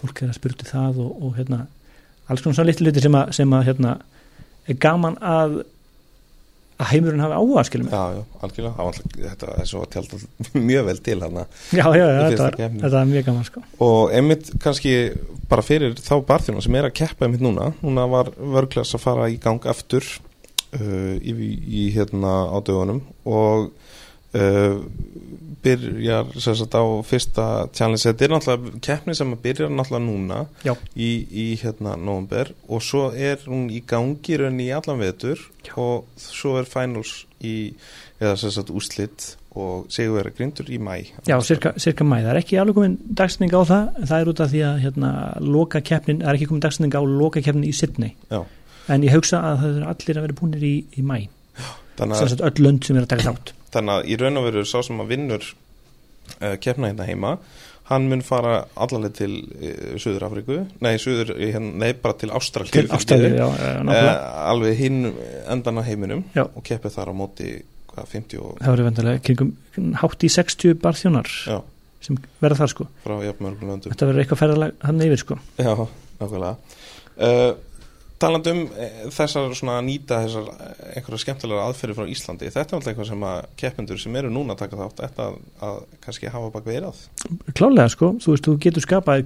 S2: fólk er að spyrja út í það og, og hérna, alls konar svona litli hluti sem að, sem að hérna, er gaman að að heimurinn hafi áhuga skilum
S1: já, já, algjörlega Það var alltaf- þetta er svo að tjálta mjög vel til hana
S2: já,
S1: Í
S2: já, já,
S1: fyrsta
S2: þetta var,
S1: keppni.
S2: þetta var mjög gaman sko.
S1: og einmitt kannski bara fyrir þá barþjóna sem er að keppa einmitt núna núna var vörglas að fara í gang aftur uh, í, í hérna á dögunum og uh, byrjar sem sagt á fyrsta challenge þetta er náttúrulega keppni sem byrjar náttúrulega núna
S2: Já.
S1: í, í hérna november og svo er hún í gangi í rauninni í allan vetur
S2: Já.
S1: og svo er finals í eða sem sagt úslit og segjum vera grindur í mæ
S2: Já, cirka, cirka mæ, það er ekki alveg komin dagsning á það, en það er út af því að hérna, loka keppnin, það er ekki komin dagsning á loka keppnin í Sydney,
S1: Já.
S2: en ég hugsa að það eru allir að vera búinir í, í mæ,
S1: þannig
S2: sem
S1: að
S2: sagt öll lönd sem er að taka þátt.
S1: þannig að í raun og veru sá sem að vinnur uh, keppna hérna heima hann mun fara allaleg til uh, Suður Afriku, nei, Suður, hérna, nei bara til Ástralíu
S2: Til
S1: fyrirgefðu.
S2: ástæðu, já, eh, nákvæmlega.
S1: Eh, alveg hinn endan á heiminum
S2: Já.
S1: og keppið þar á móti hvað, 50 og
S2: Það verður vendarlega kringum hátt í 60 barþjónar
S1: já,
S2: sem verða þar sko.
S1: frá jafnmörgum löndum
S2: Þetta verður eitthvað ferðalag hann yfir sko.
S1: Já, nákvæmlega uh, Talandi um eh, þessar svona að nýta þessar eh, einhverja skemmtilega aðferði frá Íslandi þetta er alltaf eitthvað sem að keppendur sem eru núna að taka þátt þetta að, að kannski hafa bak veirað
S2: Klálega sko, þú veist, þú getur skapað,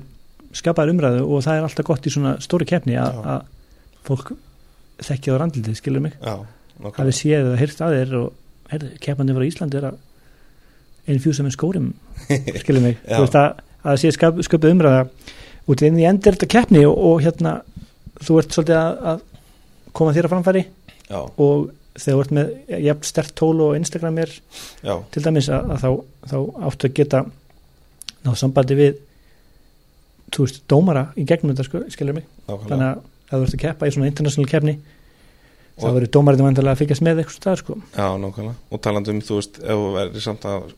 S2: skapað umræðu og það er alltaf gott í svona stóri keppni
S1: Já.
S2: að að fólk þekkja á randildið, skilur mig.
S1: Já,
S2: hafi
S1: nákvæmlega
S2: séð eða heyrt að þér og heyrðu, keppandi frá Íslandi er að infjúsa með skórum skilur mig,
S1: Já.
S2: þú veist að að það sé skap, sköpuð umræða út inn í endur þetta keppni og, og hérna þú ert svolítið að, að koma þér að framfæri
S1: já,
S2: og þegar þú ert með jafn stert tól og Instagram er
S1: já,
S2: til dæmis að, að þá, þá áttu að geta ná sambandi við þú veist, dómara í gegnum þetta sko, skilur mig,
S1: nákvæmlega
S2: þannig að ef þú ert að keppa í svona international keppni þá
S1: Og-
S2: verður dómarinn vandilega að fylgjast með eitthvað staðar sko
S1: Já, nákvæmlega, og talandi um, þú veist, ef þú verður samt að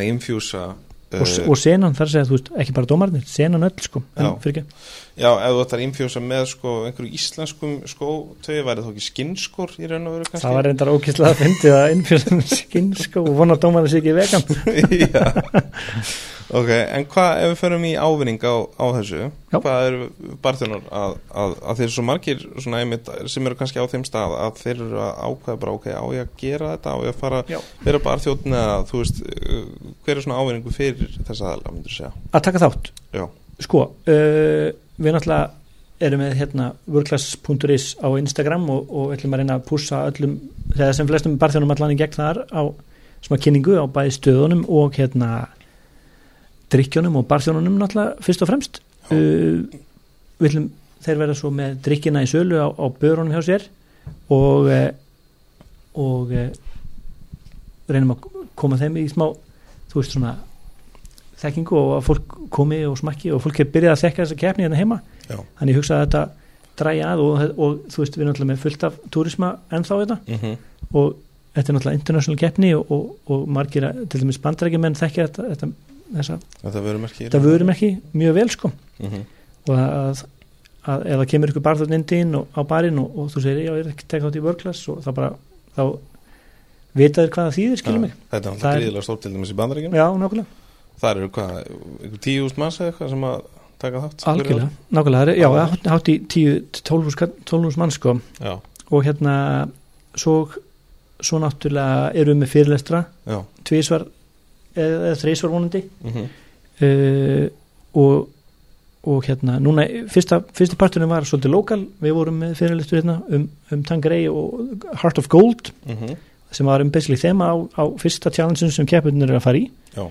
S1: að infjúsa uh,
S2: og, s- og senan þar að segja, þú veist, ekki bara dómarinn senan öll sko, en
S1: Já.
S2: fyrir
S1: Já, ef þú ættar að infjúsa með sko einhverju íslenskum skó tögi væri þá ekki skinnskór í raun og veru
S2: það var reyndar ókýrslega að fyndi að innfjörðum skinn sko og vona að dómarinn sé ekki vegan
S1: Já Ok, en hvað ef við förum í ávinning á, á þessu
S2: Já.
S1: hvað eru barþjónar að, að, að þeir eru svo margir svona einmitt sem eru kannski á þeim stað að þeir eru að ákveða bara ok, á ég að gera þetta, á ég að fara
S2: Já.
S1: vera barþjóðn eða þú veist uh, hver er svona ávinningu fyrir þessa aðalega myndir segja
S2: að taka þátt
S1: Já.
S2: sko, uh, við náttúrulega erum með hérna workclass.is á Instagram og, og ætlum að reyna að pússa öllum þegar sem flestum barþjónum allan í gegn þar á smá kynningu á bæði stöðunum og hérna drikkjónum og barþjónunum náttúrulega fyrst og fremst
S1: Já.
S2: uh, við ætlum þeir verða svo með drikkina í sölu á, á börunum hjá sér og eh, og eh, reynum að koma þeim í smá þú veist svona þekkingu og að fólk komi og smakki og fólk er byrjað að þekka þessa keppni hérna heima
S1: Já.
S2: þannig ég hugsa að þetta dræja að og, og þú veist við erum alltaf með fullt af túrisma ennþá þetta
S1: Mm -hmm.
S2: og þetta er náttúrulega international keppni og, og, og margir að, til dæmis bandrækjumenn þekkja þetta, þetta, þessa,
S1: Þetta vörum ekki
S2: þetta vörum ekki mjög vel sko
S1: mm -hmm.
S2: og að, að ef það kemur ykkur barþjóðn inn til þín og, á barinn og, og þú segir já ég er ekki tekið átt í vörglas og það bara þá vitaður hvað það þýðir skilum mig
S1: Þetta er
S2: Það
S1: alltaf
S2: er-
S1: gríðilega stórt til dæmis í bandaríkjum
S2: já nákvæmlega
S1: Það eru hvað, einhver tíu úst manns eða eitthvað sem að taka þátt
S2: Algjörlega, nákvæmlega, það er- já,
S1: Já.
S2: hátt- hátt í 10-12 mann sko
S1: Já,
S2: og hérna svo, svo náttúrulega erum við með fyrirlestra
S1: já,
S2: tvísvar eða, eða þrísvar vonandi
S1: mm
S2: uh, og, og hérna núna, fyrsta, fyrsta parturinn var svolítið lokal, við vorum með fyrirlestur hérna um, um Tangrei og Heart of Gold sem var um basically þema á, á fyrsta challenge sem keppurnir eru að fara í
S1: Já.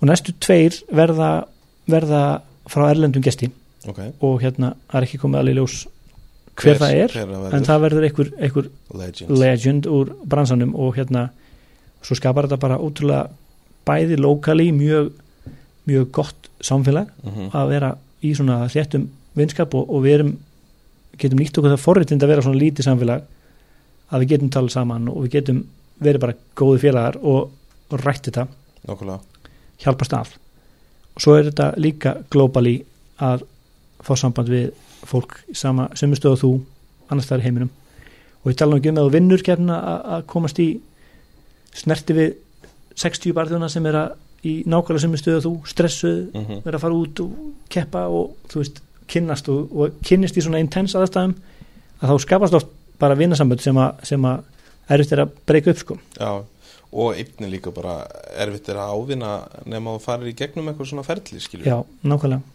S2: og næstu tveir verða, verða frá erlendum gesti
S1: ok
S2: og hérna það er ekki komið alveg í ljós hver það er,
S1: hver það
S2: en
S1: verður,
S2: það verður einhver, einhver
S1: Legends
S2: legend úr bransanum og hérna svo skapar þetta bara ótrúlega bæði lokali mjög, mjög gott samfélag
S1: mm
S2: að vera í svona þéttum vinskap og, og við erum getum nýtt okkur það forréttind að vera svona lítið samfélag að við getum talað saman og við getum verið bara góði félagar og, og rætt þetta
S1: Nákvæmlega,
S2: hjálpast að og svo er þetta líka globally að fá samband við fólk í sama, sömu stöðu og þú annars þar í heiminum og ég tala nú ekki um að þú vinnur kefna að komast í snerti við 60 barðuna sem er að í nákvæmlega sömu stöðu og þú stressuð,
S1: mm
S2: vera að fara út og keppa og þú veist, kynnast og, og kynnist í svona intense aðstæðum að þá skapast oft bara vinnasambönd sem að, sem að erfitt er að breyka upp sko
S1: já Og einnig líka bara erfitt er að ávinna nema þú farir í gegnum eitthvað svona ferli skilur
S2: já, nákvæmlega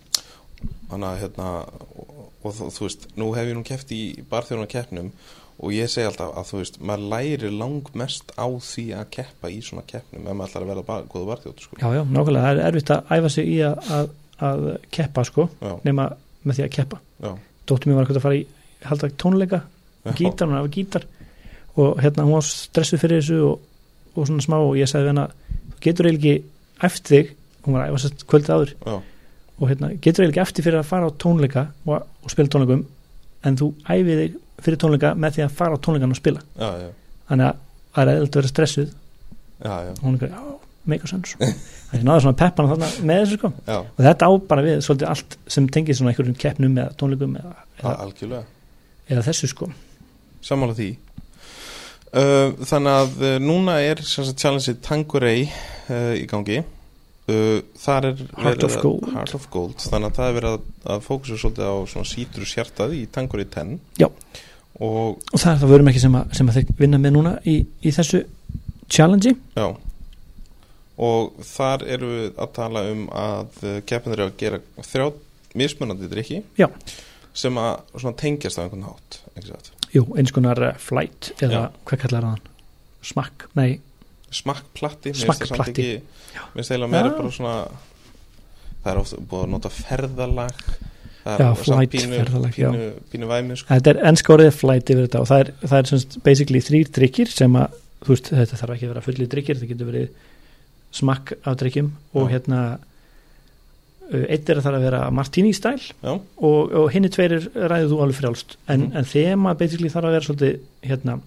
S1: Þannig að hérna og, og þú- þú veist, nú hef ég nú keft í barþjóðan keppnum og ég segi alltaf að þú veist, maður læri langmest á því að keppa í svona keppnum ef maður ætlar að vera bara góðu barþjóð sko.
S2: Já, já, nákvæmlega, það er erfitt að æfa sig í að, að, að keppa sko,
S1: Já,
S2: nema með því að keppa.
S1: já,
S2: Dóttir mér var ekkert að fara í halda tónleika,
S1: já.
S2: gítar, hún hafa gítar og hérna hún var stressuð fyrir þessu og, og svona smá og ég sagði við hana þú getur eiginlega ekki eftir þig hún var að æfa sér kvöldið áður
S1: Já,
S2: og hérna getur eiginlega ekki eftir fyrir að fara á tónleika og, og spila tónleikum en þú æfið þig fyrir tónleika með því að fara á tónleikan og spila.
S1: já, já,
S2: Þannig að það er eðlut að vera stressuð
S1: já, já,
S2: og hún er ekki, já, make a sense. Þannig að ég náði svona peppana þarna með þessu sko.
S1: já,
S2: og þetta á bara við svolítið allt sem tengir svona einhverjum keppnum eða tónleikum eða,
S1: já
S2: eða,
S1: algjörlega
S2: eða þessu sko
S1: Sammála því uh, Þannig að uh, núna er sem sagt challenge Tangurei uh, í gangi uh, Þar er
S2: Heart
S1: verið
S2: of
S1: að-
S2: Gold.
S1: Heart of Gold Þannig að það er verið að, að fókusa svolítið á svona sítrus hjartað í Tangurei 10
S2: Já.
S1: Og
S2: og það er það vörum ekki sem að, sem að þeir vinna með núna í, í þessu challenge
S1: já Og þar eru við að tala um að uh, keppinir eru að gera þrjá mismunandi drikki
S2: Já.
S1: sem að svona tengjast á einhvern hátt ekki satt?
S2: jú, eins konar eh, flight eða
S1: Já.
S2: hvað kallar það hann smakk, nei,
S1: smakkplatti mér finnst það samt
S2: Smakkplatti.
S1: ekki- mér finnst það eiginlega meira
S2: Já.
S1: bara svona það er ofta búið að nota ferðalag það
S2: Já,
S1: var samt
S2: flight
S1: pínu,
S2: ferðalag, já.
S1: pínu, pínu væmi sko.
S2: Þetta er ennska orðið flight yfir þetta og það er, það er semst basically þrýr drikkir sem að, þú veist, þetta þarf ekki að vera fullir drikkir, þetta getur verið smakk af drikkjum og
S1: Já.
S2: hérna uh, eitt er að það að vera martini stæl
S1: Já.
S2: og, og hinni tverir ræðið þú alveg frjálst en,
S1: Mhm.
S2: en þema basically þarf að vera svolítið hérna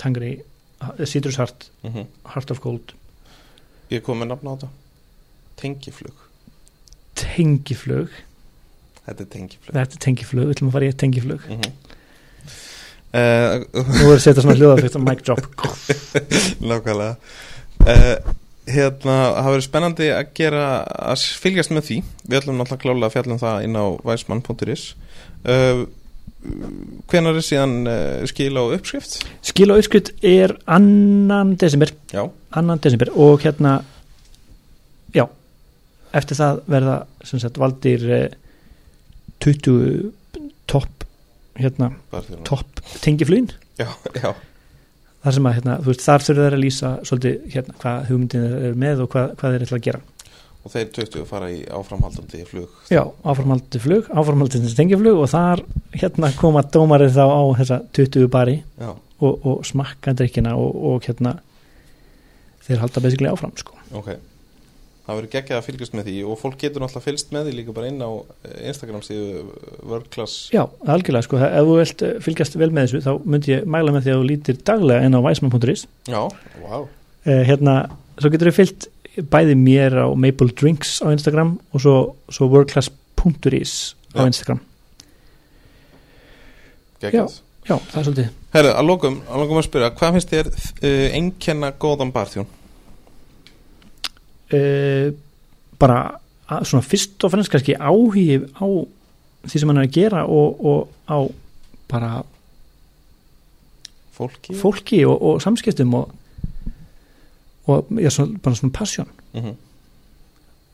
S2: tangri, citrus heart,
S1: Mm
S2: heart of gold
S1: Ég kom með nafn á þetta Tengiflug
S2: tengiflög,
S1: Þetta er tengiflug
S2: þetta er tengiflög, við ætlum að fara í eitt tengiflög
S1: mm -hmm. uh,
S2: nú er að setja svona hljóðafekt mic drop
S1: Lákvælega uh, Hérna, það verður spennandi að gera að fylgjast með því Við ætlum náttúrulega klálega að fjalla um það inn á væsmann.is uh, Hvenær er síðan uh, skil á uppskrift?
S2: skil og uppskrift er annan desember
S1: Já,
S2: annan desember og hérna já, eftir það verða sem sagt valdir eh, 20 topp hérna,
S1: bara því að-
S2: topp tengiflugin
S1: Já, já,
S2: þar sem að, hérna, þú veist, þar þurfa þær að lýsa svolítið, hérna, hvað hugmyndin er með og hvað, hvað þeir ætla að gera.
S1: og þeir 20 fara í áframhaldandi flug
S2: Já, áformaldið flug, áformaldið tengiflug og þar, hérna, koma dómarið þá á þessa 20 bari
S1: Já,
S2: og, og smakka drikkina og, og hérna, þeir halda basically áfram, sko.
S1: ok Það verður geggjað að fylgjast með því og fólk getur náttúrulega fylgst með því líka bara inn á eh, Instagram síðu eh, World Class
S2: Já, algjörlega sko, ef þú vilt eh, fylgjast vel með þessu þá myndi ég mæla með því að þú lítir daglega inn á weisman.is
S1: Já, wow
S2: eh, hérna, svo getur þau fylgt bæði mér á Maple Drinks á Instagram og svo, svo worldclass.is á
S1: Já.
S2: Instagram
S1: Geggjað
S2: Já, það er svolítið
S1: Herru, að lokum, að lokum að spyrja, hvað finnst þér uh, einkenna góðan barþjón?
S2: eh, bara að, svona fyrst og fremst kannski áhugi á því sem hann er að gera og, og á bara
S1: Fólki?
S2: fólki og, og samskiptum og, og já, svona, bara svona passion
S1: Mm -hmm.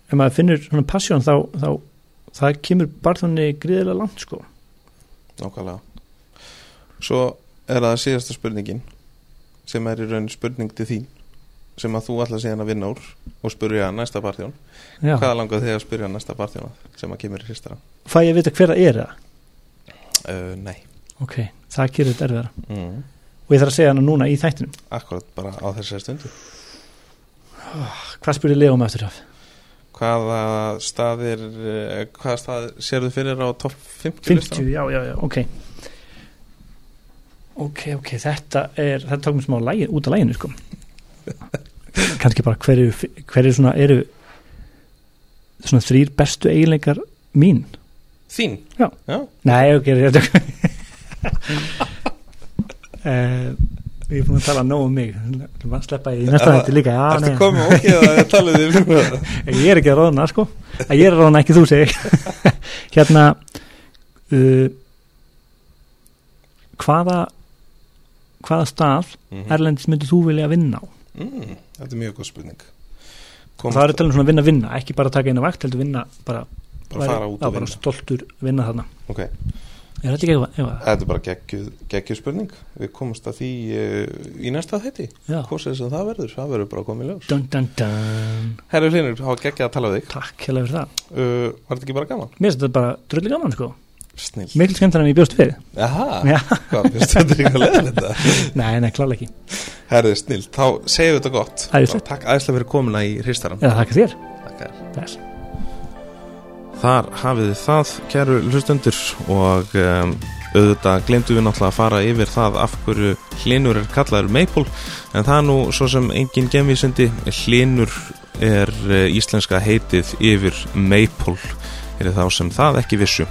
S2: ef maður finnur svona passjón þá, þá það kemur barþunni gríðilega langt sko
S1: Nákvæmlega. Svo er það síðasta spurningin sem er í raun spurning til þín sem að þú ætla síðan að vinna úr og spurja næsta barþjón.
S2: Já.
S1: Hvað langar þig að spurja næsta barþjón að sem að kemur í hristara?
S2: fæ ég að vita hver það er það
S1: Uh, nei.
S2: ok, það gerir þetta erfiðara
S1: Mm.
S2: og ég þarf að segja hana núna í þættinum
S1: Akkurat bara á þessari stundu.
S2: hvað um spyrir Leó með eftir það?
S1: Hvaða staðir, uh, hvaða staðir sérðu fyrir á topp 50,
S2: 50, já, já, já, ok ok, ok, þetta er þetta tók mér smá lægi, út af læginu sko kannski bara hverju hverju svona eru svona þrýr bestu eiginleikar mín
S1: Þín?
S2: Já.
S1: Já,
S2: Nei, ok, ég tök uh, Ég er búin að tala nóg um mig Þú maður sleppa í næsta
S1: Er það-
S2: hætti líka
S1: ertu
S2: Já, Ah, nei,
S1: komið og ekki að tala við þér?
S2: Ég er ekki að ráðna, sko Að Ég er að ráðna ekki þú, segi ég. Hérna uh, Hvaða hvaða stað
S1: Mhm.
S2: Erlendis myndir þú vilja vinna á?
S1: Mm, þetta er mjög góð spurning
S2: Og
S1: Komast
S2: það er að tala um svona vinna-vinna, ekki bara taka einu vakt heldur vinna, bara,
S1: bara að fara út
S2: já,
S1: og
S2: bara
S1: vinna
S2: stoltur vinna þarna
S1: Ok,
S2: Er þetta ekki eitthvað? eitthvað?
S1: Þetta er bara geggjuð geggjuð spurning Við komumst að því uh, í næsta þætti
S2: Já,
S1: Hvort sem það verður, það verður bara að koma í ljós
S2: dun dun dun
S1: Herru Hlinur, það var geggjað að tala við þig
S2: Takk hérlega fyrir það
S1: uh, Var þetta ekki bara gaman?
S2: Mér finnst þetta bara drulli gaman sko
S1: Snill
S2: Mikil skemmtar en ég bjóst fyrir
S1: Aha,
S2: Já.
S1: hvað finnst þetta ekki að leiða þetta?
S2: Nei, nei, klálega ekki
S1: Herru, snill, þá segjum við þetta gott
S2: Æðislegt.
S1: Takk æðislega fyrir komuna í hristaran
S2: Eða þakka þér
S1: Takk er
S2: Bless
S1: Þar hafið þið það, kæru hlustendur og um, auðvitað glemdu við náttúrulega að fara yfir það af hverju hlinur er kallaður Maple en það er nú svo sem engin gemvísindi hlinur er uh, íslenska heitið yfir Maple fyrir þá sem það ekki vissu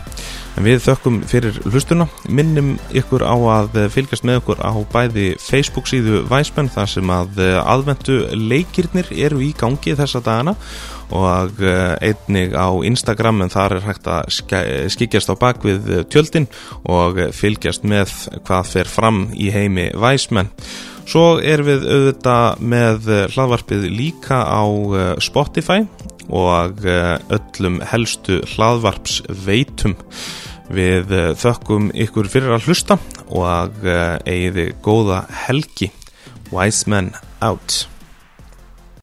S1: en við þökkum fyrir hlustuna minnum ykkur á að eh, fylgjast með okkur á bæði Facebook síðu Væsmenn þar sem að eh, aðventu leikirnir eru í gangi þessa dagana og eh, einnig á Instagram en þar er hægt að skæ- skikjast á bakvið eh, tjöldin og eh, fylgjast með hvað fer fram í heimi væsmenn. Svo erum við auðvitað með eh, hlaðvarpið líka á eh, Spotify og eh, öllum helstu hlaðvarpsveitum. Við eh, þökkum ykkur fyrir að hlusta og eh, eigið þið góða helgi. Wise Men Out.